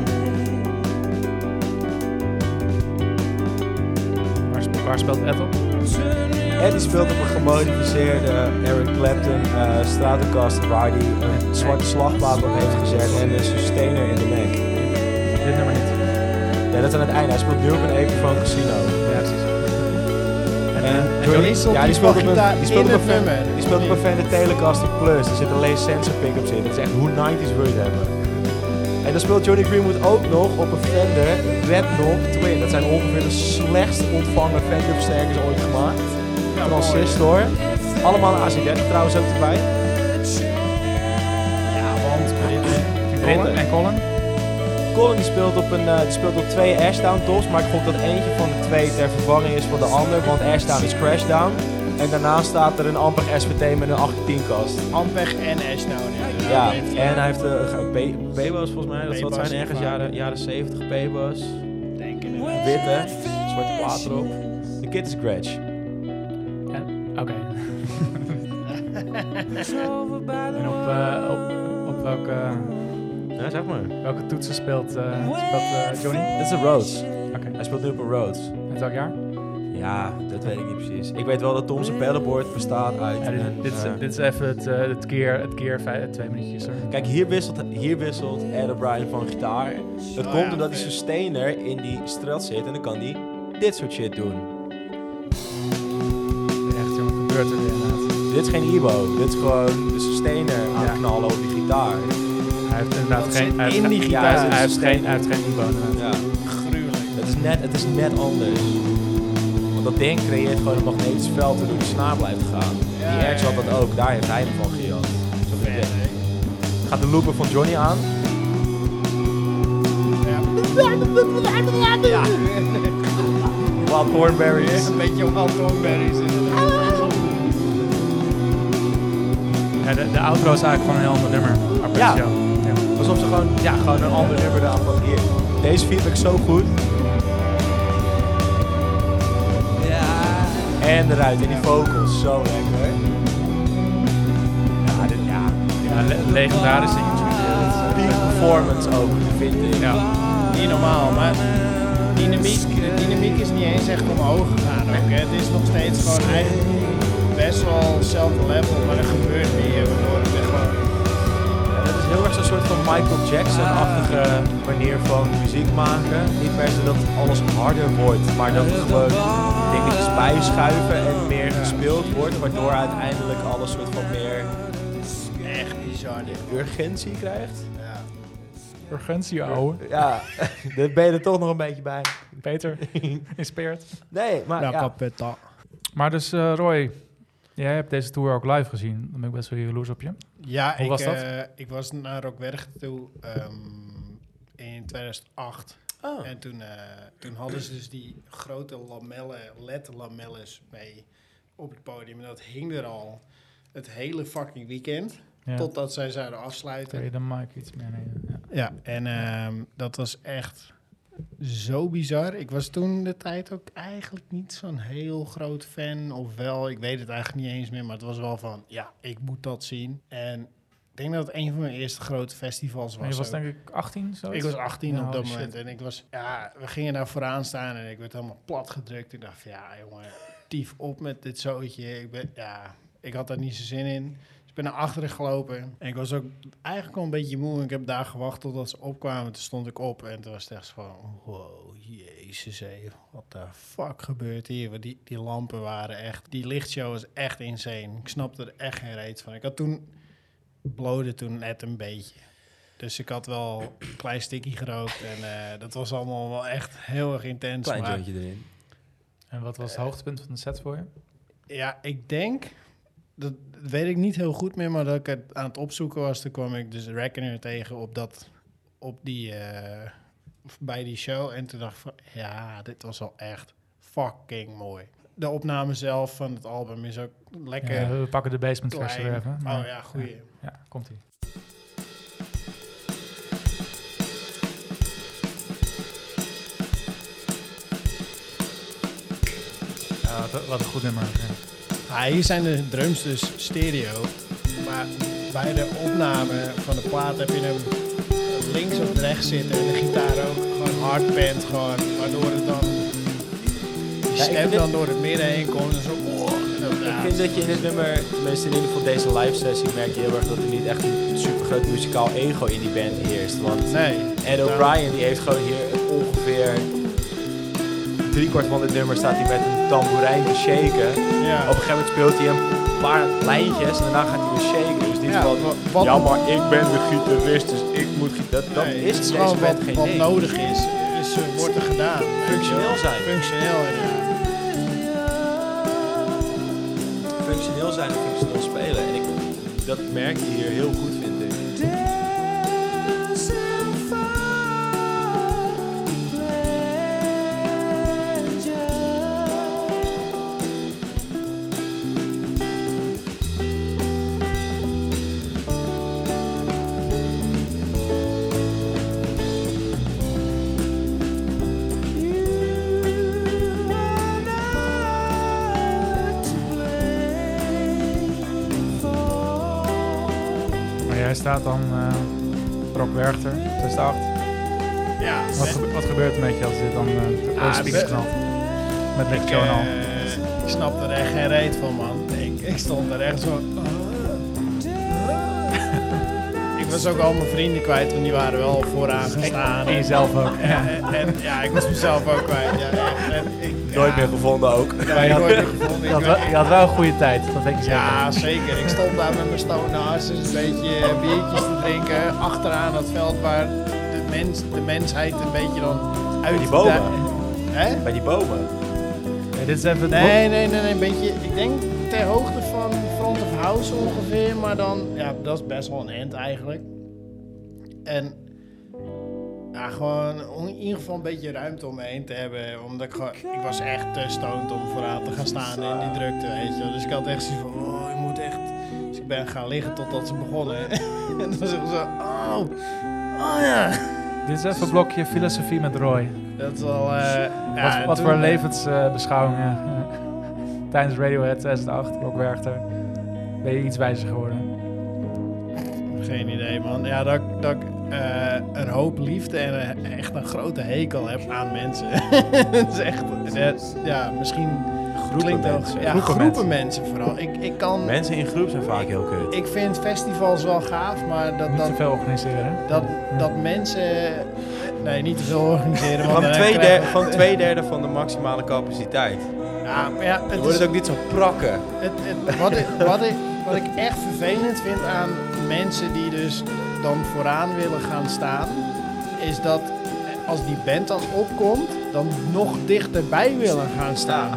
[SPEAKER 2] Waar, sp- waar speelt Ed op?
[SPEAKER 5] turn me
[SPEAKER 1] En die speelt op een gemodificeerde Eric Clapton eh Stratocaster waar hij een zwarte slagplaat op heeft gezet en een sustainer in de nek.
[SPEAKER 2] Dit nummer niet.
[SPEAKER 1] Ja, dat is aan het einde. Hij speelt nu op een Epiphone Casino.
[SPEAKER 2] Ja, precies. En,
[SPEAKER 1] En eh,
[SPEAKER 2] en
[SPEAKER 3] Johnny
[SPEAKER 1] Johnny-
[SPEAKER 3] Diesel,
[SPEAKER 1] ja, die
[SPEAKER 3] die
[SPEAKER 1] speelt op
[SPEAKER 3] mag
[SPEAKER 1] een,
[SPEAKER 3] gitaar
[SPEAKER 1] die speelt op
[SPEAKER 3] in
[SPEAKER 1] een,
[SPEAKER 3] het
[SPEAKER 1] fan,
[SPEAKER 3] nummer.
[SPEAKER 1] die speelt op een Fender Telecaster Plus. Er zit een Lee Sensor pick-up in. Dat is echt hoe 90s wil je het hebben. En dan speelt Johnny Greenwood ook nog op een Fender Red Knob Twin. Dat zijn ongeveer de slechtst ontvangen Fender versterkers ooit gemaakt. Transistor. Allemaal een AC30 trouwens ook erbij.
[SPEAKER 2] Colin? En Colin?
[SPEAKER 1] Colin die speelt op, een, eh, die speelt op twee Ashdown tops, maar ik gok dat eentje van de twee ter vervanging is van de ander, want Ashdown is Crashdown. En daarnaast staat er een Ampeg SVT met een 18 kast.
[SPEAKER 3] Ampeg en Ashdown.
[SPEAKER 1] Ja, en hij heeft eh, ge- Be- Bebo's volgens mij, dat zal het
[SPEAKER 3] Bebo's
[SPEAKER 1] zijn ergens
[SPEAKER 3] ervaring.
[SPEAKER 1] jaren, jaren 70 Bebo's.
[SPEAKER 3] Denk ik.
[SPEAKER 1] Witte, zwarte plaat erop. De kid is Gretsch.
[SPEAKER 2] En- Oké.
[SPEAKER 5] over by the
[SPEAKER 2] En op, eh, op, op welke,
[SPEAKER 1] Ja, zeg maar.
[SPEAKER 2] welke toetsen speelt, eh, speelt eh, Johnny?
[SPEAKER 1] Dit is een Rhodes.
[SPEAKER 2] Oké.
[SPEAKER 1] Hij speelt nu op een Rhodes.
[SPEAKER 2] Met welk jaar?
[SPEAKER 1] Ja, dat weet ik niet precies. Ik weet wel dat Tom's paddleboard bestaat uit
[SPEAKER 2] Ja, dit,
[SPEAKER 1] een...
[SPEAKER 2] dit, is,
[SPEAKER 1] eh,
[SPEAKER 2] dit is even het, eh, het keer, het keer vijf, twee minuutjes. Hoor.
[SPEAKER 1] Kijk, hier wisselt, hier wisselt Ed O'Brien van gitaar. Dat
[SPEAKER 3] Oh
[SPEAKER 1] komt
[SPEAKER 3] ja,
[SPEAKER 1] omdat die
[SPEAKER 3] oké.
[SPEAKER 1] sustainer in die strat zit en dan kan die dit soort shit doen.
[SPEAKER 2] Echt, jongen, gebeurt er weer inderdaad.
[SPEAKER 1] Dit is geen Ibo, dit is gewoon de sustainer aanknallen op die gitaar.
[SPEAKER 2] Hij heeft inderdaad
[SPEAKER 3] Dat
[SPEAKER 2] geen...
[SPEAKER 3] zit
[SPEAKER 2] hij heeft
[SPEAKER 1] in
[SPEAKER 2] geen-
[SPEAKER 1] die
[SPEAKER 2] ja,
[SPEAKER 1] gitaar.
[SPEAKER 2] hij, heeft geen, hij heeft geen Ibo inderdaad.
[SPEAKER 1] Ja,
[SPEAKER 3] Gruwelijk.
[SPEAKER 1] het is net, het is net anders. Want dat ding creëert gewoon een magnetisch veld waardoor die snaar blijft gaan.
[SPEAKER 3] Ja,
[SPEAKER 1] die Erks had
[SPEAKER 3] ja,
[SPEAKER 1] dat ook, daar heeft hij hem van gejat. Zo
[SPEAKER 3] Ver,
[SPEAKER 1] vet.
[SPEAKER 3] hè.
[SPEAKER 1] Gaat de looper van Johnny aan?
[SPEAKER 3] Ja.
[SPEAKER 1] Ja. Wild Thornberry
[SPEAKER 3] Dit is een beetje Wild Thornberries. inderdaad.
[SPEAKER 2] Ja, de, de outro is eigenlijk gewoon een heel ander nummer. Maar
[SPEAKER 1] Ja.
[SPEAKER 2] best wel. ja.
[SPEAKER 1] Alsof ze gewoon, ja, gewoon een ander nummer eraan van hier. Deze vind ik zo goed. En eruit, en die vocals, zo lekker. Ja, dit, ja.
[SPEAKER 2] Ja, le- legendarische YouTube.
[SPEAKER 1] Peak performance ook, vind ik.
[SPEAKER 2] Ja.
[SPEAKER 3] Niet normaal, maar dynamiek, de dynamiek is niet eens echt omhoog gegaan ook. Hè. Het is nog steeds gewoon eigenlijk best wel hetzelfde level, maar er gebeurt meer. Waardoor het weer gewoon...
[SPEAKER 1] Ja, dat is heel erg zo'n soort van Michael Jackson-achtige manier van muziek maken. Niet per se dat alles harder wordt, maar dat er gewoon dingetjes bijschuiven en meer gespeeld wordt. Waardoor uiteindelijk alles soort van meer
[SPEAKER 3] Echt bizar dit.
[SPEAKER 1] urgentie krijgt.
[SPEAKER 3] Ja.
[SPEAKER 2] Urgentie, ouwe.
[SPEAKER 1] Ja, daar ben je er toch nog een beetje bij.
[SPEAKER 2] Peter, inspired.
[SPEAKER 1] Nee, maar
[SPEAKER 3] Nou,
[SPEAKER 1] ja.
[SPEAKER 2] Maar dus, eh, Roy, jij hebt deze tour ook live gezien. Dan ben ik best wel jaloers op je.
[SPEAKER 3] Ja,
[SPEAKER 2] Hoe
[SPEAKER 3] ik,
[SPEAKER 2] was dat?
[SPEAKER 3] eh, ik was naar Rockwerg toe ehm, in 2008. En toen, eh, toen hadden ze dus die grote lamellen, LED-lamelles mee op het podium. En dat hing er al het hele fucking weekend.
[SPEAKER 2] Ja.
[SPEAKER 3] Totdat zij zouden afsluiten.
[SPEAKER 2] Kun je de mic iets meer nemen? Ja.
[SPEAKER 3] Ja, en ehm, dat was echt zo bizar. Ik was toen de tijd ook eigenlijk niet zo'n heel groot fan. Of wel, ik weet het eigenlijk niet eens meer. Maar het was wel van, ja, ik moet dat zien. En ik denk dat het een van mijn eerste grote festivals was.
[SPEAKER 2] Maar je was
[SPEAKER 3] ook.
[SPEAKER 2] denk ik 18, zo.
[SPEAKER 3] Ik was 18
[SPEAKER 2] Ja,
[SPEAKER 3] op dat
[SPEAKER 2] holy
[SPEAKER 3] moment en ik was, ja, we gingen daar vooraan staan en ik werd helemaal plat gedrukt. Ik dacht van, ja jongen, tief op met dit zootje. Ik ben, ja, ik had daar niet zo zin in. Dus ik ben naar achteren gelopen en ik was ook eigenlijk al een beetje moe. Ik heb daar gewacht totdat ze opkwamen. Toen stond ik op en toen was het echt zo van, wow, jezus hé, wat de fuck gebeurt hier? Want die, die lampen waren echt, die lichtshow was echt insane. Ik snapte er echt geen reet van. Ik had toen blode toen net een beetje. Dus ik had wel een klein stikkie gerookt en eh, dat was allemaal wel echt heel erg intens.
[SPEAKER 1] Klein
[SPEAKER 3] maar-
[SPEAKER 1] jointje erin.
[SPEAKER 2] En wat was het hoogtepunt van de set voor je?
[SPEAKER 3] Ja, ik denk, dat weet ik niet heel goed meer, maar dat ik het aan het opzoeken was, toen kwam ik dus Reckoner tegen op, dat, op die, eh, bij die show. En toen dacht ik van, ja, dit was wel echt fucking mooi. De opname zelf van het album is ook lekker
[SPEAKER 2] Ja, we pakken de basement
[SPEAKER 3] eh, klein.
[SPEAKER 2] trash er weer even.
[SPEAKER 3] Oh
[SPEAKER 2] maar-
[SPEAKER 3] ja, goeie.
[SPEAKER 2] Ja, komt ie. Ja, wat, wat een goed nummer. Ja.
[SPEAKER 3] Ah, hier zijn de drums dus stereo. Maar bij de opname van de plaat heb je hem links of rechts zitten. En de gitaar ook gewoon hardpant gewoon. Waardoor het dan... Die
[SPEAKER 1] Ja, ik
[SPEAKER 3] stem
[SPEAKER 1] vind
[SPEAKER 3] dan
[SPEAKER 1] dit-
[SPEAKER 3] door het midden heen komt. En zo... Oh, en
[SPEAKER 1] Ik
[SPEAKER 3] ja,
[SPEAKER 1] vind dat je in dit nummer, tenminste in ieder geval deze live sessie, merk je heel erg dat er niet echt een super groot muzikaal ego in die band heerst. Want
[SPEAKER 3] Nee. Nou,
[SPEAKER 1] Ed O'Brien die heeft gewoon hier ongeveer driekwart van dit nummer staat hij met een tamboerijn te shaken.
[SPEAKER 3] Ja.
[SPEAKER 1] Op een gegeven moment speelt hij een paar lijntjes en daarna gaat hij weer shaken. Dus niet
[SPEAKER 3] Ja,
[SPEAKER 1] van,
[SPEAKER 3] wa- wat-
[SPEAKER 1] ja maar ik ben de gitarist dus ik moet... gi-" Dat, dat
[SPEAKER 3] Nee,
[SPEAKER 1] is
[SPEAKER 3] het
[SPEAKER 1] in deze
[SPEAKER 3] gewoon
[SPEAKER 1] band
[SPEAKER 3] wat,
[SPEAKER 1] geen
[SPEAKER 3] wat
[SPEAKER 1] ding.
[SPEAKER 3] nodig is. is eh, wordt er gedaan.
[SPEAKER 1] Functioneel zijn.
[SPEAKER 3] Functioneel, inderdaad.
[SPEAKER 1] functioneel zijn en functioneel spelen. En ik, dat merk je hier heel goed, vind ik.
[SPEAKER 2] Maar jij staat dan, eh Rob Werchter, 68.
[SPEAKER 3] Ja.
[SPEAKER 2] Wat, gebe- wat gebeurt er met je als dit dan eh de
[SPEAKER 3] Ah,
[SPEAKER 2] speakers
[SPEAKER 3] we-
[SPEAKER 2] knalt? Met
[SPEAKER 3] Ik,
[SPEAKER 2] Nick Joan al.
[SPEAKER 3] eh, ik snap er echt geen reet van, man. Ik, ik stond er echt zo... oh. ik was ook al mijn vrienden kwijt, want die waren wel vooraan gestaan.
[SPEAKER 2] En jezelf ook. Ja.
[SPEAKER 3] En, en- ja, ik was mezelf ook kwijt. Ja, echt. En ik,
[SPEAKER 1] Nooit
[SPEAKER 3] ja,
[SPEAKER 1] meer gevonden ook.
[SPEAKER 3] ja,
[SPEAKER 2] Maar je had-
[SPEAKER 3] nooit meer gevonden.
[SPEAKER 2] Je,
[SPEAKER 3] Ik
[SPEAKER 2] had wel, je
[SPEAKER 3] weet-
[SPEAKER 2] had wel een goede tijd, dat weet ik zeker.
[SPEAKER 3] Ja, zeker. Ik stond daar met mijn stonen assen een beetje eh, biertjes te drinken. Achteraan dat veld waar de, mens, de mensheid een beetje dan uit
[SPEAKER 1] die bomen.
[SPEAKER 3] de- Hè?
[SPEAKER 1] Bij die bomen.
[SPEAKER 2] Nee, dit is even het
[SPEAKER 3] Nee, nee, nee, nee, een beetje. Ik denk ter hoogte van front of house ongeveer, maar dan, ja, dat is best wel een end eigenlijk. En ja, gewoon om in ieder geval een beetje ruimte om me heen te hebben, omdat ik gewoon, ik was echt te stoned om vooraan te gaan staan in die drukte, weet je. wel. Dus ik had echt zoiets van, oh, ik moet echt. Dus ik ben gaan liggen totdat ze begonnen. en toen was ik zo, oh, oh ja.
[SPEAKER 2] Dit is even een blokje filosofie met Roy.
[SPEAKER 3] Dat is wel. eh, ja,
[SPEAKER 2] wat
[SPEAKER 3] en
[SPEAKER 2] wat
[SPEAKER 3] toen,
[SPEAKER 2] voor
[SPEAKER 3] eh,
[SPEAKER 2] levensbeschouwingen eh, tijdens Radiohead 2008, Rob Werchter, ben je iets wijzer geworden?
[SPEAKER 3] Geen idee, man. Ja, dat, ik- dat ik eh, een hoop liefde en eh, echt een grote hekel heb aan mensen. Het is echt... dat- ja, misschien klinkt dat...
[SPEAKER 1] mensen.
[SPEAKER 3] Ja,
[SPEAKER 2] Groepen
[SPEAKER 3] groepen, mensen. vooral. Ik, ik kan...
[SPEAKER 1] Mensen in groep zijn vaak heel kut.
[SPEAKER 3] Ik vind festivals wel gaaf, maar dat...
[SPEAKER 2] Niet
[SPEAKER 3] dat
[SPEAKER 2] te veel organiseren, hè?
[SPEAKER 3] dat, dat mensen... Nee, niet te veel organiseren. want
[SPEAKER 6] Van
[SPEAKER 3] dan
[SPEAKER 6] twee,
[SPEAKER 3] krijg-
[SPEAKER 6] derde, van twee derde van de maximale capaciteit.
[SPEAKER 3] Ja, maar ja,
[SPEAKER 6] Dan
[SPEAKER 3] het
[SPEAKER 6] wordt
[SPEAKER 3] is
[SPEAKER 6] het ook niet zo prakken.
[SPEAKER 3] Het, het- wat, ik, wat, ik, wat ik echt vervelend vind aan mensen die dus dan vooraan willen gaan staan, is dat als die band dan opkomt, dan nog dichterbij willen gaan staan.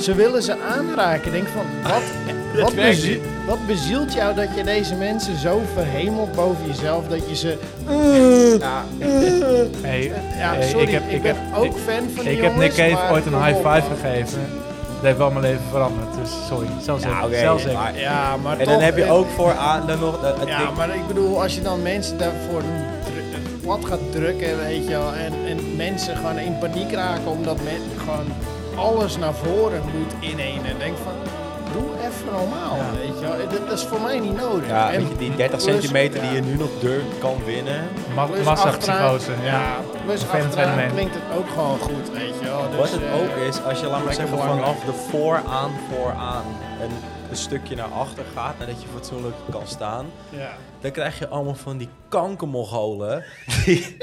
[SPEAKER 3] Ze willen ze aanraken. Ik Denk van, wat, wat,
[SPEAKER 6] werkt
[SPEAKER 3] bezie- wat bezielt jou dat je deze mensen zo verhemelt boven jezelf dat je ze...
[SPEAKER 2] Hey,
[SPEAKER 3] Ja,
[SPEAKER 2] hey,
[SPEAKER 3] sorry, ik,
[SPEAKER 2] heb, ik,
[SPEAKER 3] ben
[SPEAKER 2] heb,
[SPEAKER 3] ook
[SPEAKER 2] ik,
[SPEAKER 3] fan van die
[SPEAKER 2] ik heb Nick
[SPEAKER 3] jongens,
[SPEAKER 2] Cave
[SPEAKER 3] maar
[SPEAKER 2] ooit een
[SPEAKER 3] kom
[SPEAKER 2] high
[SPEAKER 3] op,
[SPEAKER 2] five
[SPEAKER 3] man.
[SPEAKER 2] gegeven. Dat heeft wel mijn leven veranderd, dus sorry. Zelfs ik.
[SPEAKER 1] oké,
[SPEAKER 2] zelfs ik.
[SPEAKER 1] maar-
[SPEAKER 3] Ja, Nou, maar
[SPEAKER 1] En dan
[SPEAKER 3] toch,
[SPEAKER 1] heb je
[SPEAKER 3] eh,
[SPEAKER 1] ook voor aan, dan nog. dat- het
[SPEAKER 3] Ja,
[SPEAKER 1] ding-
[SPEAKER 3] maar ik bedoel, als je dan mensen daarvoor dru- plat gaat drukken, weet je wel, en, en mensen gewoon in paniek raken omdat men gewoon alles naar voren moet inenen. Denk van, doe even normaal, weet je wel. Dat, dat is voor mij niet nodig.
[SPEAKER 1] ja,
[SPEAKER 3] En
[SPEAKER 1] weet je, die 30
[SPEAKER 3] plus-
[SPEAKER 1] centimeter die
[SPEAKER 3] ja, Dus,
[SPEAKER 1] je nu nog durft kan winnen.
[SPEAKER 2] Ma-
[SPEAKER 3] plus
[SPEAKER 2] Massapsychose,
[SPEAKER 3] achteraan-
[SPEAKER 2] ja.
[SPEAKER 3] Plus
[SPEAKER 2] Vervelend
[SPEAKER 3] achteraan
[SPEAKER 2] fenomeen.
[SPEAKER 3] klinkt het ook gewoon goed, weet je wel. Dus,
[SPEAKER 1] Wat het
[SPEAKER 3] eh,
[SPEAKER 1] ook is, als je laat maar
[SPEAKER 3] lekker
[SPEAKER 1] zeggen
[SPEAKER 3] belangrijk.
[SPEAKER 1] vanaf de vooraan, vooraan een, een stukje naar achter gaat, nadat je fatsoenlijk kan staan,
[SPEAKER 3] Ja.
[SPEAKER 1] dan krijg je allemaal van die kankermongolen. die,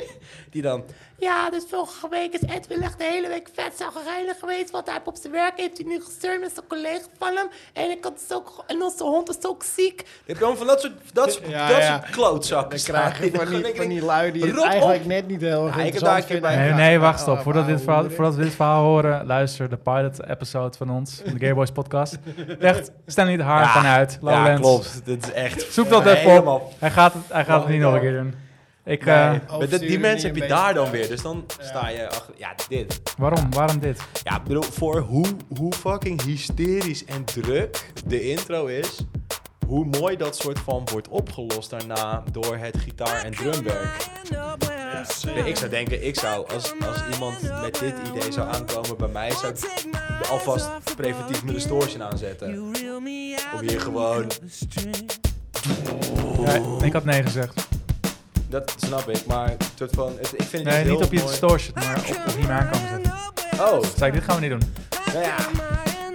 [SPEAKER 1] die dan...
[SPEAKER 5] Ja, dus vorige week is Edwin echt de hele week vet zagrijnig geweest. Want hij heeft op zijn werk heeft hij nu gestuurd met zijn collega van hem. En, ik had dus ook, en onze hond is ook ziek.
[SPEAKER 1] Ik gewoon van dat soort, dat soort,
[SPEAKER 3] Ja,
[SPEAKER 1] dat
[SPEAKER 3] ja.
[SPEAKER 1] soort klootzakken
[SPEAKER 3] Dan
[SPEAKER 1] staan.
[SPEAKER 3] krijg je van
[SPEAKER 1] Dan
[SPEAKER 3] die,
[SPEAKER 1] denk
[SPEAKER 3] van
[SPEAKER 1] ik,
[SPEAKER 3] die lui die het
[SPEAKER 1] rot op.
[SPEAKER 3] eigenlijk net niet heel erg
[SPEAKER 1] Ja, ik heb daar
[SPEAKER 3] interessant
[SPEAKER 1] een
[SPEAKER 3] vinden.
[SPEAKER 1] keer bij-
[SPEAKER 2] Nee,
[SPEAKER 1] Ja,
[SPEAKER 2] nee, wacht, stop.
[SPEAKER 3] Oh,
[SPEAKER 2] Voordat we dit
[SPEAKER 3] wauw,
[SPEAKER 2] verhaal,
[SPEAKER 3] hoe dit-
[SPEAKER 2] voordat we dit verhaal horen, luister de pilot-episode van ons, van de Gameboys podcast. Echt, Stanley de Haar
[SPEAKER 1] Ja,
[SPEAKER 2] gaan uit.
[SPEAKER 1] Ja,
[SPEAKER 2] Lowlands.
[SPEAKER 1] klopt. Dit is echt...
[SPEAKER 2] Zoek dat
[SPEAKER 1] Ja,
[SPEAKER 2] even op.
[SPEAKER 1] helemaal.
[SPEAKER 2] Hij gaat het, hij gaat het
[SPEAKER 1] Mag
[SPEAKER 2] niet
[SPEAKER 1] ik
[SPEAKER 2] nog een
[SPEAKER 1] ook?
[SPEAKER 2] keer doen. Ik,
[SPEAKER 1] Nee,
[SPEAKER 2] eh,
[SPEAKER 1] maar dat- die
[SPEAKER 3] Oversturen
[SPEAKER 1] mensen
[SPEAKER 3] die
[SPEAKER 1] heb je
[SPEAKER 3] een
[SPEAKER 1] daar
[SPEAKER 3] beetje-
[SPEAKER 1] dan weer. Dus dan sta je achter... Ja, dit.
[SPEAKER 2] waarom? Waarom dit?
[SPEAKER 1] Ja, ik bedoel, voor hoe, hoe fucking hysterisch en druk de intro is... hoe mooi dat soort van wordt opgelost daarna door het gitaar- en drumwerk. Nee, ik zou denken, ik zou, als, als iemand met dit idee zou aankomen bij mij... zou ik alvast preventief mijn distortion aanzetten. Om hier gewoon...
[SPEAKER 2] Ja, ik had nee gezegd.
[SPEAKER 1] Dat snap ik, maar het soort van... het- ik vind het
[SPEAKER 2] Nee,
[SPEAKER 1] echt
[SPEAKER 2] niet
[SPEAKER 1] heel
[SPEAKER 2] op je
[SPEAKER 1] mooi.
[SPEAKER 2] distortion, maar op, op hier maar aankomen zetten.
[SPEAKER 1] Oh,
[SPEAKER 2] Toen zei ik, dit gaan we niet doen.
[SPEAKER 1] nou ja.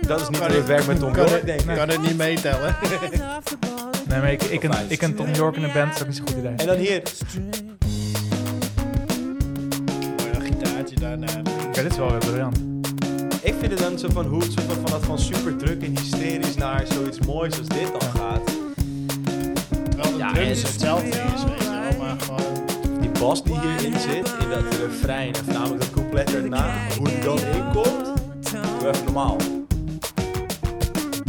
[SPEAKER 1] Dat is niet hoe
[SPEAKER 3] dit-
[SPEAKER 1] het werkt met Tom
[SPEAKER 3] kan
[SPEAKER 1] York,
[SPEAKER 3] het-
[SPEAKER 1] denk ik.
[SPEAKER 3] kan het niet meetellen.
[SPEAKER 2] Nee, maar ik, ik, een, ik en Tom York in een band, dat is een goed idee.
[SPEAKER 1] En dan hier.
[SPEAKER 3] Mooi, dat gitaartje daarna.
[SPEAKER 2] Oké, dit is wel weer briljant.
[SPEAKER 1] Ik vind het dan zo van hoe het soort van, van dat van super druk en hysterisch naar zoiets moois als dit dan gaat.
[SPEAKER 3] Wel, de
[SPEAKER 1] Ja,
[SPEAKER 3] drum
[SPEAKER 1] en
[SPEAKER 3] is
[SPEAKER 1] ze-
[SPEAKER 3] hetzelfde is, weet je wel, maar gewoon...
[SPEAKER 1] Die bas die hierin zit, in dat refrein en voornamelijk dat couplet erna, hoe die dan inkomt. Doe even normaal.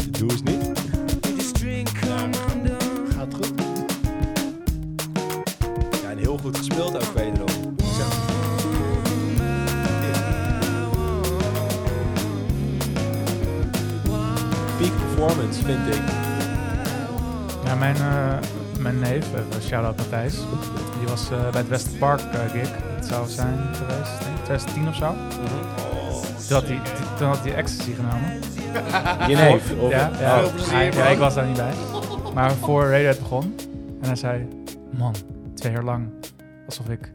[SPEAKER 1] Doe eens niet.
[SPEAKER 3] Gaat goed.
[SPEAKER 1] Ja, en heel goed gespeeld ook wederom. Zo. Peak performance vind ik.
[SPEAKER 2] Ja, mijn, eh, mijn neef, eh, shout-out Matthijs, die was eh, bij het Westerpark eh, gig. Het zou zijn geweest, denk ik, 2010 of zo.
[SPEAKER 1] Mhm.
[SPEAKER 2] Toen had hij, toen had hij ecstasy genomen.
[SPEAKER 1] Je neef. Of,
[SPEAKER 2] Ja, ja.
[SPEAKER 3] Veel plezier,
[SPEAKER 2] Hij- ja,
[SPEAKER 3] man.
[SPEAKER 2] ik was daar niet bij. Maar voor Radiohead begon. En hij zei, man, twee jaar lang. Alsof ik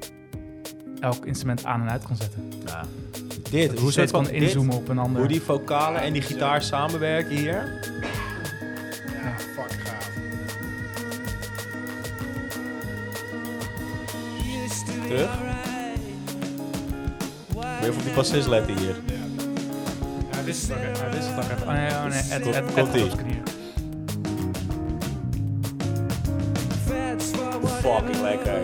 [SPEAKER 2] elk instrument aan en uit kon zetten.
[SPEAKER 1] Dit,
[SPEAKER 2] Dat
[SPEAKER 1] hoe
[SPEAKER 2] hoe
[SPEAKER 1] zit
[SPEAKER 2] steeds
[SPEAKER 1] van
[SPEAKER 2] kon
[SPEAKER 1] dit,
[SPEAKER 2] inzoomen op een ander.
[SPEAKER 1] hoe die vocalen en die gitaar samenwerken hier.
[SPEAKER 3] Ja, fuck gaaf.
[SPEAKER 1] Terug. Weer op die bassist letten hier.
[SPEAKER 2] Hij wist het ook even. Hij wist het ook even. Oh nee, oh nee. Ed, Ed, Ed,
[SPEAKER 1] Komt-
[SPEAKER 2] Ed
[SPEAKER 1] komt-ie.
[SPEAKER 2] gaat op zijn knieën.
[SPEAKER 1] Fucking lekker.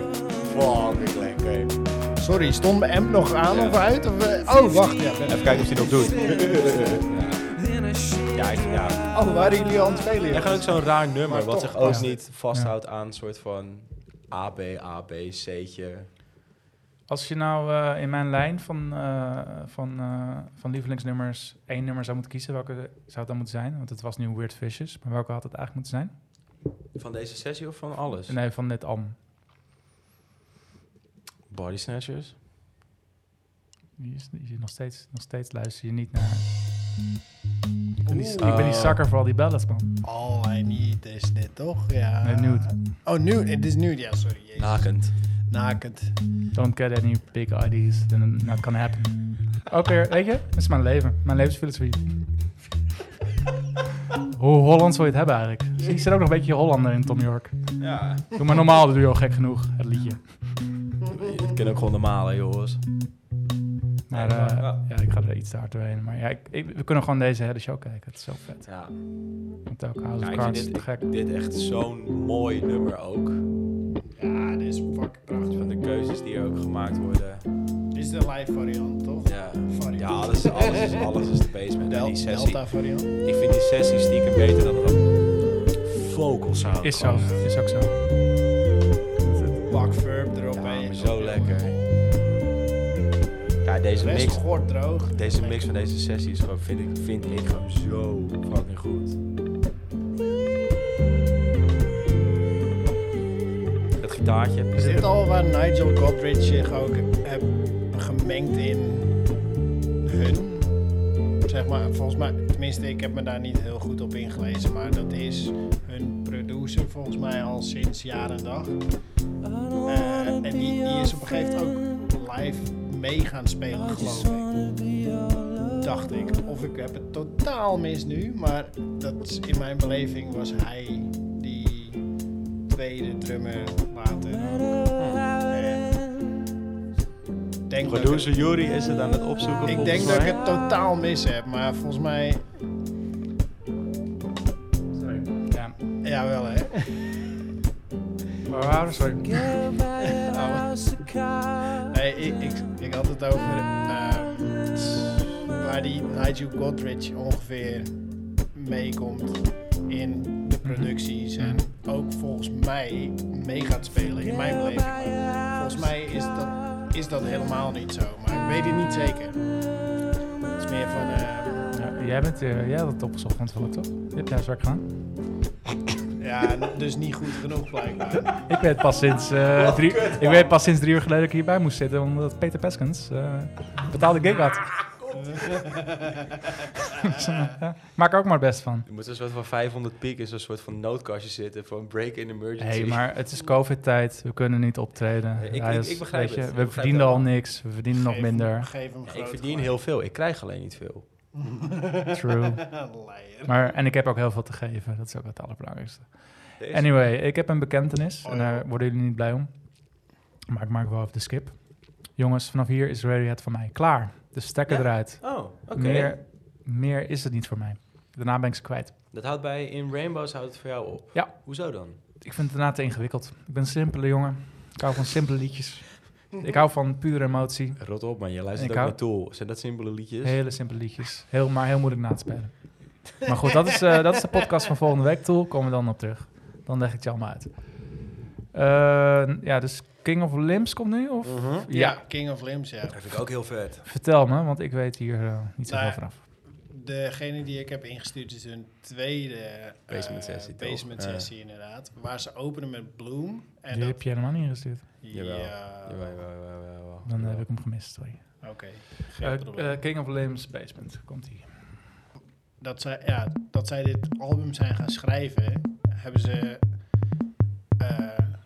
[SPEAKER 1] Fucking lekker.
[SPEAKER 3] Sorry, stond mijn amp nog aan
[SPEAKER 1] Ja.
[SPEAKER 3] of uit? Of, eh, oh, wacht. Ja, ben-
[SPEAKER 1] Even kijken of hij nog doet. ja, ik- ja.
[SPEAKER 3] oh, waren jullie aan het spelen?
[SPEAKER 1] Jij gaat ook
[SPEAKER 3] jongens?
[SPEAKER 1] zo'n raar nummer,
[SPEAKER 3] Maar
[SPEAKER 1] wat
[SPEAKER 3] toch
[SPEAKER 1] zich ook
[SPEAKER 2] past
[SPEAKER 1] niet vasthoudt aan een soort van A, B, A, B, C'tje.
[SPEAKER 2] Als je nou eh, in mijn lijn van, eh, van, eh, van lievelingsnummers één nummer zou moeten kiezen, welke zou het dan moeten zijn? Want het was nu Weird Fishes, maar welke had het eigenlijk moeten zijn?
[SPEAKER 1] Van deze sessie of van alles?
[SPEAKER 2] Nee, van dit album.
[SPEAKER 1] Body Snatchers.
[SPEAKER 2] Die is, die is nog, steeds, nog steeds luister je niet naar. Ik ben die,
[SPEAKER 3] Oeh.
[SPEAKER 2] ik ben
[SPEAKER 1] Oh.
[SPEAKER 2] die zakker voor al die ballads, man.
[SPEAKER 3] All I need is dit, toch? Ja.
[SPEAKER 2] Nee, nude.
[SPEAKER 3] Oh, nude. Het is nude, ja, sorry. Jezus. Nou,
[SPEAKER 1] Nakend.
[SPEAKER 3] Nakend.
[SPEAKER 2] Don't get any big ideas, then that can happen. Ook weer, weet je, dat is mijn leven. Mijn levensfilosofie. Hoe Hollands wil je het hebben eigenlijk? Dus ik zit ook nog een beetje Hollander in Tom York.
[SPEAKER 1] Ja.
[SPEAKER 2] Doe maar normaal, dat doe je al gek genoeg, het liedje.
[SPEAKER 1] Het kan ook gewoon normale, jongens.
[SPEAKER 2] Maar
[SPEAKER 1] Ja,
[SPEAKER 2] eh,
[SPEAKER 1] ja.
[SPEAKER 2] ja, ik ga er iets te hard doorheen. Maar ja, ik, ik- we kunnen gewoon deze hele show kijken. Het is zo vet.
[SPEAKER 1] Ja.
[SPEAKER 2] Met ook House
[SPEAKER 1] Ja,
[SPEAKER 2] of
[SPEAKER 1] ik
[SPEAKER 2] Cards,
[SPEAKER 1] vind
[SPEAKER 2] te gek.
[SPEAKER 1] Dit echt zo'n mooi nummer ook.
[SPEAKER 3] Ja, dit is fucking prachtig.
[SPEAKER 1] Van de keuzes die er ook gemaakt worden.
[SPEAKER 3] Dit is de live variant, toch?
[SPEAKER 1] Ja,
[SPEAKER 3] Variant.
[SPEAKER 1] ja alles, alles, is, alles is de basement. En
[SPEAKER 3] Del-
[SPEAKER 1] die sessie,
[SPEAKER 3] Delta variant.
[SPEAKER 1] ik vind die sessie stiekem beter dan dat vocal sound.
[SPEAKER 2] Is zo, is ook zo.
[SPEAKER 3] Bak verb erop.
[SPEAKER 1] Ja,
[SPEAKER 3] hè.
[SPEAKER 1] maar zo lekker. Ja, deze
[SPEAKER 3] Best
[SPEAKER 1] mix,
[SPEAKER 3] gehoord droog.
[SPEAKER 1] deze mix van deze sessie is gewoon, vind, ik, vind ik gewoon zo fucking goed. Het gitaartje.
[SPEAKER 3] Is dit al waar Nigel Godrich zich ook heb gemengd in hun? Zeg maar, volgens mij, tenminste, ik heb me daar niet heel goed op ingelezen, maar dat is hun producer volgens mij al sinds jaren en dag. Eh, en die, die is op een gegeven moment ook live mee gaan spelen, geloof ik. Dacht ik. Of ik heb het totaal mis nu, maar dat is, in mijn beleving was hij die optreden, drummen, later. Ik Denk dat ik,
[SPEAKER 1] Producer Jury is het aan het opzoeken.
[SPEAKER 3] ik
[SPEAKER 1] volgens
[SPEAKER 3] denk dat ik
[SPEAKER 1] mij.
[SPEAKER 3] het totaal mis heb, maar volgens mij...
[SPEAKER 2] Sorry. Ja.
[SPEAKER 3] Jawel hè.
[SPEAKER 2] Maar waarom? Sorry.
[SPEAKER 3] Nee, ik, ik, ik had het over eh, waar die Nigel Godrich ongeveer meekomt in de producties en ook volgens mij mee gaat spelen in mijn beleving. Maar volgens mij is dat, is dat helemaal niet zo, maar ik weet het niet zeker. Het is meer van, eh,
[SPEAKER 2] Ja, jij, bent, eh, jij had het opgezocht van tevoren, toch? Je hebt huiswerk gedaan.
[SPEAKER 3] ja, dus niet goed genoeg blijkbaar.
[SPEAKER 2] Ik weet pas sinds, eh, drie, ik weet pas sinds drie uur geleden dat ik hierbij moest zitten, omdat Peter Peskens eh, betaalde gig had. Ja, Maak er ook maar het best van.
[SPEAKER 1] Je moet een soort van 500 piek in zo'n soort van noodkastje zitten voor een break-in emergency.
[SPEAKER 2] Hé, hey, maar het is covid-tijd. We kunnen niet optreden.
[SPEAKER 1] ik-
[SPEAKER 2] Hij
[SPEAKER 1] ik-
[SPEAKER 2] is-
[SPEAKER 1] ik begrijp
[SPEAKER 2] weet je,
[SPEAKER 1] het. Ik
[SPEAKER 2] We
[SPEAKER 1] begrijp
[SPEAKER 2] verdienen
[SPEAKER 1] het
[SPEAKER 2] al
[SPEAKER 1] wel.
[SPEAKER 2] niks. We verdienen nog
[SPEAKER 3] Geef hem-
[SPEAKER 2] minder.
[SPEAKER 3] Geef hem groot
[SPEAKER 1] ik verdien
[SPEAKER 3] gelijk.
[SPEAKER 1] heel veel, ik krijg alleen niet veel.
[SPEAKER 2] True.
[SPEAKER 3] Leier.
[SPEAKER 2] Maar, en ik heb ook heel veel te geven. Dat is ook het allerbelangrijkste.
[SPEAKER 1] Deze-
[SPEAKER 2] Anyway, ik heb een bekentenis.
[SPEAKER 3] Oh,
[SPEAKER 2] en
[SPEAKER 3] ja.
[SPEAKER 2] daar worden jullie niet blij om. Maar ik maak wel even de skip. Jongens, vanaf hier is Radiohead van mij klaar. Dus stekker
[SPEAKER 1] Ja?
[SPEAKER 2] eruit.
[SPEAKER 1] Oh, oké.
[SPEAKER 2] Meer, meer is het niet voor mij. Daarna ben ik ze kwijt.
[SPEAKER 1] Dat houdt bij, in Rainbows houdt het voor jou op.
[SPEAKER 2] Ja.
[SPEAKER 1] Hoezo dan?
[SPEAKER 2] Ik vind het daarna te ingewikkeld. Ik ben een simpele jongen. Ik hou van simpele liedjes. Ik hou van pure emotie.
[SPEAKER 1] Rot op man, je luistert
[SPEAKER 2] Ik
[SPEAKER 1] ook
[SPEAKER 2] hou-
[SPEAKER 1] naar Tool. Zijn dat simpele liedjes?
[SPEAKER 2] Hele simpele liedjes. Heel, maar heel moeilijk na te spelen. Maar goed, dat is, eh, dat is de podcast van volgende week. Tool, komen we dan op terug. Dan leg ik het je allemaal uit. Eh, ja, dus King of Limbs komt nu? Of?
[SPEAKER 3] Ja, King of Limbs, ja.
[SPEAKER 7] Dat vind ik ook heel vet.
[SPEAKER 2] Vertel me, want ik weet hier eh, niet zoveel
[SPEAKER 3] Nou,
[SPEAKER 2] vanaf.
[SPEAKER 3] Degene die ik heb ingestuurd is hun tweede eh,
[SPEAKER 1] Basement sessie, toch?
[SPEAKER 3] basement
[SPEAKER 1] Ja.
[SPEAKER 3] sessie inderdaad. Waar ze openen met Bloom. En
[SPEAKER 2] Die
[SPEAKER 3] dat,
[SPEAKER 2] heb je helemaal niet gestuurd.
[SPEAKER 1] Jawel.
[SPEAKER 3] Ja,
[SPEAKER 1] Jawel, jawel, jawel, jawel.
[SPEAKER 2] Dan heb ik hem gemist, sorry.
[SPEAKER 3] oké. geen
[SPEAKER 2] Eh,
[SPEAKER 3] probleem.
[SPEAKER 2] eh, King of Limbs Basement, komt hier.
[SPEAKER 3] dat, zij, ja, dat zij dit album zijn gaan schrijven, hebben ze eh,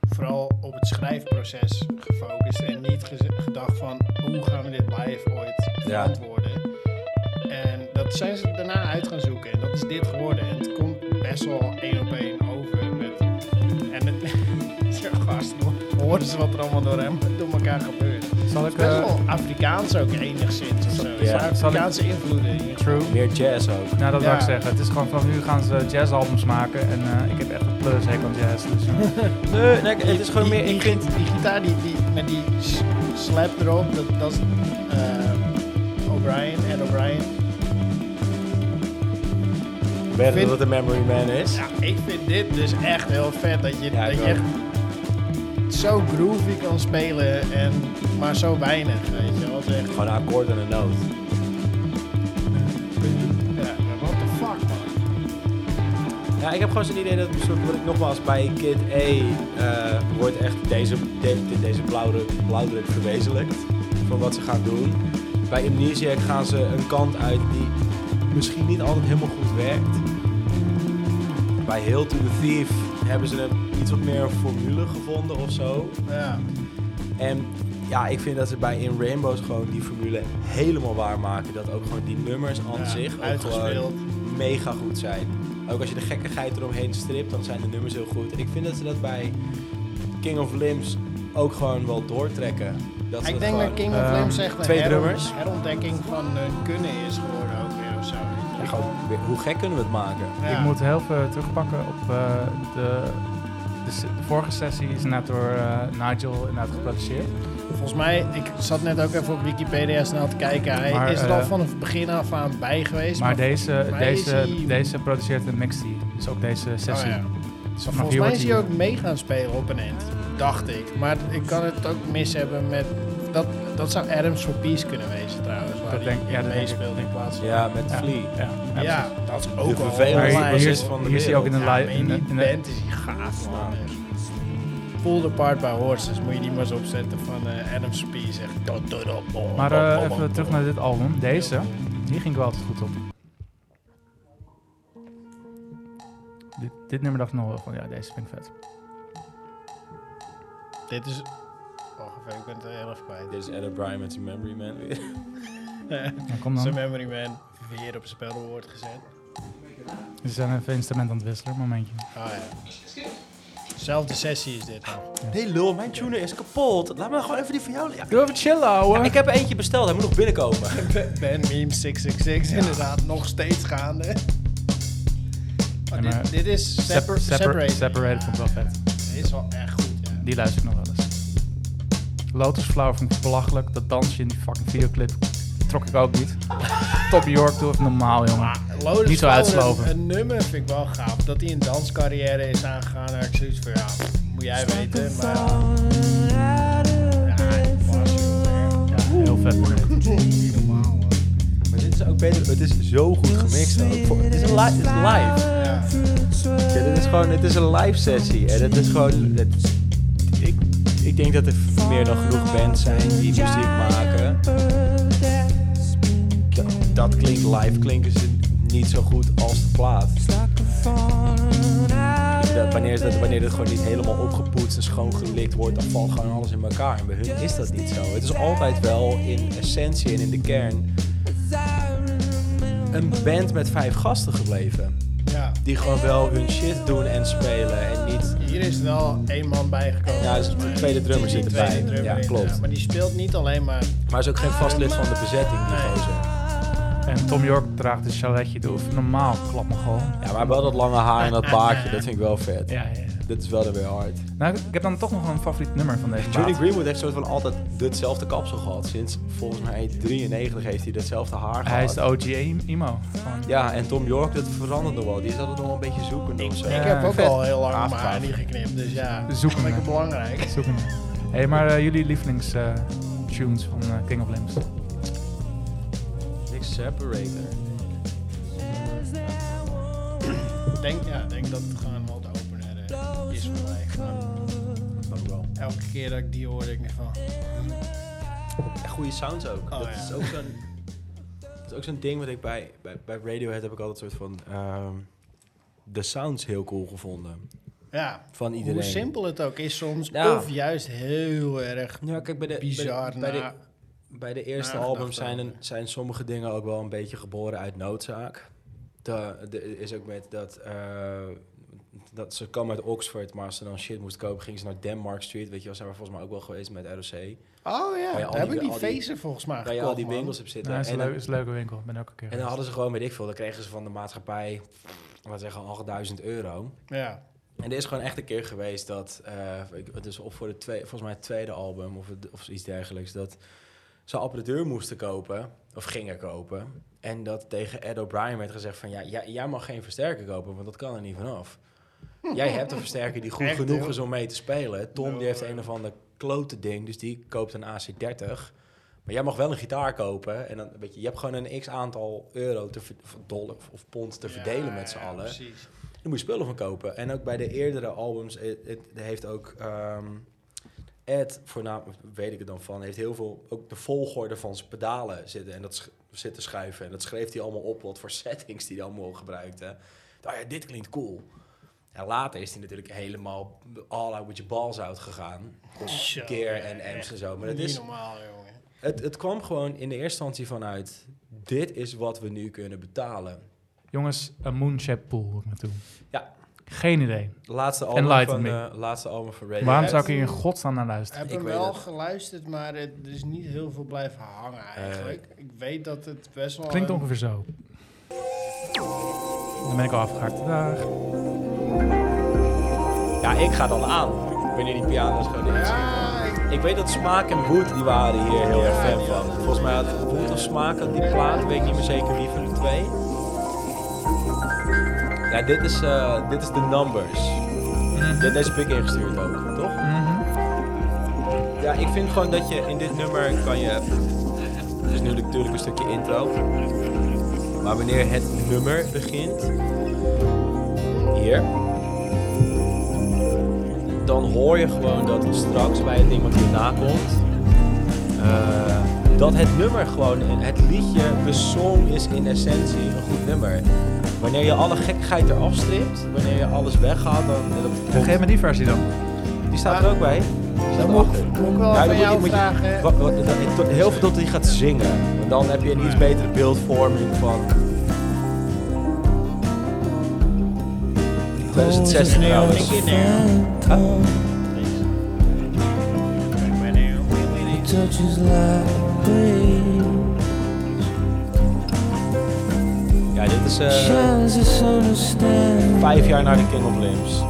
[SPEAKER 3] vooral op het schrijfproces gefocust. En niet geze- gedacht van hoe gaan we dit live ooit verantwoorden. En dat zijn ze daarna uit gaan zoeken. En dat is dit geworden. En het komt best wel één op één over. Met, en het, zo gast, horen ze wat er allemaal door, hem, door elkaar gebeurt.
[SPEAKER 2] Zal ik...
[SPEAKER 3] Het is best
[SPEAKER 2] eh,
[SPEAKER 3] wel Afrikaans ook enigszins of zo.
[SPEAKER 7] Ja.
[SPEAKER 3] Afrikaanse invloeden. in.
[SPEAKER 2] True.
[SPEAKER 7] Meer jazz ook.
[SPEAKER 2] Nou, dat
[SPEAKER 3] Ja.
[SPEAKER 2] wil ik zeggen. Het is gewoon vanaf nu gaan ze jazzalbums maken. En eh, ik heb echt een plus aan jazz. Dus, eh,
[SPEAKER 1] Nee, nee, het is gewoon
[SPEAKER 3] die,
[SPEAKER 1] meer...
[SPEAKER 3] die,
[SPEAKER 1] Ik vind...
[SPEAKER 3] die gitaar die, die, met die s- slap erop, dat, dat is eh, O'Brien, Ed O'Brien.
[SPEAKER 7] Weet je
[SPEAKER 3] Vind-
[SPEAKER 7] dat de Memory Man is?
[SPEAKER 3] Ja, ik vind dit dus echt heel vet, dat je,
[SPEAKER 7] Ja, ik
[SPEAKER 3] dat je
[SPEAKER 7] ook.
[SPEAKER 3] echt zo groovy kan spelen, en, maar zo weinig, weet je wel. Het is echt-
[SPEAKER 7] Gewoon een akkoord en een noot.
[SPEAKER 3] Ja, what the fuck man.
[SPEAKER 7] Ja, ik heb gewoon zo'n idee dat het soort, wat ik nogmaals bij Kid A eh, wordt echt deze, de- deze blauwdruk, blauwdruk verwezenlijkt van wat ze gaan doen. Bij Amnesiac gaan ze een kant uit die misschien niet altijd helemaal goed werkt. Bij Hail to the Thief hebben ze een, iets wat meer een formule gevonden of zo.
[SPEAKER 3] Ja,
[SPEAKER 7] En ja, ik vind dat ze bij In Rainbows gewoon die formule helemaal waarmaken. Dat ook gewoon die nummers aan
[SPEAKER 3] ja,
[SPEAKER 7] zich ook gewoon
[SPEAKER 3] uitgespeeld.
[SPEAKER 7] mega goed zijn. Ook als je de gekkigheid eromheen stript, dan zijn de nummers heel goed. En ik vind dat ze dat bij King of Limbs ook gewoon wel doortrekken. Dat ze
[SPEAKER 3] Ik
[SPEAKER 7] dat
[SPEAKER 3] denk dat
[SPEAKER 7] gewoon,
[SPEAKER 3] King
[SPEAKER 2] ehm,
[SPEAKER 3] of Limbs echt een
[SPEAKER 7] twee
[SPEAKER 3] heron-
[SPEAKER 7] drummers.
[SPEAKER 3] herontdekking van eh, kunnen is geworden ook weer of zo.
[SPEAKER 7] Ja, gewoon weer- hoe gek kunnen we het maken?
[SPEAKER 3] Ja.
[SPEAKER 2] Ik moet heel veel terugpakken op eh, de, de, se- de vorige sessie. Is net door eh, Nigel inderdaad geproduceerd.
[SPEAKER 3] Volgens mij, ik zat net ook even op Wikipedia snel te kijken. Hij
[SPEAKER 2] Maar,
[SPEAKER 3] is er
[SPEAKER 2] eh,
[SPEAKER 3] al vanaf het begin af aan bij geweest.
[SPEAKER 2] Maar deze, eh,
[SPEAKER 3] volgens mij is
[SPEAKER 2] deze,
[SPEAKER 3] hij-
[SPEAKER 2] deze produceert een mixie. Dus ook deze
[SPEAKER 3] Oh
[SPEAKER 2] sessie.
[SPEAKER 3] ja.
[SPEAKER 2] Dus vanaf
[SPEAKER 3] Volgens
[SPEAKER 2] hier
[SPEAKER 3] mij
[SPEAKER 2] wordt
[SPEAKER 3] is
[SPEAKER 2] hij-
[SPEAKER 3] hij ook mee gaan spelen op een end. Dacht ik. Maar ik kan het ook mis hebben met... Dat, dat zou Adams for Peace kunnen wezen trouwens. Waar
[SPEAKER 2] Dat
[SPEAKER 3] hij
[SPEAKER 2] denk- ja,
[SPEAKER 3] in
[SPEAKER 2] dat denk ik.
[SPEAKER 3] meespeelde in plaats van...
[SPEAKER 7] Ja, met
[SPEAKER 2] Ja.
[SPEAKER 7] Flea.
[SPEAKER 2] Ja,
[SPEAKER 3] Ja,
[SPEAKER 2] ja, precies.
[SPEAKER 3] dat is
[SPEAKER 7] De
[SPEAKER 3] ook al...
[SPEAKER 7] vervelendste
[SPEAKER 2] Maar
[SPEAKER 7] online
[SPEAKER 2] hier, hier,
[SPEAKER 7] bassist
[SPEAKER 2] is-
[SPEAKER 7] van de
[SPEAKER 2] hier is hij ook in
[SPEAKER 7] wereld.
[SPEAKER 2] een
[SPEAKER 3] Ja,
[SPEAKER 2] live.
[SPEAKER 3] maar in
[SPEAKER 2] in
[SPEAKER 3] die
[SPEAKER 2] een- in een-
[SPEAKER 3] band is hij gaaf, man. Pulled Apart by Horses, moet je die maar eens opzetten van eh, Adams for Peace. Echt. dot, dot, dot, bom,
[SPEAKER 2] Maar
[SPEAKER 3] bom,
[SPEAKER 2] eh,
[SPEAKER 3] bom, bom,
[SPEAKER 2] even terug
[SPEAKER 3] bom.
[SPEAKER 2] naar dit album. Deze, hier ging ik wel altijd goed op. Dit, dit nummer dacht ik nog wel van, ja, deze vind ik vet.
[SPEAKER 3] Dit is... Oh, Wacht even, ik ben het heel even kwijt.
[SPEAKER 7] Dit is Adam Bryan met zijn Memory Man weer.
[SPEAKER 2] Dan kom
[SPEAKER 3] Zijn
[SPEAKER 2] dan.
[SPEAKER 3] memory man weer op spelwoord gezet.
[SPEAKER 2] Ze zijn even instrument aan het wisselen, momentje.
[SPEAKER 3] Ah ja. Zelfde sessie is dit al.
[SPEAKER 8] Nee lul, mijn tuner is kapot. Laat me nou gewoon even die van jou liggen.
[SPEAKER 2] Doe even chillen, ouwe.
[SPEAKER 1] Ik heb eentje besteld, hij moet nog binnenkomen.
[SPEAKER 3] Ben Meme 666, inderdaad, nog steeds gaande. Oh,
[SPEAKER 2] Ja, maar-
[SPEAKER 3] dit, dit is separ-
[SPEAKER 2] Separ- separ-
[SPEAKER 3] Separated.
[SPEAKER 2] separated vond ik wel vet.
[SPEAKER 3] Dit is wel echt goed, ja.
[SPEAKER 2] Die luister ik nog wel eens. Lotus Flower vond ik belachelijk. Dat dansje in die fucking videoclip trok ik ook niet. Top York, doe even normaal, jongen.
[SPEAKER 3] Lotus
[SPEAKER 2] Niet zo
[SPEAKER 3] Flower,
[SPEAKER 2] uitsloven.
[SPEAKER 3] Een, een nummer vind ik wel gaaf. Dat hij een danscarrière is aangegaan. Daar heb ik zoiets van, ja, moet jij weten. Maar ja, het was heel erg.
[SPEAKER 2] Ja, heel vet.
[SPEAKER 3] Niet normaal, man.
[SPEAKER 1] Maar dit is ook beter, het is zo goed gemixt ook. voor- Het is een li- het is live.
[SPEAKER 3] Ja.
[SPEAKER 1] Ja, dit is gewoon, het is een live sessie. En het is gewoon, het- ik, ik denk dat er meer dan genoeg bands zijn die muziek maken. Ja, dat klinkt live, klinken ze niet zo goed als de plaat. Dat, wanneer, is dat, wanneer het gewoon niet helemaal opgepoetst en schoongelikt wordt, dan valt gewoon alles in elkaar. En bij hun is dat niet zo. Het is altijd wel in essentie en in de kern een band met vijf gasten gebleven
[SPEAKER 3] ja.
[SPEAKER 1] die gewoon wel hun shit doen en spelen en niet...
[SPEAKER 3] Hier is wel één man bijgekomen.
[SPEAKER 1] Ja, dus de
[SPEAKER 3] Maar
[SPEAKER 1] tweede drummer
[SPEAKER 3] die
[SPEAKER 1] zit
[SPEAKER 3] tweede
[SPEAKER 1] erbij.
[SPEAKER 3] drummer
[SPEAKER 1] Ja,
[SPEAKER 3] is,
[SPEAKER 1] klopt.
[SPEAKER 3] maar die speelt niet alleen maar...
[SPEAKER 1] Maar is ook geen vast lid van de bezetting, die
[SPEAKER 3] Nee.
[SPEAKER 1] gozer.
[SPEAKER 2] En Tom York draagt een chaletje. Doe even normaal, klap me gewoon.
[SPEAKER 1] Ja, maar wel dat lange haar en dat baardje, dat vind ik wel vet.
[SPEAKER 2] Ja, ja, ja.
[SPEAKER 1] Dit is wel dan weer hard.
[SPEAKER 2] Nou, ik heb dan toch nog wel een favoriet nummer van deze
[SPEAKER 1] Johnny
[SPEAKER 2] plaat.
[SPEAKER 1] Greenwood heeft soort van altijd hetzelfde kapsel gehad. Sinds volgens mij 93 heeft hij datzelfde haar
[SPEAKER 2] Hij is
[SPEAKER 1] gehad.
[SPEAKER 2] de OG im- imo. Van-
[SPEAKER 1] Ja, en Tom York, dat verandert nog wel. Die is altijd nog wel een beetje zoekende of zo.
[SPEAKER 3] Ik heb ook
[SPEAKER 2] vet.
[SPEAKER 3] al heel lang mijn haar
[SPEAKER 1] Aangepakt.
[SPEAKER 3] niet geknipt, dus ja.
[SPEAKER 2] Zoek hem,
[SPEAKER 3] Lekker
[SPEAKER 2] hè.
[SPEAKER 3] belangrijk.
[SPEAKER 2] Zoek hem. Hé, hey, maar eh, jullie lievelings eh, tunes van eh, King of Limbs?
[SPEAKER 1] Nick Separator.
[SPEAKER 3] Ik denk, ja, ik denk dat het gewoon wat opener eh, is voor mij. Gewoon
[SPEAKER 1] Ook wel.
[SPEAKER 3] Elke keer dat ik die hoor, denk ik van...
[SPEAKER 1] En goede sounds ook.
[SPEAKER 3] Oh,
[SPEAKER 1] dat,
[SPEAKER 3] ja.
[SPEAKER 1] is ook zo'n, dat is ook zo'n ding wat ik bij, bij, bij Radiohead heb ik altijd een soort van... ehm, de sounds heel cool gevonden.
[SPEAKER 3] Ja,
[SPEAKER 1] Van iedereen.
[SPEAKER 3] Hoe simpel het ook is soms,
[SPEAKER 1] Ja.
[SPEAKER 3] of juist heel erg
[SPEAKER 1] Ja, kijk, bij de, bij de-
[SPEAKER 3] bizar nou.
[SPEAKER 1] bij de,
[SPEAKER 3] na-
[SPEAKER 1] bij de eerste
[SPEAKER 3] nagedacht
[SPEAKER 1] albums zijn, een-
[SPEAKER 3] over.
[SPEAKER 1] zijn sommige dingen ook wel een beetje geboren uit noodzaak. De, de- is ook met dat, eh, dat ze kwam uit Oxford, maar als ze dan shit moest kopen, ging ze naar Denmark Street. Weet je wel, zijn we volgens mij ook wel geweest met ROC.
[SPEAKER 3] Oh ja,
[SPEAKER 1] Waar je al
[SPEAKER 3] daar heb
[SPEAKER 1] die-
[SPEAKER 3] ik die
[SPEAKER 1] al die-
[SPEAKER 3] feesten volgens mij
[SPEAKER 1] Waar je
[SPEAKER 3] gekocht,
[SPEAKER 1] al die
[SPEAKER 3] man.
[SPEAKER 1] winkels op zitten.
[SPEAKER 2] Ja, Nou, is
[SPEAKER 1] en,
[SPEAKER 2] een,
[SPEAKER 1] dan,
[SPEAKER 2] leuk, is een leuke winkel. Ik ben ook een
[SPEAKER 1] en
[SPEAKER 2] keer
[SPEAKER 1] dan
[SPEAKER 2] geweest.
[SPEAKER 1] hadden ze gewoon, weet ik veel, dan kregen ze van de maatschappij, wat zeggen, 8000 euro.
[SPEAKER 3] Ja,
[SPEAKER 1] En er is gewoon echt een keer geweest dat, eh, ik- het is op voor de twee, volgens mij het tweede album of, het, of iets dergelijks, dat ze apparatuur moesten kopen, of gingen kopen. En dat tegen Ed O'Brien werd gezegd van, ja, jij, jij mag geen versterker kopen, want dat kan er niet vanaf. Jij hebt een versterker die goed
[SPEAKER 3] Echt,
[SPEAKER 1] genoeg
[SPEAKER 3] joh.
[SPEAKER 1] is om mee te spelen. Tom
[SPEAKER 3] No
[SPEAKER 1] die heeft
[SPEAKER 3] way.
[SPEAKER 1] een of ander klote ding, dus die koopt een AC30. Maar jij mag wel een gitaar kopen. En dan, weet je, je hebt gewoon een x aantal euro te ver- of dollar of pond te
[SPEAKER 3] Ja,
[SPEAKER 1] verdelen met z'n
[SPEAKER 3] ja,
[SPEAKER 1] allen.
[SPEAKER 3] precies.
[SPEAKER 1] Daar moet je spullen van kopen. En ook bij de eerdere albums eh, het heeft ook ehm Ed, voornamelijk weet ik het dan van, heeft heel veel ook de volgorde van zijn pedalen zitten en dat sch- zitten schuiven. En dat schreef hij allemaal op wat voor settings die hij allemaal gebruikte. Nou ja, dit klinkt cool. En later is hij natuurlijk helemaal all out with your balls out gegaan. Op
[SPEAKER 3] Zo,
[SPEAKER 1] Gear
[SPEAKER 3] ja,
[SPEAKER 1] en Amps en
[SPEAKER 3] echt
[SPEAKER 1] zo. Maar dat
[SPEAKER 3] niet
[SPEAKER 1] is,
[SPEAKER 3] normaal, jongen.
[SPEAKER 1] het, het kwam gewoon in de eerste instantie vanuit, dit is wat we nu kunnen betalen.
[SPEAKER 2] Jongens, een Moonshap Pool moet ik naartoe.
[SPEAKER 1] Ja.
[SPEAKER 2] Geen idee.
[SPEAKER 1] Laatste album,
[SPEAKER 2] Enlighten
[SPEAKER 1] van,
[SPEAKER 2] me.
[SPEAKER 1] eh, laatste album van Radiohead.
[SPEAKER 2] Waarom zou ik hier in godsnaam naar
[SPEAKER 3] Ik
[SPEAKER 2] luisteren?
[SPEAKER 3] heb
[SPEAKER 1] Ik
[SPEAKER 3] hem
[SPEAKER 1] weet
[SPEAKER 3] wel
[SPEAKER 1] het. Eh.
[SPEAKER 3] geluisterd, maar het er is niet heel veel blijven hangen eigenlijk. ik weet dat het best wel...
[SPEAKER 2] Klinkt
[SPEAKER 3] een-
[SPEAKER 2] ongeveer zo. Dan ben ik al afgehaakt. Dag.
[SPEAKER 1] Ja, ik ga dan aan. Wanneer die piano's gewoon in
[SPEAKER 3] Ja, ik-
[SPEAKER 1] Ik weet dat Smaak en Wood, die waren hier heel erg fan van. Volgens mij had Wood of Smaak had die plaat, weet ik niet meer zeker wie van de twee. Ja, dit is, eh, dit is de Numbers. De- Deze heb ik ingestuurd ook, toch? Ja, ik vind gewoon dat je in dit nummer kan je... Het is nu natuurlijk een stukje intro. Maar wanneer het nummer begint... Hier. Dan hoor je gewoon dat straks bij het ding wat hierna komt... eh, dat het nummer gewoon, het liedje, de song is in essentie een goed nummer. Wanneer je alle gekkigheid eraf stript, wanneer je alles weghaalt, dan... dan
[SPEAKER 2] Geef me die versie dan.
[SPEAKER 1] die staat er ook bij.
[SPEAKER 3] dan moet ik moet ik wel
[SPEAKER 1] Ja, dan
[SPEAKER 3] van
[SPEAKER 1] moet je-
[SPEAKER 3] jou
[SPEAKER 1] moet je-
[SPEAKER 3] vragen...
[SPEAKER 1] Wat- wat- dat- ik- tot- heel veel tot hij gaat zingen. Want dan heb je een iets betere
[SPEAKER 3] Oh,
[SPEAKER 1] beeldvorming van.
[SPEAKER 9] 2016 trouwens.
[SPEAKER 3] Take it down.
[SPEAKER 5] Touches like rain,
[SPEAKER 1] Ja, dit is eh,
[SPEAKER 5] shines us understand.
[SPEAKER 1] vijf jaar na de King of Limbs.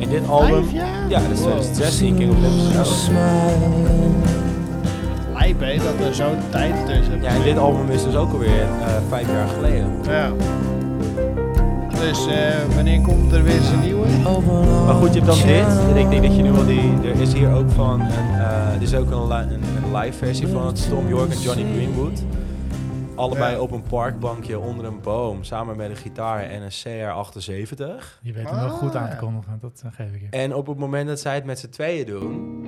[SPEAKER 1] En dit album... Ja, dit is 2016 King of Limbs.
[SPEAKER 5] Smile,
[SPEAKER 3] Lijp, hè, dat er zo'n tijd tussen
[SPEAKER 1] Ja, en dit album is dus ook alweer eh, vijf jaar geleden.
[SPEAKER 3] Ja. Dus eh, wanneer komt er weer eens een nieuwe?
[SPEAKER 1] Oh.
[SPEAKER 5] open
[SPEAKER 1] Maar goed, je hebt dan dit. En ik denk dat je nu wel die... Er is hier ook van... Een, eh, er is ook een, li- een, een live versie van het Tom York en Johnny Greenwood. Allebei
[SPEAKER 3] Ja.
[SPEAKER 1] op een parkbankje onder een boom. Samen met een gitaar en een CR78.
[SPEAKER 2] Je weet hem wel
[SPEAKER 3] Ah,
[SPEAKER 2] goed aan
[SPEAKER 3] ja.
[SPEAKER 2] te kondigen, dat eh, geef ik je.
[SPEAKER 1] En op het moment dat zij het met z'n tweeën doen...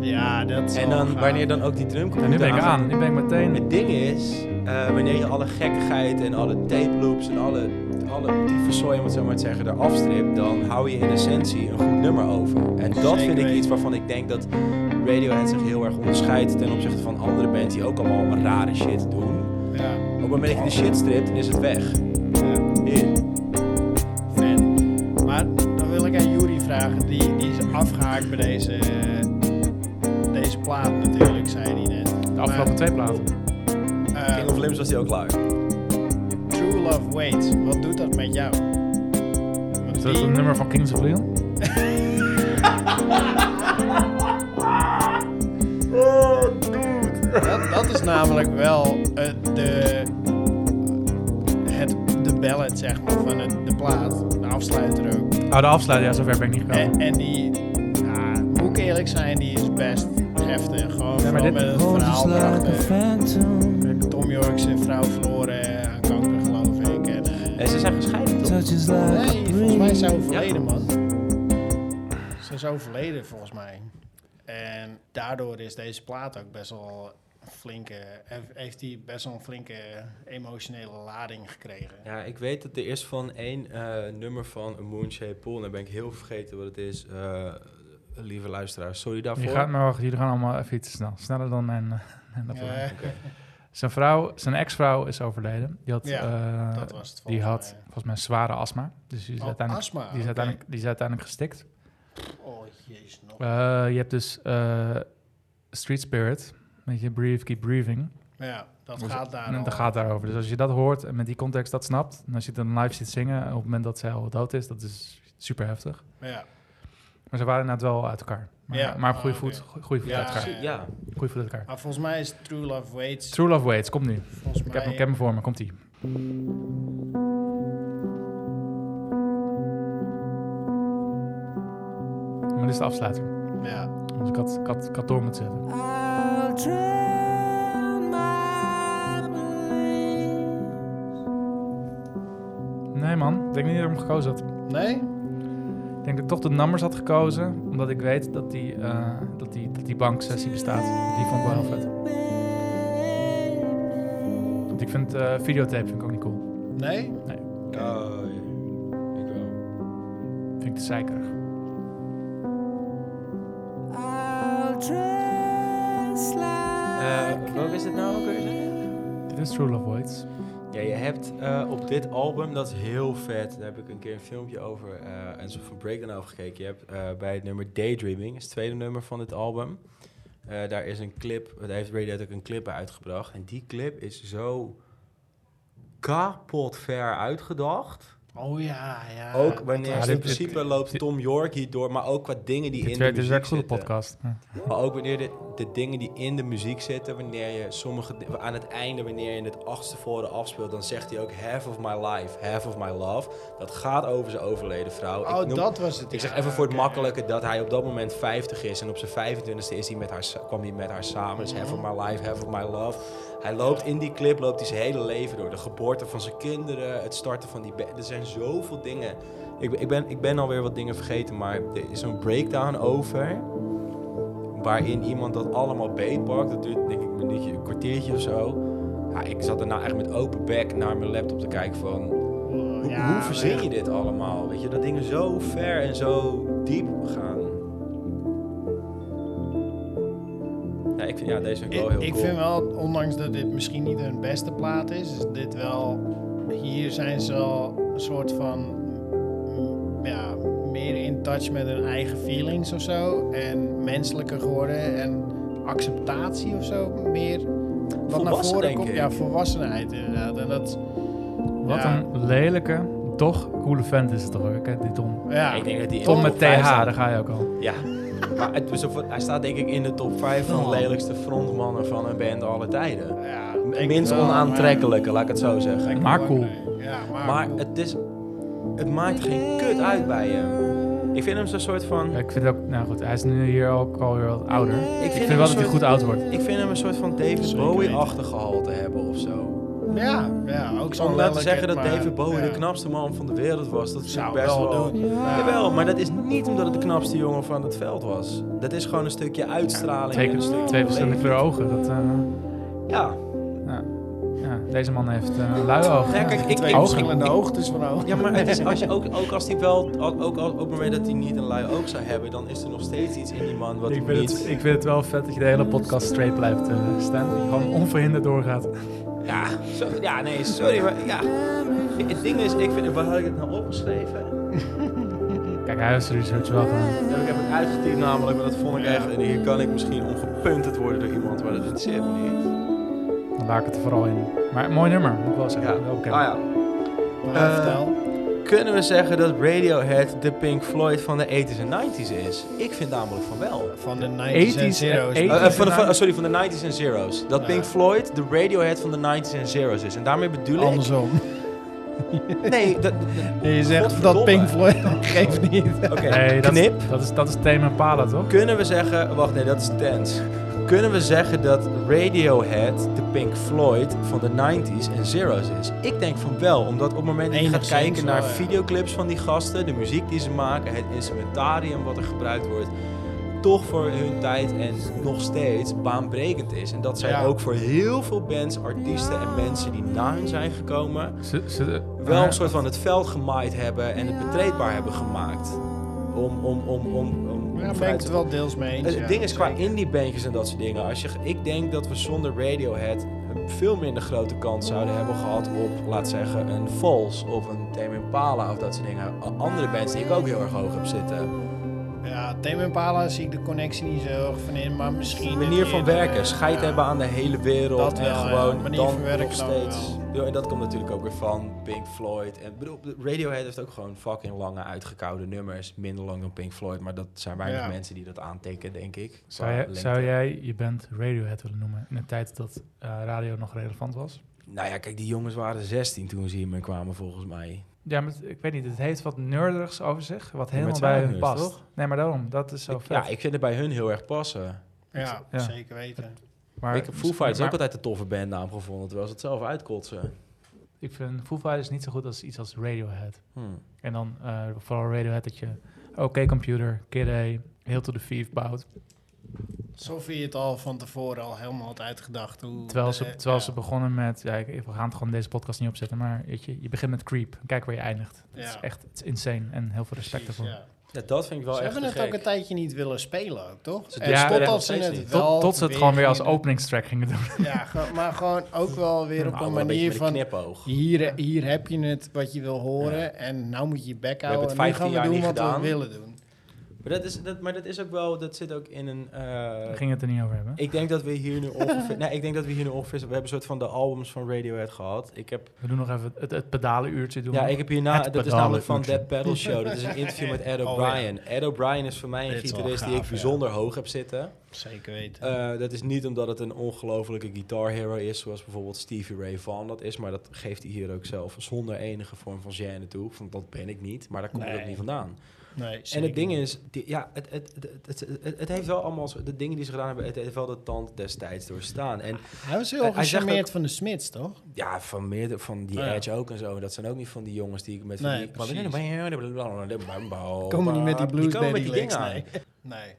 [SPEAKER 3] Ja, dat is
[SPEAKER 1] En dan, wanneer dan ook die drumcomputer
[SPEAKER 2] En nu ben ik aan, nu ben ik meteen...
[SPEAKER 1] Het ding is, eh, wanneer je alle gekkigheid en alle tape loops en alle, alle tyfuszooi, om het zo maar te zeggen, eraf stript, dan hou je in essentie een goed nummer over. En dat
[SPEAKER 3] Zeker
[SPEAKER 1] vind ik
[SPEAKER 3] weten.
[SPEAKER 1] iets waarvan ik denk dat Radiohead zich heel erg onderscheidt ten opzichte van andere bands die ook allemaal rare shit doen.
[SPEAKER 3] Ja.
[SPEAKER 1] Op het moment dat je de shit stript, is het weg.
[SPEAKER 3] ja.
[SPEAKER 1] Hier.
[SPEAKER 3] Vet. Maar dan wil ik aan Juri vragen, die, die is afgehaakt bij deze, eh, deze plaat natuurlijk, zei hij net.
[SPEAKER 2] De afgelopen twee platen.
[SPEAKER 3] Maar, eh,
[SPEAKER 1] King of Limbs was die ook live.
[SPEAKER 3] True Love Waits, wat doet dat met jou? Want
[SPEAKER 2] Is dat
[SPEAKER 3] die-
[SPEAKER 2] een nummer van Kings of Leon?
[SPEAKER 3] dat, dat is namelijk wel eh, de, het, de ballad, zeg maar, van het, de plaat. De afsluiter ook.
[SPEAKER 2] Oh, de afsluiter, ja, zover ben ik niet
[SPEAKER 3] En,
[SPEAKER 2] gekomen.
[SPEAKER 3] en die, ja, moet ik eerlijk zijn, die is best heftig. Gewoon
[SPEAKER 2] maar
[SPEAKER 3] vooral
[SPEAKER 2] dit- dus
[SPEAKER 3] met het verhaal erachter. Tom York zijn vrouw verloren eh, aan kanker, geloof ik. En, eh,
[SPEAKER 1] En ze zijn gescheiden, toch?
[SPEAKER 3] nee, volgens mij is ze overleden, man. Ze is overleden, volgens mij. En daardoor is deze plaat ook best wel een flinke... hef- Heeft hij best wel een flinke emotionele lading gekregen.
[SPEAKER 1] Ja, ik weet dat er is van één eh, nummer van A Moonshaped Pool. En dan ben ik heel vergeten wat het is. Eh, lieve luisteraars, sorry daarvoor.
[SPEAKER 2] Je gaat maar wacht, jullie gaan allemaal even iets te snel. Sneller dan mijn... eh, mijn apparaat.
[SPEAKER 3] Eh,
[SPEAKER 2] Zijn vrouw, zijn ex-vrouw is overleden. Die had,
[SPEAKER 3] Ja,
[SPEAKER 2] eh,
[SPEAKER 3] dat was het
[SPEAKER 2] die
[SPEAKER 3] volgens
[SPEAKER 2] had
[SPEAKER 3] mij.
[SPEAKER 2] volgens mij zware astma. Dus die is,
[SPEAKER 3] Oh,
[SPEAKER 2] uiteindelijk,
[SPEAKER 3] astma,
[SPEAKER 2] die is,
[SPEAKER 3] oké.
[SPEAKER 2] uiteindelijk, die is uiteindelijk gestikt.
[SPEAKER 3] Oh, jezus. Nog.
[SPEAKER 2] Eh, je hebt dus eh, Street Spirit. Weet je, breathe, keep breathing.
[SPEAKER 3] Ja, Ah, dat
[SPEAKER 2] Dus-
[SPEAKER 3] gaat daar
[SPEAKER 2] en
[SPEAKER 3] al.
[SPEAKER 2] dat gaat daarover. Dus als je dat hoort en met die context dat snapt... en als je het dan live ziet zingen op het moment dat zij al dood is... dat is super heftig.
[SPEAKER 3] Ja,
[SPEAKER 2] Maar ze waren inderdaad wel uit elkaar. Maar,
[SPEAKER 3] Ja,
[SPEAKER 2] maar op goede
[SPEAKER 3] ah,
[SPEAKER 2] voet,
[SPEAKER 3] oké.
[SPEAKER 2] go- goede voet
[SPEAKER 3] Ja,
[SPEAKER 2] uit elkaar.
[SPEAKER 3] precies.
[SPEAKER 1] Ja,
[SPEAKER 2] Goede voet uit elkaar.
[SPEAKER 3] maar volgens mij is True Love Waits...
[SPEAKER 2] True Love Waits, komt nu.
[SPEAKER 3] volgens
[SPEAKER 2] Ik
[SPEAKER 3] mij...
[SPEAKER 2] heb hem, ik heb hem voor me, komt-ie. Maar dit is de afsluiter.
[SPEAKER 3] Ja.
[SPEAKER 2] Dus ik had, ik had, ik had door moeten zetten.
[SPEAKER 5] I'll drown my belief.
[SPEAKER 2] Nee man, ik denk niet dat ik hem gekozen had.
[SPEAKER 3] Nee?
[SPEAKER 2] Ik denk dat ik toch de nummers had gekozen, omdat ik weet dat die, eh, dat die, dat die banksessie bestaat. Die vond ik wel heel vet. Want ik vind eh, videotape vind ik ook niet cool.
[SPEAKER 3] Nee?
[SPEAKER 1] Ah,
[SPEAKER 2] Vind ik te zeikerig.
[SPEAKER 5] I'll dress like
[SPEAKER 1] welk is het nou ook weer?
[SPEAKER 2] Dit is True Love Voids.
[SPEAKER 1] Ja, je hebt eh, op dit album, dat is heel vet. Daar heb ik een keer een filmpje over eh en zo van Breakdown over gekeken. Je hebt eh, bij het nummer Daydreaming, is het tweede nummer van dit album. Eh, daar is een clip, daar heeft Radiohead ook een clip bij uitgebracht. En die clip is zo kapot ver uitgedacht.
[SPEAKER 3] Oh ja, ja.
[SPEAKER 1] Ook wanneer
[SPEAKER 2] Ja,
[SPEAKER 1] dus
[SPEAKER 2] dit-
[SPEAKER 1] in principe
[SPEAKER 2] dit-
[SPEAKER 1] loopt Tom York hier door, maar ook qua dingen die in
[SPEAKER 2] Dit
[SPEAKER 1] dus de
[SPEAKER 2] werd- dit
[SPEAKER 1] muziek
[SPEAKER 2] is echt een goede
[SPEAKER 1] zitten.
[SPEAKER 2] podcast. Ja.
[SPEAKER 1] Maar ook wanneer de, de dingen die in de muziek zitten, wanneer je sommige di- aan het einde, wanneer je het achtste voren afspeelt, dan zegt hij ook half of my life, half of my love. Dat gaat over zijn overleden vrouw.
[SPEAKER 3] Oh, dat was het.
[SPEAKER 1] Ik zeg
[SPEAKER 3] ja,
[SPEAKER 1] even voor het
[SPEAKER 3] oké.
[SPEAKER 1] makkelijke dat hij op dat moment 50 is en op zijn 25e is hij met haar, sa- kwam hij met haar samen. Dus
[SPEAKER 3] Mhm.
[SPEAKER 1] half of my life, half of my love. Hij loopt in die clip, loopt hij zijn hele leven door. De geboorte van zijn kinderen, het starten van die... ba- Er zijn zoveel dingen. Ik, ben- ik, ben, ik ben alweer wat dingen vergeten, maar er is een breakdown over... waarin iemand dat allemaal beetpakt. Dat duurt denk ik een minuutje, een kwartiertje of zo. Ja, ik zat daarna echt met open bek naar mijn laptop te kijken van... Hoe,
[SPEAKER 3] Ja,
[SPEAKER 1] hoe verzin
[SPEAKER 3] maar
[SPEAKER 1] je dit allemaal? Weet je, dat dingen zo ver en zo diep gaan. Ja, ik vind, ja deze vind ik wel
[SPEAKER 3] Ik,
[SPEAKER 1] heel
[SPEAKER 3] ik
[SPEAKER 1] cool.
[SPEAKER 3] vind wel, ondanks dat dit misschien niet hun beste plaat is, is dit wel... Hier zijn ze al een soort van mm, ja, meer in touch met hun eigen feelings of zo. En menselijker geworden en acceptatie of zo. Meer wat naar
[SPEAKER 10] Volwassen,
[SPEAKER 3] voren
[SPEAKER 10] denk
[SPEAKER 3] komt.
[SPEAKER 10] ik.
[SPEAKER 3] Ja, volwassenheid inderdaad. En dat,
[SPEAKER 2] Wat
[SPEAKER 3] Ja.
[SPEAKER 2] een lelijke, toch coole vent is het toch ook, hè, die Tom.
[SPEAKER 3] ja,
[SPEAKER 1] Ik denk dat die in
[SPEAKER 2] Tom
[SPEAKER 1] de
[SPEAKER 2] met
[SPEAKER 1] top vijf
[SPEAKER 2] TH,
[SPEAKER 1] staat.
[SPEAKER 2] daar ga je ook al.
[SPEAKER 1] Ja. Maar het was op- hij staat denk ik in de top 5 van de lelijkste frontmannen van een band alle tijden.
[SPEAKER 3] ja,
[SPEAKER 1] M-
[SPEAKER 3] ik
[SPEAKER 1] Minst
[SPEAKER 3] wel, maar-
[SPEAKER 1] onaantrekkelijke, laat ik het zo zeggen.
[SPEAKER 2] Maar cool.
[SPEAKER 3] Ja, maar,
[SPEAKER 1] Maar het, is, het maakt geen kut uit bij hem. Ik vind hem zo'n soort van...
[SPEAKER 2] Ja, ik vind ook, nou goed, hij is nu hier ook alweer wat ouder. Ik
[SPEAKER 1] Ik hem
[SPEAKER 2] vind wel
[SPEAKER 1] een
[SPEAKER 2] dat hij
[SPEAKER 1] soort-
[SPEAKER 2] goed oud wordt.
[SPEAKER 1] Ik vind hem een soort van David Bowie-achtig gehalte hebben of zo.
[SPEAKER 3] ja, ja, ook zo'n
[SPEAKER 1] Om nou te
[SPEAKER 3] lelijkheid,
[SPEAKER 1] zeggen dat
[SPEAKER 3] maar-
[SPEAKER 1] David Bowie
[SPEAKER 3] ja.
[SPEAKER 1] de knapste man van de wereld was, dat is
[SPEAKER 3] Zou
[SPEAKER 1] best
[SPEAKER 3] wel
[SPEAKER 1] wel...
[SPEAKER 3] doen. Ja.
[SPEAKER 1] Jawel, maar dat is niet omdat het de knapste jongen van het veld was. Dat is gewoon een stukje uitstraling.
[SPEAKER 2] Twee,
[SPEAKER 1] en een stukje
[SPEAKER 2] twee verschillende
[SPEAKER 1] leven.
[SPEAKER 2] kleuren ogen. Dat, eh,
[SPEAKER 1] Ja,
[SPEAKER 2] ja. Ja, deze man heeft eh, een lui oog.
[SPEAKER 1] Ja, kijk, ik-
[SPEAKER 3] Twee
[SPEAKER 1] ik-
[SPEAKER 3] verschillende hoogtes van ogen.
[SPEAKER 1] ja, maar het is als je, ook, ook als hij wel, ook, ook, ook op het moment dat hij niet een lui oog zou hebben, dan is er nog steeds iets in die man wat
[SPEAKER 2] Ik
[SPEAKER 1] hem
[SPEAKER 2] vind,
[SPEAKER 1] niet...
[SPEAKER 2] het, ik vind het wel vet dat je de hele podcast straight blijft eh, staan. Dat je gewoon onverhinderd doorgaat.
[SPEAKER 1] Ja, zo, ja, nee, sorry, maar ja. Het ding is, ik vind, waar had ik het nou opgeschreven?
[SPEAKER 2] Kijk, hij heeft zijn research wel gedaan.
[SPEAKER 1] Dat heb ik heb het uitgetypt namelijk, maar dat vond ik echt... En hier kan ik misschien ongepunterd worden door iemand, maar dat interesseert me niet.
[SPEAKER 2] Dan laat ik het er vooral in. Maar mooi nummer, moet ik wel
[SPEAKER 1] Ja,
[SPEAKER 2] zeggen. Wel bekend.
[SPEAKER 1] ah ja.
[SPEAKER 3] Maar
[SPEAKER 1] Eh,
[SPEAKER 3] vertel.
[SPEAKER 1] Kunnen we zeggen dat Radiohead de Pink Floyd van de 80s en 90s is? Ik vind namelijk van wel.
[SPEAKER 3] Van de 90s en
[SPEAKER 2] 80s,
[SPEAKER 3] zero's.
[SPEAKER 2] eh,
[SPEAKER 1] Eh, eh,
[SPEAKER 2] 80s
[SPEAKER 1] van de,
[SPEAKER 2] en
[SPEAKER 1] van- sorry, van de 90s en zeros. Dat Pink
[SPEAKER 3] Ja.
[SPEAKER 1] Floyd de Radiohead van de 90s en zeros is. En daarmee bedoel ik...
[SPEAKER 3] Andersom.
[SPEAKER 1] Nee, dat,
[SPEAKER 3] Je zegt
[SPEAKER 1] Godverdomme.
[SPEAKER 3] dat Pink Floyd geeft niet.
[SPEAKER 1] oké.
[SPEAKER 2] Nee, dat,
[SPEAKER 1] knip.
[SPEAKER 2] Is, dat, is, dat is thema Pala, toch?
[SPEAKER 1] Kunnen we zeggen... Wacht, nee, dat is dance. Kunnen we zeggen dat Radiohead de Pink Floyd van de 90s en zeros is? Ik denk van wel, omdat op het moment dat je gaat
[SPEAKER 3] Enigszins
[SPEAKER 1] kijken naar
[SPEAKER 3] wel, ja.
[SPEAKER 1] videoclips van die gasten, de muziek die ze maken, het instrumentarium wat er gebruikt wordt, toch voor hun tijd en nog steeds baanbrekend is. En dat zijn
[SPEAKER 3] Ja.
[SPEAKER 1] ook voor heel veel bands, artiesten en mensen die na hun zijn gekomen,
[SPEAKER 2] Ze- ze- eh,
[SPEAKER 1] wel
[SPEAKER 2] maar-
[SPEAKER 1] een soort van het veld gemaaid hebben en het betreedbaar hebben gemaakt. Om, om, om, om, om, om
[SPEAKER 3] Ja, daar ben ik
[SPEAKER 1] vooruit
[SPEAKER 3] het
[SPEAKER 1] te
[SPEAKER 3] wel deels mee eens.
[SPEAKER 1] Eh, het
[SPEAKER 3] ja,
[SPEAKER 1] ding is qua
[SPEAKER 3] zeker.
[SPEAKER 1] indiebandjes en dat soort dingen. Als je, ik denk dat we zonder Radiohead veel minder grote kans zouden hebben gehad op, laat zeggen, een Falls of een Tame Impala of dat soort dingen. A- Andere bands die ik ook heel erg hoog heb zitten.
[SPEAKER 3] Ja, Tame Impala zie ik de connectie niet zo erg van in, maar misschien...
[SPEAKER 1] Manier van
[SPEAKER 3] een keer,
[SPEAKER 1] werken,
[SPEAKER 3] eh,
[SPEAKER 1] scheid
[SPEAKER 3] ja.
[SPEAKER 1] hebben aan de hele wereld
[SPEAKER 3] Dat
[SPEAKER 1] en
[SPEAKER 3] wel, ja.
[SPEAKER 1] gewoon
[SPEAKER 3] Manier
[SPEAKER 1] dan
[SPEAKER 3] van werken
[SPEAKER 1] nog
[SPEAKER 3] dan
[SPEAKER 1] steeds. Ja, en dat komt natuurlijk ook weer van Pink Floyd. En ik bedoel, Radiohead heeft ook gewoon fucking lange uitgekoude nummers, minder lang dan Pink Floyd, maar dat zijn weinig
[SPEAKER 3] Ja.
[SPEAKER 1] mensen die dat aantekenen, denk ik.
[SPEAKER 2] Zou,
[SPEAKER 1] Qua
[SPEAKER 2] jij-
[SPEAKER 1] lengte.
[SPEAKER 2] zou jij je band Radiohead willen noemen in de tijd dat eh, radio nog relevant was?
[SPEAKER 1] Nou ja, kijk, die jongens waren 16 toen ze hiermee kwamen, volgens mij.
[SPEAKER 2] Ja, maar het- ik weet niet. Het heeft wat nerderigs over zich, wat
[SPEAKER 1] maar
[SPEAKER 2] helemaal
[SPEAKER 1] het zijn
[SPEAKER 2] bij
[SPEAKER 1] ook
[SPEAKER 2] hun
[SPEAKER 1] nerds,
[SPEAKER 2] past. Nee, maar daarom, dat is zo
[SPEAKER 1] Ik-
[SPEAKER 2] vet.
[SPEAKER 1] ja, ik vind het bij hun heel erg passen.
[SPEAKER 3] Ja,
[SPEAKER 2] Ja.
[SPEAKER 3] zeker weten.
[SPEAKER 2] maar,
[SPEAKER 1] ik heb Foo Fighters
[SPEAKER 2] maar
[SPEAKER 1] ook altijd een toffe bandnaam gevonden, terwijl ze het zelf uitkotsen.
[SPEAKER 2] Ik vind Foo Fighters niet zo goed als iets als Radiohead.
[SPEAKER 1] Hmm.
[SPEAKER 2] En dan eh, vooral Radiohead dat je... Oké, computer, Kid A, heel to the thief bouwt.
[SPEAKER 3] Sophie het al van tevoren al helemaal had uitgedacht. Hoe
[SPEAKER 2] Terwijl ze,
[SPEAKER 3] eh,
[SPEAKER 2] terwijl
[SPEAKER 3] ja.
[SPEAKER 2] ze begonnen met... Ja, ik- we gaan het gewoon deze podcast niet opzetten, maar weet je, je begint met Creep. Kijk waar je eindigt. Het is
[SPEAKER 3] Ja.
[SPEAKER 2] echt het is insane en heel veel respect
[SPEAKER 3] Precies,
[SPEAKER 2] ervoor.
[SPEAKER 3] ja.
[SPEAKER 1] Ja, dat vind ik wel
[SPEAKER 3] Ze
[SPEAKER 1] echt
[SPEAKER 3] hebben
[SPEAKER 1] te
[SPEAKER 3] het ook
[SPEAKER 1] gek.
[SPEAKER 3] een tijdje niet willen spelen ook, toch?
[SPEAKER 1] Ze
[SPEAKER 3] En
[SPEAKER 2] doen het
[SPEAKER 1] nog
[SPEAKER 3] totdat ze
[SPEAKER 1] steeds
[SPEAKER 3] het
[SPEAKER 1] niet.
[SPEAKER 3] wel
[SPEAKER 2] Tot, tot ze het gewoon weer als
[SPEAKER 3] gingen-
[SPEAKER 2] openingstrack gingen doen.
[SPEAKER 3] Ja, gewoon- maar gewoon ook wel weer op
[SPEAKER 1] Maar
[SPEAKER 3] een
[SPEAKER 1] wel
[SPEAKER 3] manier
[SPEAKER 1] beetje met een
[SPEAKER 3] van...
[SPEAKER 1] knipoog.
[SPEAKER 3] Hier, hier heb je het wat je wil horen en nou moet je je bek houden.
[SPEAKER 1] het
[SPEAKER 3] en nu
[SPEAKER 1] 15
[SPEAKER 3] gaan we
[SPEAKER 1] jaar
[SPEAKER 3] doen
[SPEAKER 1] niet
[SPEAKER 3] wat
[SPEAKER 1] gedaan.
[SPEAKER 3] we willen doen.
[SPEAKER 1] Maar dat, is, dat, maar dat is ook wel, dat zit ook in een... eh,
[SPEAKER 2] Daar ging het er niet over hebben.
[SPEAKER 1] ik denk dat we hier nu ongeveer... nee, ik denk dat we hier nu ongeveer... We hebben een soort van de albums van Radiohead gehad. Ik heb
[SPEAKER 2] We doen nog even het, het pedalenuurtje doen.
[SPEAKER 1] Ja, ik heb hierna,
[SPEAKER 2] Het
[SPEAKER 1] dat is
[SPEAKER 2] pedalen
[SPEAKER 1] namelijk van
[SPEAKER 2] function.
[SPEAKER 1] Dead Pedal Show. Dat is een interview met Ed
[SPEAKER 3] Oh,
[SPEAKER 1] O'Brien. Ed O'Brien is voor mij een
[SPEAKER 3] Dit is wel
[SPEAKER 1] gitarist die
[SPEAKER 3] gaaf,
[SPEAKER 1] ik bijzonder hoog heb zitten.
[SPEAKER 3] Zeker weten.
[SPEAKER 1] Eh, dat is niet omdat het een ongelofelijke guitar hero is, zoals bijvoorbeeld Stevie Ray Vaughan dat is. Maar dat geeft hij hier ook zelf zonder enige vorm van gêne toe. Van, dat ben ik niet, maar daar komt het
[SPEAKER 3] Nee.
[SPEAKER 1] ook niet vandaan.
[SPEAKER 3] nee,
[SPEAKER 1] En
[SPEAKER 3] zeker
[SPEAKER 1] het ding
[SPEAKER 3] niet.
[SPEAKER 1] is, die- ja, het, het, het, het, het, het heeft wel allemaal, zo- de dingen die ze gedaan hebben, het heeft wel de tand destijds doorstaan. En
[SPEAKER 3] Hij was
[SPEAKER 1] Hij-
[SPEAKER 3] heel
[SPEAKER 1] hij zegt
[SPEAKER 3] gecharmeerd van de Smits, toch?
[SPEAKER 1] Ja, van, meer, van die
[SPEAKER 3] Ah, ja.
[SPEAKER 1] Edge ook en zo. Dat zijn ook niet van die jongens die ik met...
[SPEAKER 3] Nee,
[SPEAKER 1] van die,
[SPEAKER 3] Komen niet met die blues
[SPEAKER 1] nou? Die komen met
[SPEAKER 3] Daddy
[SPEAKER 1] die
[SPEAKER 3] legs,
[SPEAKER 1] dingen aan.
[SPEAKER 3] nee. nee.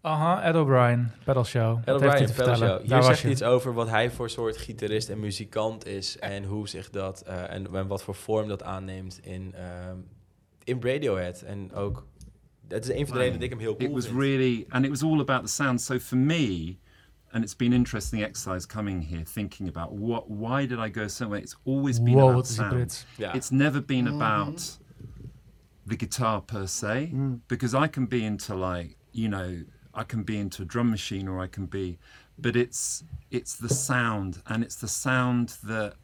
[SPEAKER 2] Aha, Ed O'Brien, Pedal Show.
[SPEAKER 1] Ed
[SPEAKER 2] Wat heeft hij
[SPEAKER 1] O'Brien,
[SPEAKER 2] te
[SPEAKER 1] Pelle
[SPEAKER 2] vertellen?
[SPEAKER 1] Show. Hier
[SPEAKER 2] Daar was
[SPEAKER 1] zegt
[SPEAKER 2] je.
[SPEAKER 1] iets over wat hij voor soort gitarist en muzikant is. En hoe zich dat... eh, en, en wat voor vorm dat aanneemt in, ehm, in Radiohead. En ook... Dat is een van de redenen dat ik hem heel cool
[SPEAKER 11] It was
[SPEAKER 1] vind.
[SPEAKER 11] really, and it was all about the sound. So for me, And it's been interesting exercise coming here, thinking about what, why did I go somewhere? It's always been
[SPEAKER 2] Wow,
[SPEAKER 11] about
[SPEAKER 2] wat is die
[SPEAKER 11] sound.
[SPEAKER 2] Brits.
[SPEAKER 12] Ja.
[SPEAKER 11] It's never been about the guitar per se, because I can be into like you know I can be into a drum machine or I can be, but it's it's the sound and it's the sound that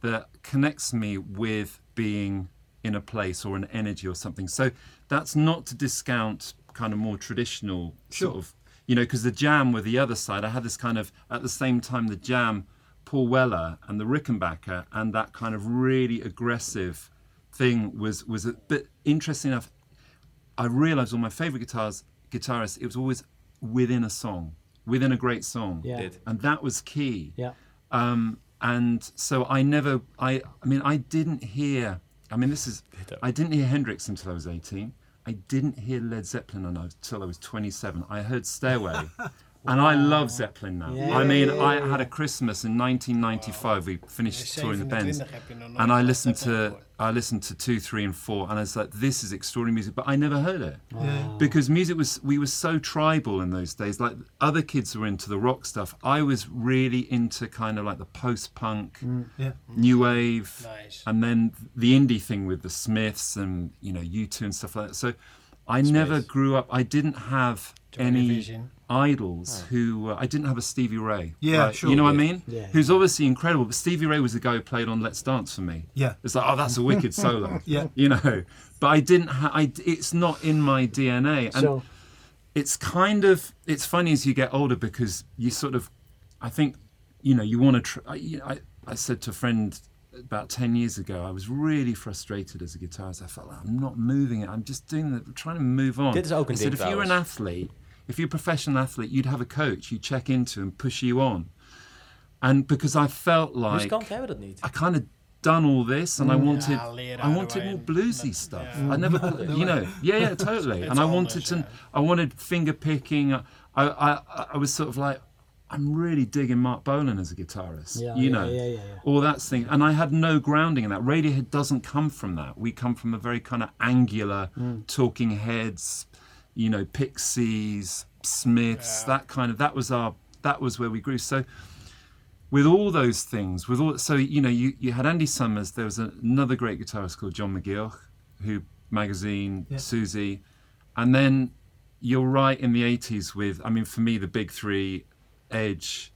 [SPEAKER 11] that connects me with being in a place or an energy or something. So that's not to discount kind of more traditional sort of, you know, because the jam were the other side. I had this kind of, at the same time, the jam, Paul Weller and the Rickenbacker and that kind of really aggressive thing was, was a bit interesting enough. I realized all my favorite guitars, guitarists, it was always within a song, within a great song.
[SPEAKER 5] Yeah.
[SPEAKER 12] Dit.
[SPEAKER 11] And that was key
[SPEAKER 5] Yeah.
[SPEAKER 11] um, and so I never I I mean I didn't hear I mean this is I didn't hear Hendrix until I was 18 I didn't hear Led Zeppelin and I was- until I was 27 I heard Stairway and I love Zeppelin now I mean I had a Christmas in 1995 we finished touring the Bends
[SPEAKER 3] 27 heb je nog eh, nooit
[SPEAKER 11] and I
[SPEAKER 3] Led
[SPEAKER 11] listened
[SPEAKER 3] Zeppelin
[SPEAKER 11] to
[SPEAKER 3] gehoord.
[SPEAKER 11] I listened to two, three, and four, and I was like, "This is extraordinary music," but I never heard it because music was we were so tribal in those days. Like other kids were into the rock stuff, I was really into kind of like the post-punk,
[SPEAKER 5] Yeah.
[SPEAKER 11] new wave,
[SPEAKER 3] Nice.
[SPEAKER 11] and then the indie thing with the Smiths and you know U2 and stuff like that. So I never grew up. I didn't have
[SPEAKER 3] Joy
[SPEAKER 11] any
[SPEAKER 3] Division.
[SPEAKER 11] idols who uh, I didn't have a Stevie Ray.
[SPEAKER 5] Yeah,
[SPEAKER 11] right?
[SPEAKER 5] sure.
[SPEAKER 11] You know what I mean?
[SPEAKER 5] Yeah.
[SPEAKER 11] Who's obviously incredible, but Stevie Ray was the guy who played on Let's Dance for me.
[SPEAKER 5] Yeah.
[SPEAKER 11] It's like, oh, that's a wicked solo.
[SPEAKER 5] Yeah.
[SPEAKER 11] You know, but I didn't. Ha- I d it's not in my DNA, and
[SPEAKER 5] So
[SPEAKER 11] it's kind of. It's funny as you get older because you sort of, I think, you know, you want to. Tr- I, you know, I, I said to a friend about ten years ago, I was really frustrated as a guitarist. I felt like I'm not moving it. I'm just doing the trying to move on.
[SPEAKER 1] Dit is ook een
[SPEAKER 11] I said,
[SPEAKER 1] ding
[SPEAKER 11] if you're an
[SPEAKER 1] trouwens.
[SPEAKER 11] athlete, if you're a professional athlete, you'd have a coach you check into and push you on. And because I felt like
[SPEAKER 1] Muzikanten hebben dat niet.
[SPEAKER 2] Ah,
[SPEAKER 11] I kind of done all this, and I
[SPEAKER 5] Mm.
[SPEAKER 11] wanted
[SPEAKER 3] Ja, leren
[SPEAKER 11] I wanted
[SPEAKER 3] wij
[SPEAKER 11] more
[SPEAKER 3] een-
[SPEAKER 11] bluesy stuff.
[SPEAKER 3] Ja.
[SPEAKER 11] I never, you know, yeah, yeah, totally. and I wanted
[SPEAKER 3] anders,
[SPEAKER 11] to,
[SPEAKER 3] ja.
[SPEAKER 11] I wanted finger picking. I, I, I, I was sort of like, I'm really digging Mark Bolan as a guitarist.
[SPEAKER 5] Yeah,
[SPEAKER 11] you
[SPEAKER 5] yeah,
[SPEAKER 11] know,
[SPEAKER 5] yeah, yeah, yeah.
[SPEAKER 11] all that thing. And I had no grounding in that. Radiohead doesn't come from that. We come from a very kind of angular,
[SPEAKER 5] Mm.
[SPEAKER 11] Talking Heads, you know, Pixies, Smiths, that kind of. That was our. That was where we grew. So with all those things, with all so you know, you, you had Andy Summers. There was another great guitarist called John McGeoch, who magazine
[SPEAKER 5] Yeah.
[SPEAKER 11] Susie, and then you're right in the '80s with I mean, for me, the big three: Edge,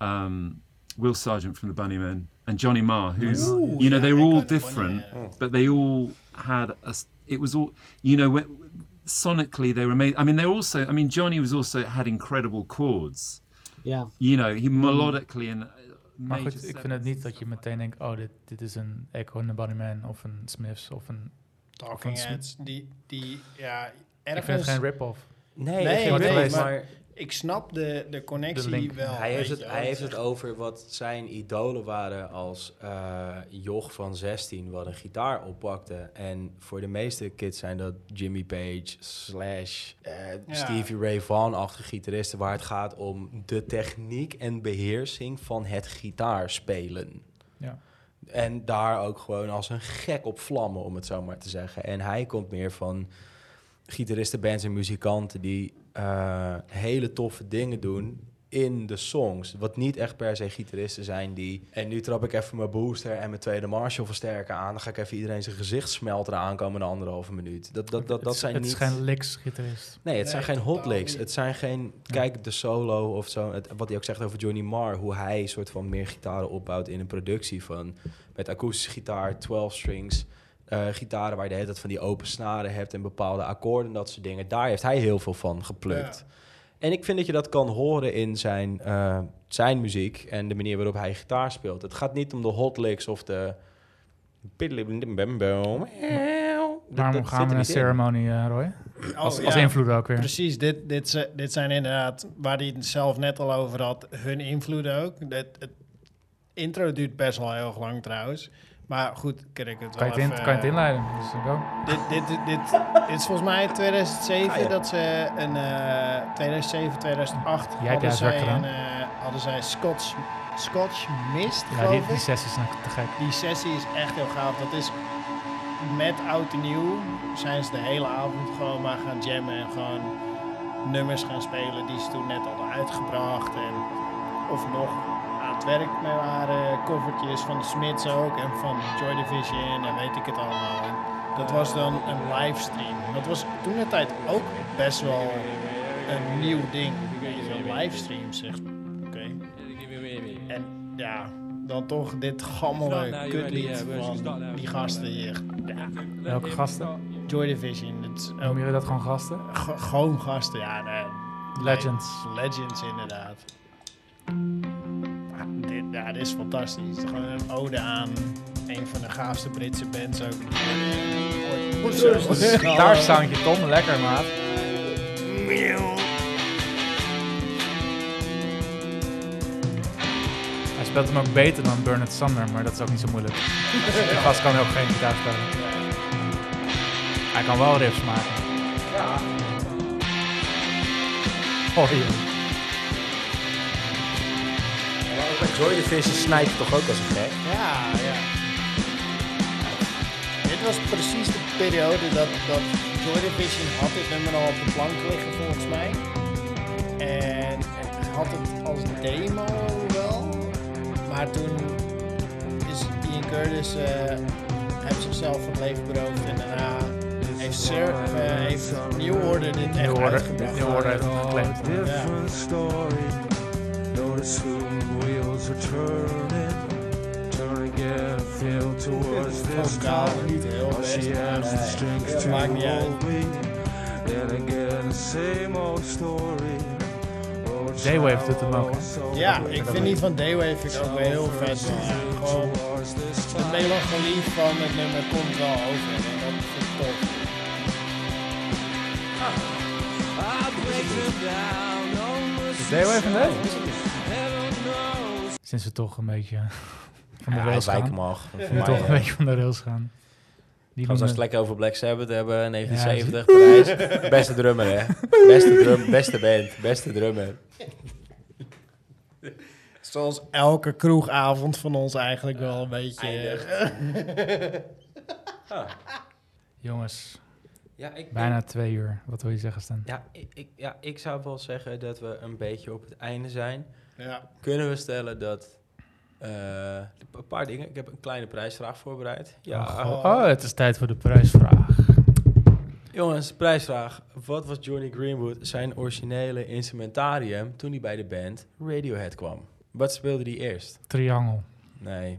[SPEAKER 11] um, Will Sargent from the Bunnymen, and Johnny Marr. Who's you know
[SPEAKER 3] yeah,
[SPEAKER 11] they were
[SPEAKER 3] they're
[SPEAKER 11] all
[SPEAKER 3] kind of funny,
[SPEAKER 11] different,
[SPEAKER 1] Oh.
[SPEAKER 11] but they all had a. s- It was all you know. When, sonically, they were amazing. I mean, they're also. I mean, Johnny was also had incredible chords
[SPEAKER 5] yeah.
[SPEAKER 11] you know, he melodically and uh,
[SPEAKER 2] Maar
[SPEAKER 11] major
[SPEAKER 2] goed, ik vind het
[SPEAKER 11] sevens
[SPEAKER 2] niet
[SPEAKER 11] and
[SPEAKER 2] dat je
[SPEAKER 11] stuff
[SPEAKER 2] meteen denkt, oh, dit, dit is een Echo and the Bunnyman of een Smiths of een...
[SPEAKER 3] Talking
[SPEAKER 2] Van
[SPEAKER 3] Heads, die, die, ja,
[SPEAKER 2] Ik vind het
[SPEAKER 3] ergens,
[SPEAKER 2] geen rip-off.
[SPEAKER 1] Nee,
[SPEAKER 3] Nee,
[SPEAKER 1] geen
[SPEAKER 2] nee,
[SPEAKER 1] idee,
[SPEAKER 2] maar-
[SPEAKER 3] ik snap de, de
[SPEAKER 2] De
[SPEAKER 3] connectie
[SPEAKER 2] link.
[SPEAKER 3] wel.
[SPEAKER 1] Hij
[SPEAKER 3] weet
[SPEAKER 1] heeft,
[SPEAKER 3] je
[SPEAKER 1] het,
[SPEAKER 3] wel.
[SPEAKER 1] hij heeft het over wat zijn idolen waren als eh joch van 16 wat een gitaar oppakte. En voor de meeste kids zijn dat Jimmy Page slash eh, Stevie Ray Vaughan-achtige gitaristen... waar het gaat om de techniek en beheersing van het gitaarspelen.
[SPEAKER 2] Ja.
[SPEAKER 1] En daar ook gewoon als een gek op vlammen, om het zo maar te zeggen. En hij komt meer van gitaristen, bands en muzikanten die eh, hele toffe dingen doen in de songs. Wat niet echt per se gitaristen zijn die... En nu trap ik even mijn booster en mijn tweede Marshall versterker aan. Dan ga ik even iedereen zijn gezicht smelteren aankomende anderhalve minuut. Dat, dat, dat, dat
[SPEAKER 2] het,
[SPEAKER 1] zijn
[SPEAKER 2] het
[SPEAKER 1] niet...
[SPEAKER 2] is geen licks-gitarist.
[SPEAKER 1] Nee, het
[SPEAKER 3] Nee,
[SPEAKER 1] zijn geen
[SPEAKER 3] totaal
[SPEAKER 1] hot licks.
[SPEAKER 3] niet.
[SPEAKER 1] Het zijn geen, kijk de solo of zo. Het- wat hij ook zegt over Johnny Marr, hoe hij een soort van meer gitaren opbouwt in een productie van met akoestische gitaar, 12 strings, eh, gitaren waar je de hele tijd van die open snaren hebt en bepaalde akkoorden en dat soort dingen. Daar heeft hij heel veel van geplukt. En ik vind dat je dat kan horen in zijn, eh, zijn muziek en de manier waarop hij gitaar speelt. Het gaat niet om de hot licks of de...
[SPEAKER 2] Daarom gaan we een ceremonie, eh, Roy. Als, als invloed ook weer.
[SPEAKER 3] Oh, Precies, dit, dit, ze- dit zijn inderdaad, waar hij het zelf net al over had, hun invloeden ook. Dat, het intro duurt best wel heel erg lang trouwens. Maar goed, kan ik het
[SPEAKER 2] Kan
[SPEAKER 3] wel
[SPEAKER 2] je het, in,
[SPEAKER 3] even,
[SPEAKER 2] kan je het
[SPEAKER 3] eh,
[SPEAKER 2] inleiden. Dus go.
[SPEAKER 3] Dit, dit, dit, dit, dit is volgens mij 2007
[SPEAKER 1] Ah,
[SPEAKER 3] dat ze een eh 2007, 2008
[SPEAKER 2] hebt
[SPEAKER 3] hadden,
[SPEAKER 2] juist werk
[SPEAKER 3] zij
[SPEAKER 2] gedaan.
[SPEAKER 3] een, eh, hadden zij Scotch, Scotch Mist,
[SPEAKER 2] Ja,
[SPEAKER 3] geloof
[SPEAKER 2] die, die
[SPEAKER 3] ik.
[SPEAKER 2] sessie is nou te gek.
[SPEAKER 3] Die sessie is echt heel gaaf. Dat is met oud en nieuw zijn ze de hele avond gewoon maar gaan jammen en gewoon nummers gaan spelen die ze toen net hadden uitgebracht. En of nog aan het werk mee waren. Covertjes van de Smiths ook en van Joy Division en weet ik het allemaal. En dat was dan een livestream. Dat was toen de tijd ook best wel een nieuw ding. Weet je, Een livestream zegt. Oké. En ja, dan toch dit gammele kutlied van die gasten hier. Ja,
[SPEAKER 2] Welke gasten?
[SPEAKER 3] Joy Division, het is ook
[SPEAKER 2] Noemen jullie dat gewoon gasten?
[SPEAKER 3] ge- gewoon gasten. Ja, nee,
[SPEAKER 2] Legends.
[SPEAKER 3] Nee, legends, inderdaad. Ah, dit, ja, dit is fantastisch. Het is Gewoon een ode aan een van de gaafste Britse bands ook. die ooit- ooit- ooit-
[SPEAKER 2] Daar soundje Tom, lekker maat. Hij speelt hem ook beter dan Bernard Sander, maar dat is ook niet zo moeilijk. De gast kan ook geen gitaar spelen. Hij kan wel riffs maken. Oh, hier.
[SPEAKER 1] Joy Division snijdt toch ook als een gek?
[SPEAKER 3] Ja, ja. Dit was precies de periode dat, dat Joy Division had dit nummer al op de plank liggen volgens mij. En, en had het als demo wel. Maar toen is Ian Curtis eh heeft zichzelf van het leven beroofd en daarna heeft, Sir, eh, heeft New Order dit echt
[SPEAKER 2] New Order,
[SPEAKER 3] uitgebracht.
[SPEAKER 2] New Order heeft hem geclaimd.
[SPEAKER 5] Oh,
[SPEAKER 3] Ja.
[SPEAKER 5] different story. Notice whom wheels are turning. Turn again, feel towards this
[SPEAKER 3] Van Gaal,
[SPEAKER 5] calling.
[SPEAKER 3] niet heel
[SPEAKER 5] All
[SPEAKER 3] best,
[SPEAKER 5] she
[SPEAKER 3] maar
[SPEAKER 5] has is strength
[SPEAKER 3] nee,
[SPEAKER 5] to
[SPEAKER 3] maakt niet uit.
[SPEAKER 5] hold me. Then again, the same old story. Oh,
[SPEAKER 2] J-Wave doet hem ook, hè?
[SPEAKER 5] child,
[SPEAKER 3] Ja,
[SPEAKER 5] so
[SPEAKER 3] ik vind die van Daywave vind ik ook wel heel vet. maar ja, Gewoon
[SPEAKER 5] towards this
[SPEAKER 3] de melancholie van het nummer komt wel over. En dat vind ik tof.
[SPEAKER 2] Deed we even mee? Sinds we toch een beetje van de rails gaan.
[SPEAKER 1] wijken mag.
[SPEAKER 2] Nu toch een beetje van de rails gaan. Die
[SPEAKER 1] Als we het
[SPEAKER 2] noemen-
[SPEAKER 1] lekker over Black Sabbath hebben,
[SPEAKER 2] Ja,
[SPEAKER 1] 1970, Parijs. Beste drummer, hè? Beste, drum, beste band, beste drummer.
[SPEAKER 3] Zoals elke kroegavond van ons eigenlijk wel een beetje. eh,
[SPEAKER 2] Jongens,
[SPEAKER 1] Ja, ik,
[SPEAKER 2] bijna twee uur. Wat wil je zeggen, Stan?
[SPEAKER 1] Ja ik, ja, ik zou wel zeggen dat we een beetje op het einde zijn.
[SPEAKER 3] Ja.
[SPEAKER 1] Kunnen we stellen dat... eh, een paar dingen. Ik heb een kleine prijsvraag voorbereid.
[SPEAKER 3] eh,
[SPEAKER 1] Ja,
[SPEAKER 2] Oh, oh, het is tijd voor de prijsvraag.
[SPEAKER 1] Jongens, prijsvraag. Wat was Johnny Greenwood zijn originele instrumentarium toen hij bij de band Radiohead kwam? Wat speelde hij eerst?
[SPEAKER 2] Triangel.
[SPEAKER 1] Nee.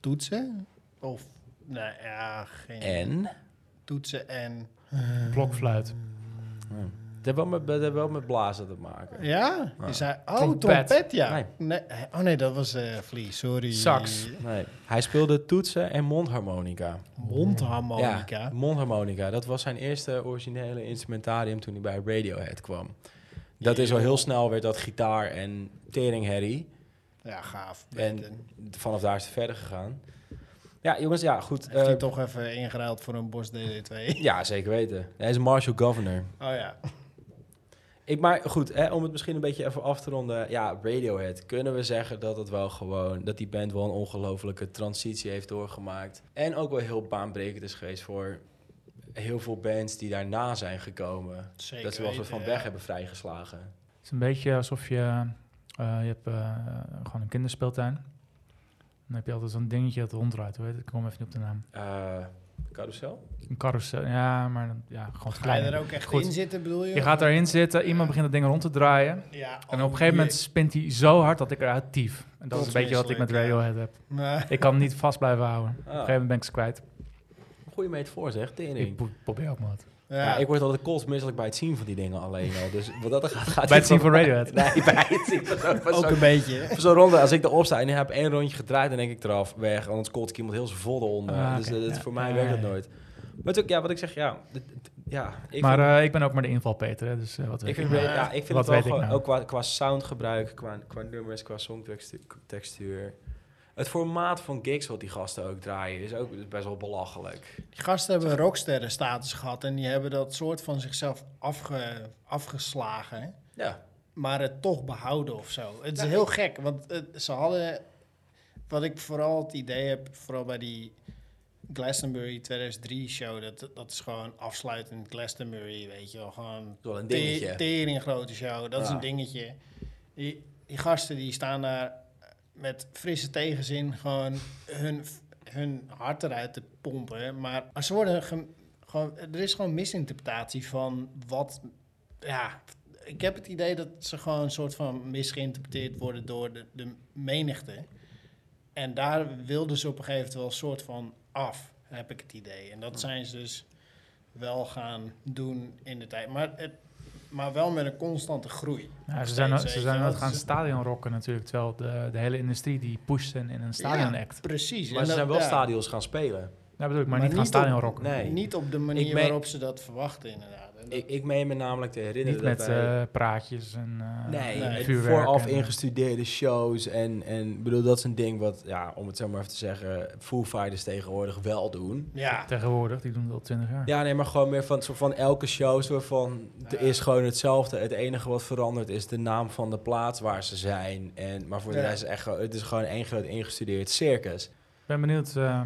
[SPEAKER 3] Toetsen? Of, nou ja, geen.
[SPEAKER 1] En?
[SPEAKER 3] Toetsen en. Eh.
[SPEAKER 2] Blokfluit.
[SPEAKER 1] Dat heeft wel met, dat heeft wel met blazen te maken.
[SPEAKER 3] Ja? Is hij. Oh,
[SPEAKER 2] Trompet.
[SPEAKER 3] trompet, ja.
[SPEAKER 1] Ah. Nee.
[SPEAKER 3] Nee. Oh nee, dat was eh Vlie, sorry.
[SPEAKER 2] Sax.
[SPEAKER 1] Nee. Hij speelde toetsen en mondharmonica. Ja,
[SPEAKER 3] Mondharmonica.
[SPEAKER 1] mondharmonica. Dat was zijn eerste originele instrumentarium toen hij bij Radiohead kwam. Dat is al heel snel werd dat gitaar en teringherrie.
[SPEAKER 3] Ja, gaaf.
[SPEAKER 1] En vanaf daar is het verder gegaan. Ja, jongens, ja, goed.
[SPEAKER 3] Heeft hij
[SPEAKER 1] eh,
[SPEAKER 3] toch even ingeruild voor een Bos DD2?
[SPEAKER 1] Ja, zeker weten. Hij is Marshall Governor.
[SPEAKER 3] Oh ja.
[SPEAKER 1] Ik, maar goed, hè, om het misschien een beetje even af te ronden. Ja, Radiohead. Kunnen we zeggen dat het wel gewoon... dat die band wel een ongelofelijke transitie heeft doorgemaakt. En ook wel heel baanbrekend is geweest voor heel veel bands die daarna zijn gekomen.
[SPEAKER 3] Zeker
[SPEAKER 1] dat ze wel een soort
[SPEAKER 3] weten,
[SPEAKER 1] van
[SPEAKER 3] ja.
[SPEAKER 1] weg hebben vrijgeslagen.
[SPEAKER 2] Het is een beetje alsof je... eh, je hebt eh, gewoon een kinderspeeltuin. Dan heb je altijd zo'n dingetje dat ronddraait. Hoe heet het? Ik kom even niet op de naam.
[SPEAKER 1] Eh carousel?
[SPEAKER 2] Een carousel. Ja, maar dan- ja, gewoon
[SPEAKER 3] Ga je
[SPEAKER 2] klein.
[SPEAKER 3] er ook echt
[SPEAKER 2] Goed.
[SPEAKER 3] in zitten, bedoel je?
[SPEAKER 2] Je gaat daarin zitten. Iemand begint dat ding rond te draaien.
[SPEAKER 3] Ja, oh,
[SPEAKER 2] En op een gegeven moment spint hij zo hard dat ik eruit tief. En dat is een beetje wat ik met Radiohead heb.
[SPEAKER 3] Maar,
[SPEAKER 2] Ik kan hem niet vast blijven houden. Op een gegeven moment ben ik ze kwijt.
[SPEAKER 1] Goeie meet voor, zeg.
[SPEAKER 2] Ik
[SPEAKER 1] Tering.
[SPEAKER 2] pro- probeer ook maar wat.
[SPEAKER 1] Ja.
[SPEAKER 3] ja,
[SPEAKER 1] ik word altijd kotsmisselijk bij het zien van die dingen alleen al. Dus wat dat er gaat... gaat
[SPEAKER 2] Bij het zien van
[SPEAKER 1] mij-
[SPEAKER 2] Radiohead.
[SPEAKER 1] Nee, bij het zien van zo'n- van
[SPEAKER 3] ook
[SPEAKER 1] zo'n
[SPEAKER 3] een beetje.
[SPEAKER 1] Voor zo'n ronde, als ik erop sta en ik heb één rondje gedraaid, dan denk ik eraf, weg. Anders kolt ik iemand heel zijn vol eronder.
[SPEAKER 2] Ah,
[SPEAKER 1] Dus
[SPEAKER 2] oké,
[SPEAKER 1] eh, dat,
[SPEAKER 2] ja.
[SPEAKER 1] voor mij
[SPEAKER 2] Ja,
[SPEAKER 1] werkt dat
[SPEAKER 2] ja.
[SPEAKER 1] nooit. Maar ook, ja, wat ik zeg, ja. dit- dit- ja ik
[SPEAKER 2] maar
[SPEAKER 1] vind,
[SPEAKER 2] eh, ik ben ook maar de inval Peter, hè, dus eh, wat weet
[SPEAKER 1] ik
[SPEAKER 2] ik.
[SPEAKER 1] vind,
[SPEAKER 2] nou?
[SPEAKER 1] ja, ik vind
[SPEAKER 2] Wat
[SPEAKER 1] het wel
[SPEAKER 2] weet ik
[SPEAKER 1] gewoon,
[SPEAKER 2] nou?
[SPEAKER 1] ook qua, qua soundgebruik, qua, qua nummers, qua songtextuur. Het formaat van gigs wat die gasten ook draaien is ook best wel belachelijk.
[SPEAKER 3] Die gasten hebben rocksterren status gehad en die hebben dat soort van zichzelf afge, afgeslagen,
[SPEAKER 1] Ja,
[SPEAKER 3] maar het toch behouden of zo. Het is heel gek, want het- ze hadden, wat ik vooral het idee heb, vooral bij die Glastonbury 2003 show, dat, dat is gewoon afsluitend Glastonbury, weet je wel. Gewoon
[SPEAKER 13] wel een
[SPEAKER 3] te-
[SPEAKER 13] dingetje.
[SPEAKER 3] tering grote show, dat is
[SPEAKER 13] Ja.
[SPEAKER 3] een dingetje. Die, die gasten die staan daar met frisse tegenzin gewoon hun, hun hart eruit te pompen. Maar ze worden ge- gewoon, er is gewoon misinterpretatie van wat, ja... Ik heb het idee dat ze gewoon een soort van misgeïnterpreteerd worden door de, de menigte. En daar wilden ze op een gegeven moment wel een soort van af, heb ik het idee. En dat zijn ze dus wel gaan doen in de tijd. Maar, het, maar wel met een constante groei.
[SPEAKER 2] Ja,
[SPEAKER 3] Nog
[SPEAKER 2] ze zijn,
[SPEAKER 3] steeds,
[SPEAKER 2] ze
[SPEAKER 3] weet
[SPEAKER 2] zijn
[SPEAKER 3] je
[SPEAKER 2] aan
[SPEAKER 3] wel.
[SPEAKER 2] het gaan
[SPEAKER 3] Ze-
[SPEAKER 2] stadion rocken natuurlijk. Terwijl de, de hele industrie die pusht hen in een stadion act.
[SPEAKER 3] Precies.
[SPEAKER 1] Maar
[SPEAKER 3] En
[SPEAKER 1] ze
[SPEAKER 3] dat-
[SPEAKER 1] zijn wel
[SPEAKER 3] ja,
[SPEAKER 1] stadions gaan spelen.
[SPEAKER 2] Ja, bedoel ik, maar,
[SPEAKER 3] Maar
[SPEAKER 2] niet gaan
[SPEAKER 3] niet op-
[SPEAKER 2] stadion rocken.
[SPEAKER 1] Nee.
[SPEAKER 3] Niet op de manier
[SPEAKER 1] meen-
[SPEAKER 3] waarop ze dat verwachten, inderdaad. En dat-
[SPEAKER 1] Ik, ik meen me namelijk te herinneren
[SPEAKER 2] Niet met
[SPEAKER 1] dat wij-
[SPEAKER 2] eh, praatjes en eh,
[SPEAKER 1] Nee,
[SPEAKER 3] Nee.
[SPEAKER 1] met
[SPEAKER 2] vuurwerk
[SPEAKER 1] vooraf
[SPEAKER 2] en, eh,
[SPEAKER 1] ingestudeerde shows. En, en ik bedoel, dat is een ding wat, ja, om het zo maar even te zeggen, Foo Fighters tegenwoordig wel doen.
[SPEAKER 3] ja,
[SPEAKER 2] Tegenwoordig, die doen dat al twintig jaar.
[SPEAKER 1] Ja, nee, maar gewoon meer van, soort van elke show, soort van, het is gewoon hetzelfde. Het enige wat verandert is de naam van de plaats waar ze zijn. En, maar voor de
[SPEAKER 3] Ja.
[SPEAKER 1] rest is echt, gewoon- het is gewoon één groot ingestudeerd circus.
[SPEAKER 2] Ik ben benieuwd eh,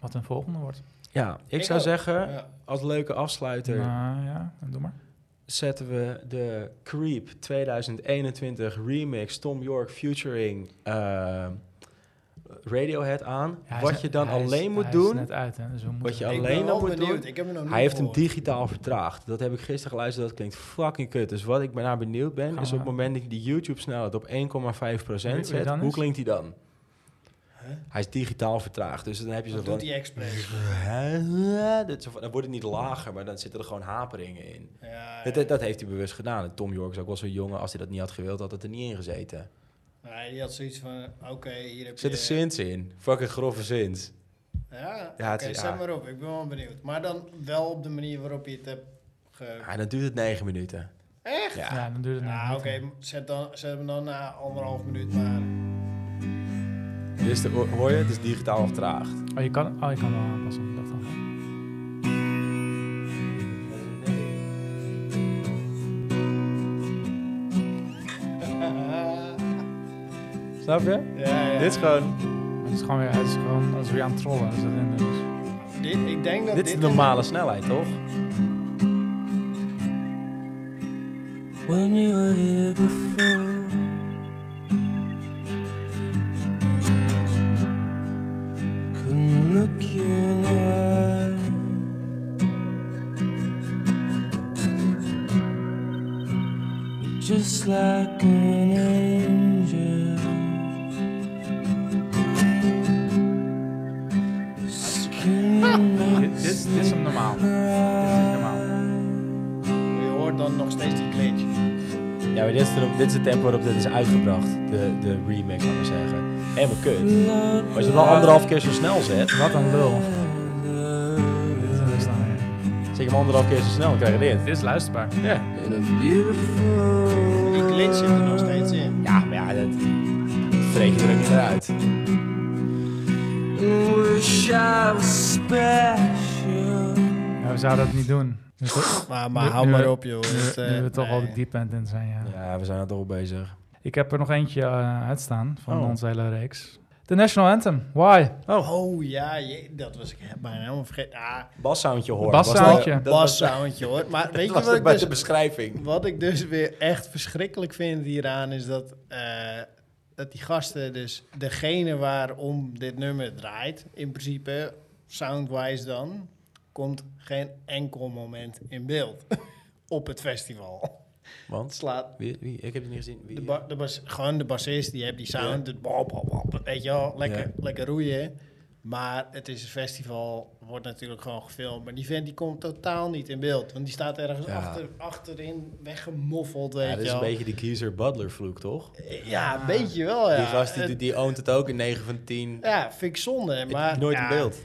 [SPEAKER 2] wat een volgende wordt.
[SPEAKER 1] Ja, ik,
[SPEAKER 3] Ik
[SPEAKER 1] zou
[SPEAKER 3] ook.
[SPEAKER 1] zeggen,
[SPEAKER 3] ja.
[SPEAKER 1] als leuke afsluiter
[SPEAKER 2] Nou ja, doe maar.
[SPEAKER 1] zetten we de Creep 2021 remix Tom York featuring eh, Radiohead aan.
[SPEAKER 2] Ja, hij is
[SPEAKER 1] wat
[SPEAKER 2] net-
[SPEAKER 1] je dan
[SPEAKER 2] hij is-
[SPEAKER 1] alleen moet
[SPEAKER 2] hij Is
[SPEAKER 1] doen,
[SPEAKER 2] net uit, hè, dus we moeten
[SPEAKER 1] wat je
[SPEAKER 3] Ik ben
[SPEAKER 1] alleen
[SPEAKER 3] wel
[SPEAKER 1] dan moet
[SPEAKER 3] benieuwd.
[SPEAKER 1] doen,
[SPEAKER 3] Ik heb hem nog niet
[SPEAKER 1] hij heeft hem
[SPEAKER 3] gehoord.
[SPEAKER 1] digitaal vertraagd. Dat heb ik gisteren geluisterd, dat klinkt fucking kut. Dus wat ik naar benieuwd ben,
[SPEAKER 2] Gaan
[SPEAKER 1] is
[SPEAKER 2] we-
[SPEAKER 1] op het moment dat je die YouTube-snelheid op 1,5%
[SPEAKER 2] Weet je
[SPEAKER 1] zet,
[SPEAKER 2] dan
[SPEAKER 1] hoe
[SPEAKER 2] eens?
[SPEAKER 1] klinkt die dan? Hij is digitaal vertraagd, dus dan heb je zo
[SPEAKER 3] Dat
[SPEAKER 1] van...
[SPEAKER 3] doet hij expres.
[SPEAKER 1] Dat zo van- Dan wordt het niet lager, maar dan zitten er gewoon haperingen in.
[SPEAKER 3] Ja,
[SPEAKER 1] Dat, dat- dat heeft hij bewust gedaan. En Tom York is ook wel zo'n jongen, als hij dat niet had gewild, had het er niet in gezeten.
[SPEAKER 3] Nee, die had zoiets van, oké, hier heb
[SPEAKER 1] Er zitten
[SPEAKER 3] je...
[SPEAKER 1] Sins in. Fucking grove Sins.
[SPEAKER 3] Ja,
[SPEAKER 1] Ja, het
[SPEAKER 3] oké,
[SPEAKER 1] is-
[SPEAKER 3] zet
[SPEAKER 1] ja.
[SPEAKER 3] maar op. Ik ben wel benieuwd. Maar dan wel op de manier waarop je het hebt ge...
[SPEAKER 1] Ja, Ah, dan duurt het negen minuten.
[SPEAKER 3] Echt?
[SPEAKER 1] Ja.
[SPEAKER 2] Ja, dan duurt het
[SPEAKER 3] Ja,
[SPEAKER 2] nog
[SPEAKER 3] Nou, oké,
[SPEAKER 2] niet.
[SPEAKER 3] zet, dan, zet hem dan na anderhalf minuut maar.
[SPEAKER 1] Dus de, hoor je, het is digitaal vertraagd.
[SPEAKER 2] Oh, je kan, oh, je kan wel aanpassen. Ik dacht al.
[SPEAKER 1] Snap je?
[SPEAKER 3] Ja, ja.
[SPEAKER 1] Dit is gewoon...
[SPEAKER 2] Het is gewoon weer, het is gewoon als we je aan het trollen. Dus dat is het dus.
[SPEAKER 3] Dit, ik denk dat
[SPEAKER 1] Dit
[SPEAKER 3] dit...
[SPEAKER 1] is de normale snelheid, toch?
[SPEAKER 5] When you were here before, couldn't look you in the eye. You're Just like an angel, skin in
[SPEAKER 2] Dit, dit, dit is hem normaal. Dit is normaal.
[SPEAKER 3] Je hoort dan nog steeds die glitch.
[SPEAKER 1] Ja, maar dit is, er, dit is het tempo waarop dit is uitgebracht. De, de remake, kan ik maar zeggen. Helemaal kut.
[SPEAKER 5] love.
[SPEAKER 1] Maar als je het al anderhalf keer zo snel zet,
[SPEAKER 2] Wat een lul. Dit is dus dan weer.
[SPEAKER 1] zet je hem anderhalf keer zo snel, dan krijg je dit.
[SPEAKER 2] Dit is luisterbaar.
[SPEAKER 1] Ja.
[SPEAKER 3] Die glitch zit er nog steeds in.
[SPEAKER 1] Ja, maar ja, dat vreet je er ook niet meer uit.
[SPEAKER 5] Wish I was special.
[SPEAKER 2] Ja, we zouden dat niet doen. Nu, we-
[SPEAKER 3] Maar,
[SPEAKER 2] Nu-
[SPEAKER 3] maar hou
[SPEAKER 2] nu-
[SPEAKER 3] maar op, joh.
[SPEAKER 2] nu
[SPEAKER 3] Dit, eh,
[SPEAKER 2] we toch al
[SPEAKER 3] nee.
[SPEAKER 2] de deep end in zijn, ja.
[SPEAKER 1] Ja, we zijn er toch al bezig.
[SPEAKER 2] Ik heb er nog eentje eh, uitstaan van
[SPEAKER 1] Oh.
[SPEAKER 2] onze hele reeks. De National Anthem. Why?
[SPEAKER 3] Oh ja, je- dat was ik bijna helemaal vergeten. Ah,
[SPEAKER 1] Bassoundje hoor.
[SPEAKER 2] Bassoundje.
[SPEAKER 1] Was dat- dat was-
[SPEAKER 3] bassoundje hoor. Maar weet je
[SPEAKER 1] dat
[SPEAKER 3] wat
[SPEAKER 1] was
[SPEAKER 3] ik,
[SPEAKER 1] bij de
[SPEAKER 3] dus,
[SPEAKER 1] beschrijving.
[SPEAKER 3] wat ik dus weer echt verschrikkelijk vind hieraan... is dat, eh, dat die gasten dus... degene waarom dit nummer draait... in principe, soundwise dan... komt geen enkel moment in beeld op het festival. Het
[SPEAKER 1] Want?
[SPEAKER 3] slaat
[SPEAKER 1] Wie, wie? Ik heb het niet gezien. Wie?
[SPEAKER 3] De ba- de bas- gewoon de bassist, die hebt die sound, het bop, bop, bop, weet je wel, lekker,
[SPEAKER 1] Ja.
[SPEAKER 3] lekker roeien. Maar het is een festival, wordt natuurlijk gewoon gefilmd. Maar die vent die komt totaal niet in beeld. Want die staat ergens
[SPEAKER 1] Ja.
[SPEAKER 3] achter, achterin, weggemoffeld, weet
[SPEAKER 1] ja, dat
[SPEAKER 3] je
[SPEAKER 1] is een
[SPEAKER 3] wel.
[SPEAKER 1] beetje de Kiezer Butler vloek, toch?
[SPEAKER 3] Ja, weet je wel, ja.
[SPEAKER 1] die gast die,
[SPEAKER 3] Het-
[SPEAKER 1] die, die oont het ook in 9 van 10.
[SPEAKER 3] ja, vind ik zonde, maar...
[SPEAKER 1] nooit
[SPEAKER 3] ja,
[SPEAKER 1] in beeld.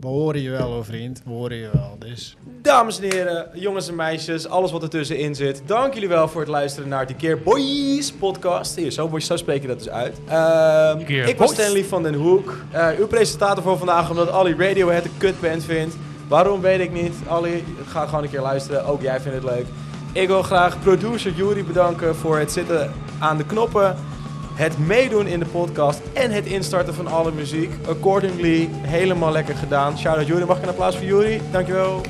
[SPEAKER 3] We horen je wel, hoor, vriend. We horen je wel, dus...
[SPEAKER 1] Dames en heren, jongens en meisjes, alles wat ertussenin zit. Dank jullie wel voor het luisteren naar de Keer Boys podcast. Hier, zo, word je- zo spreek je dat dus uit. Ehm,
[SPEAKER 2] Keer
[SPEAKER 1] ik was
[SPEAKER 2] Boys.
[SPEAKER 1] Stanley van den Hoek. Eh, uw presentator voor vandaag, omdat Ali Radiohead een kutband vindt. Waarom weet ik niet. Ali, ga gewoon een keer luisteren. Ook jij vindt het leuk. Ik wil graag producer Jury bedanken voor het zitten aan de knoppen. het meedoen in de podcast en het instarten van alle muziek. Accordingly, helemaal lekker gedaan. Shout-out Jury. Mag ik een applaus voor Jury? Dankjewel.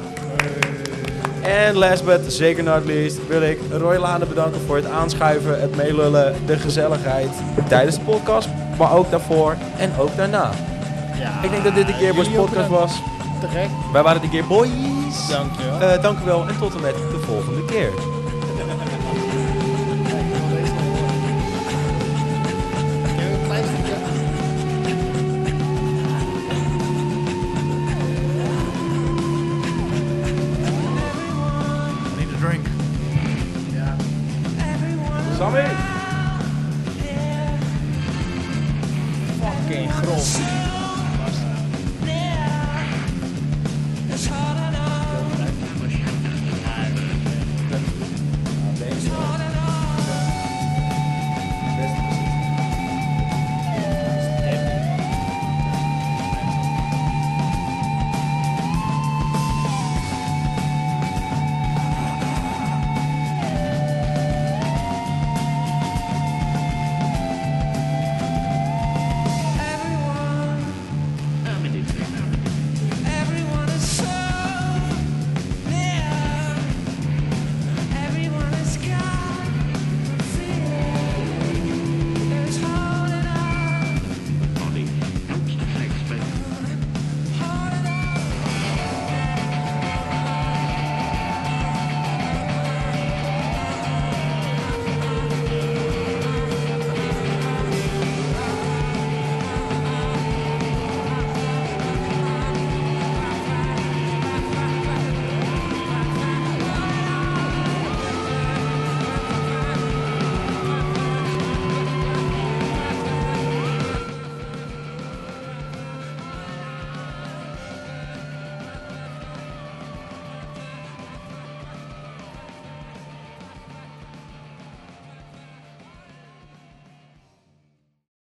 [SPEAKER 1] En last but zeker not least wil ik Roy Lane bedanken voor het aanschuiven, het meelullen, de gezelligheid tijdens de podcast, maar ook daarvoor en ook daarna.
[SPEAKER 3] Ja,
[SPEAKER 1] Ik denk dat dit de Gearbox
[SPEAKER 3] jullie ook
[SPEAKER 1] podcast
[SPEAKER 3] bedankt.
[SPEAKER 1] was.
[SPEAKER 3] Te gek.
[SPEAKER 1] Wij waren de Gearboys.
[SPEAKER 3] Dankjewel.
[SPEAKER 1] Eh, dank u wel en tot en met de volgende keer.
[SPEAKER 2] Need a drink.
[SPEAKER 1] Sammy!
[SPEAKER 3] Fucking grof.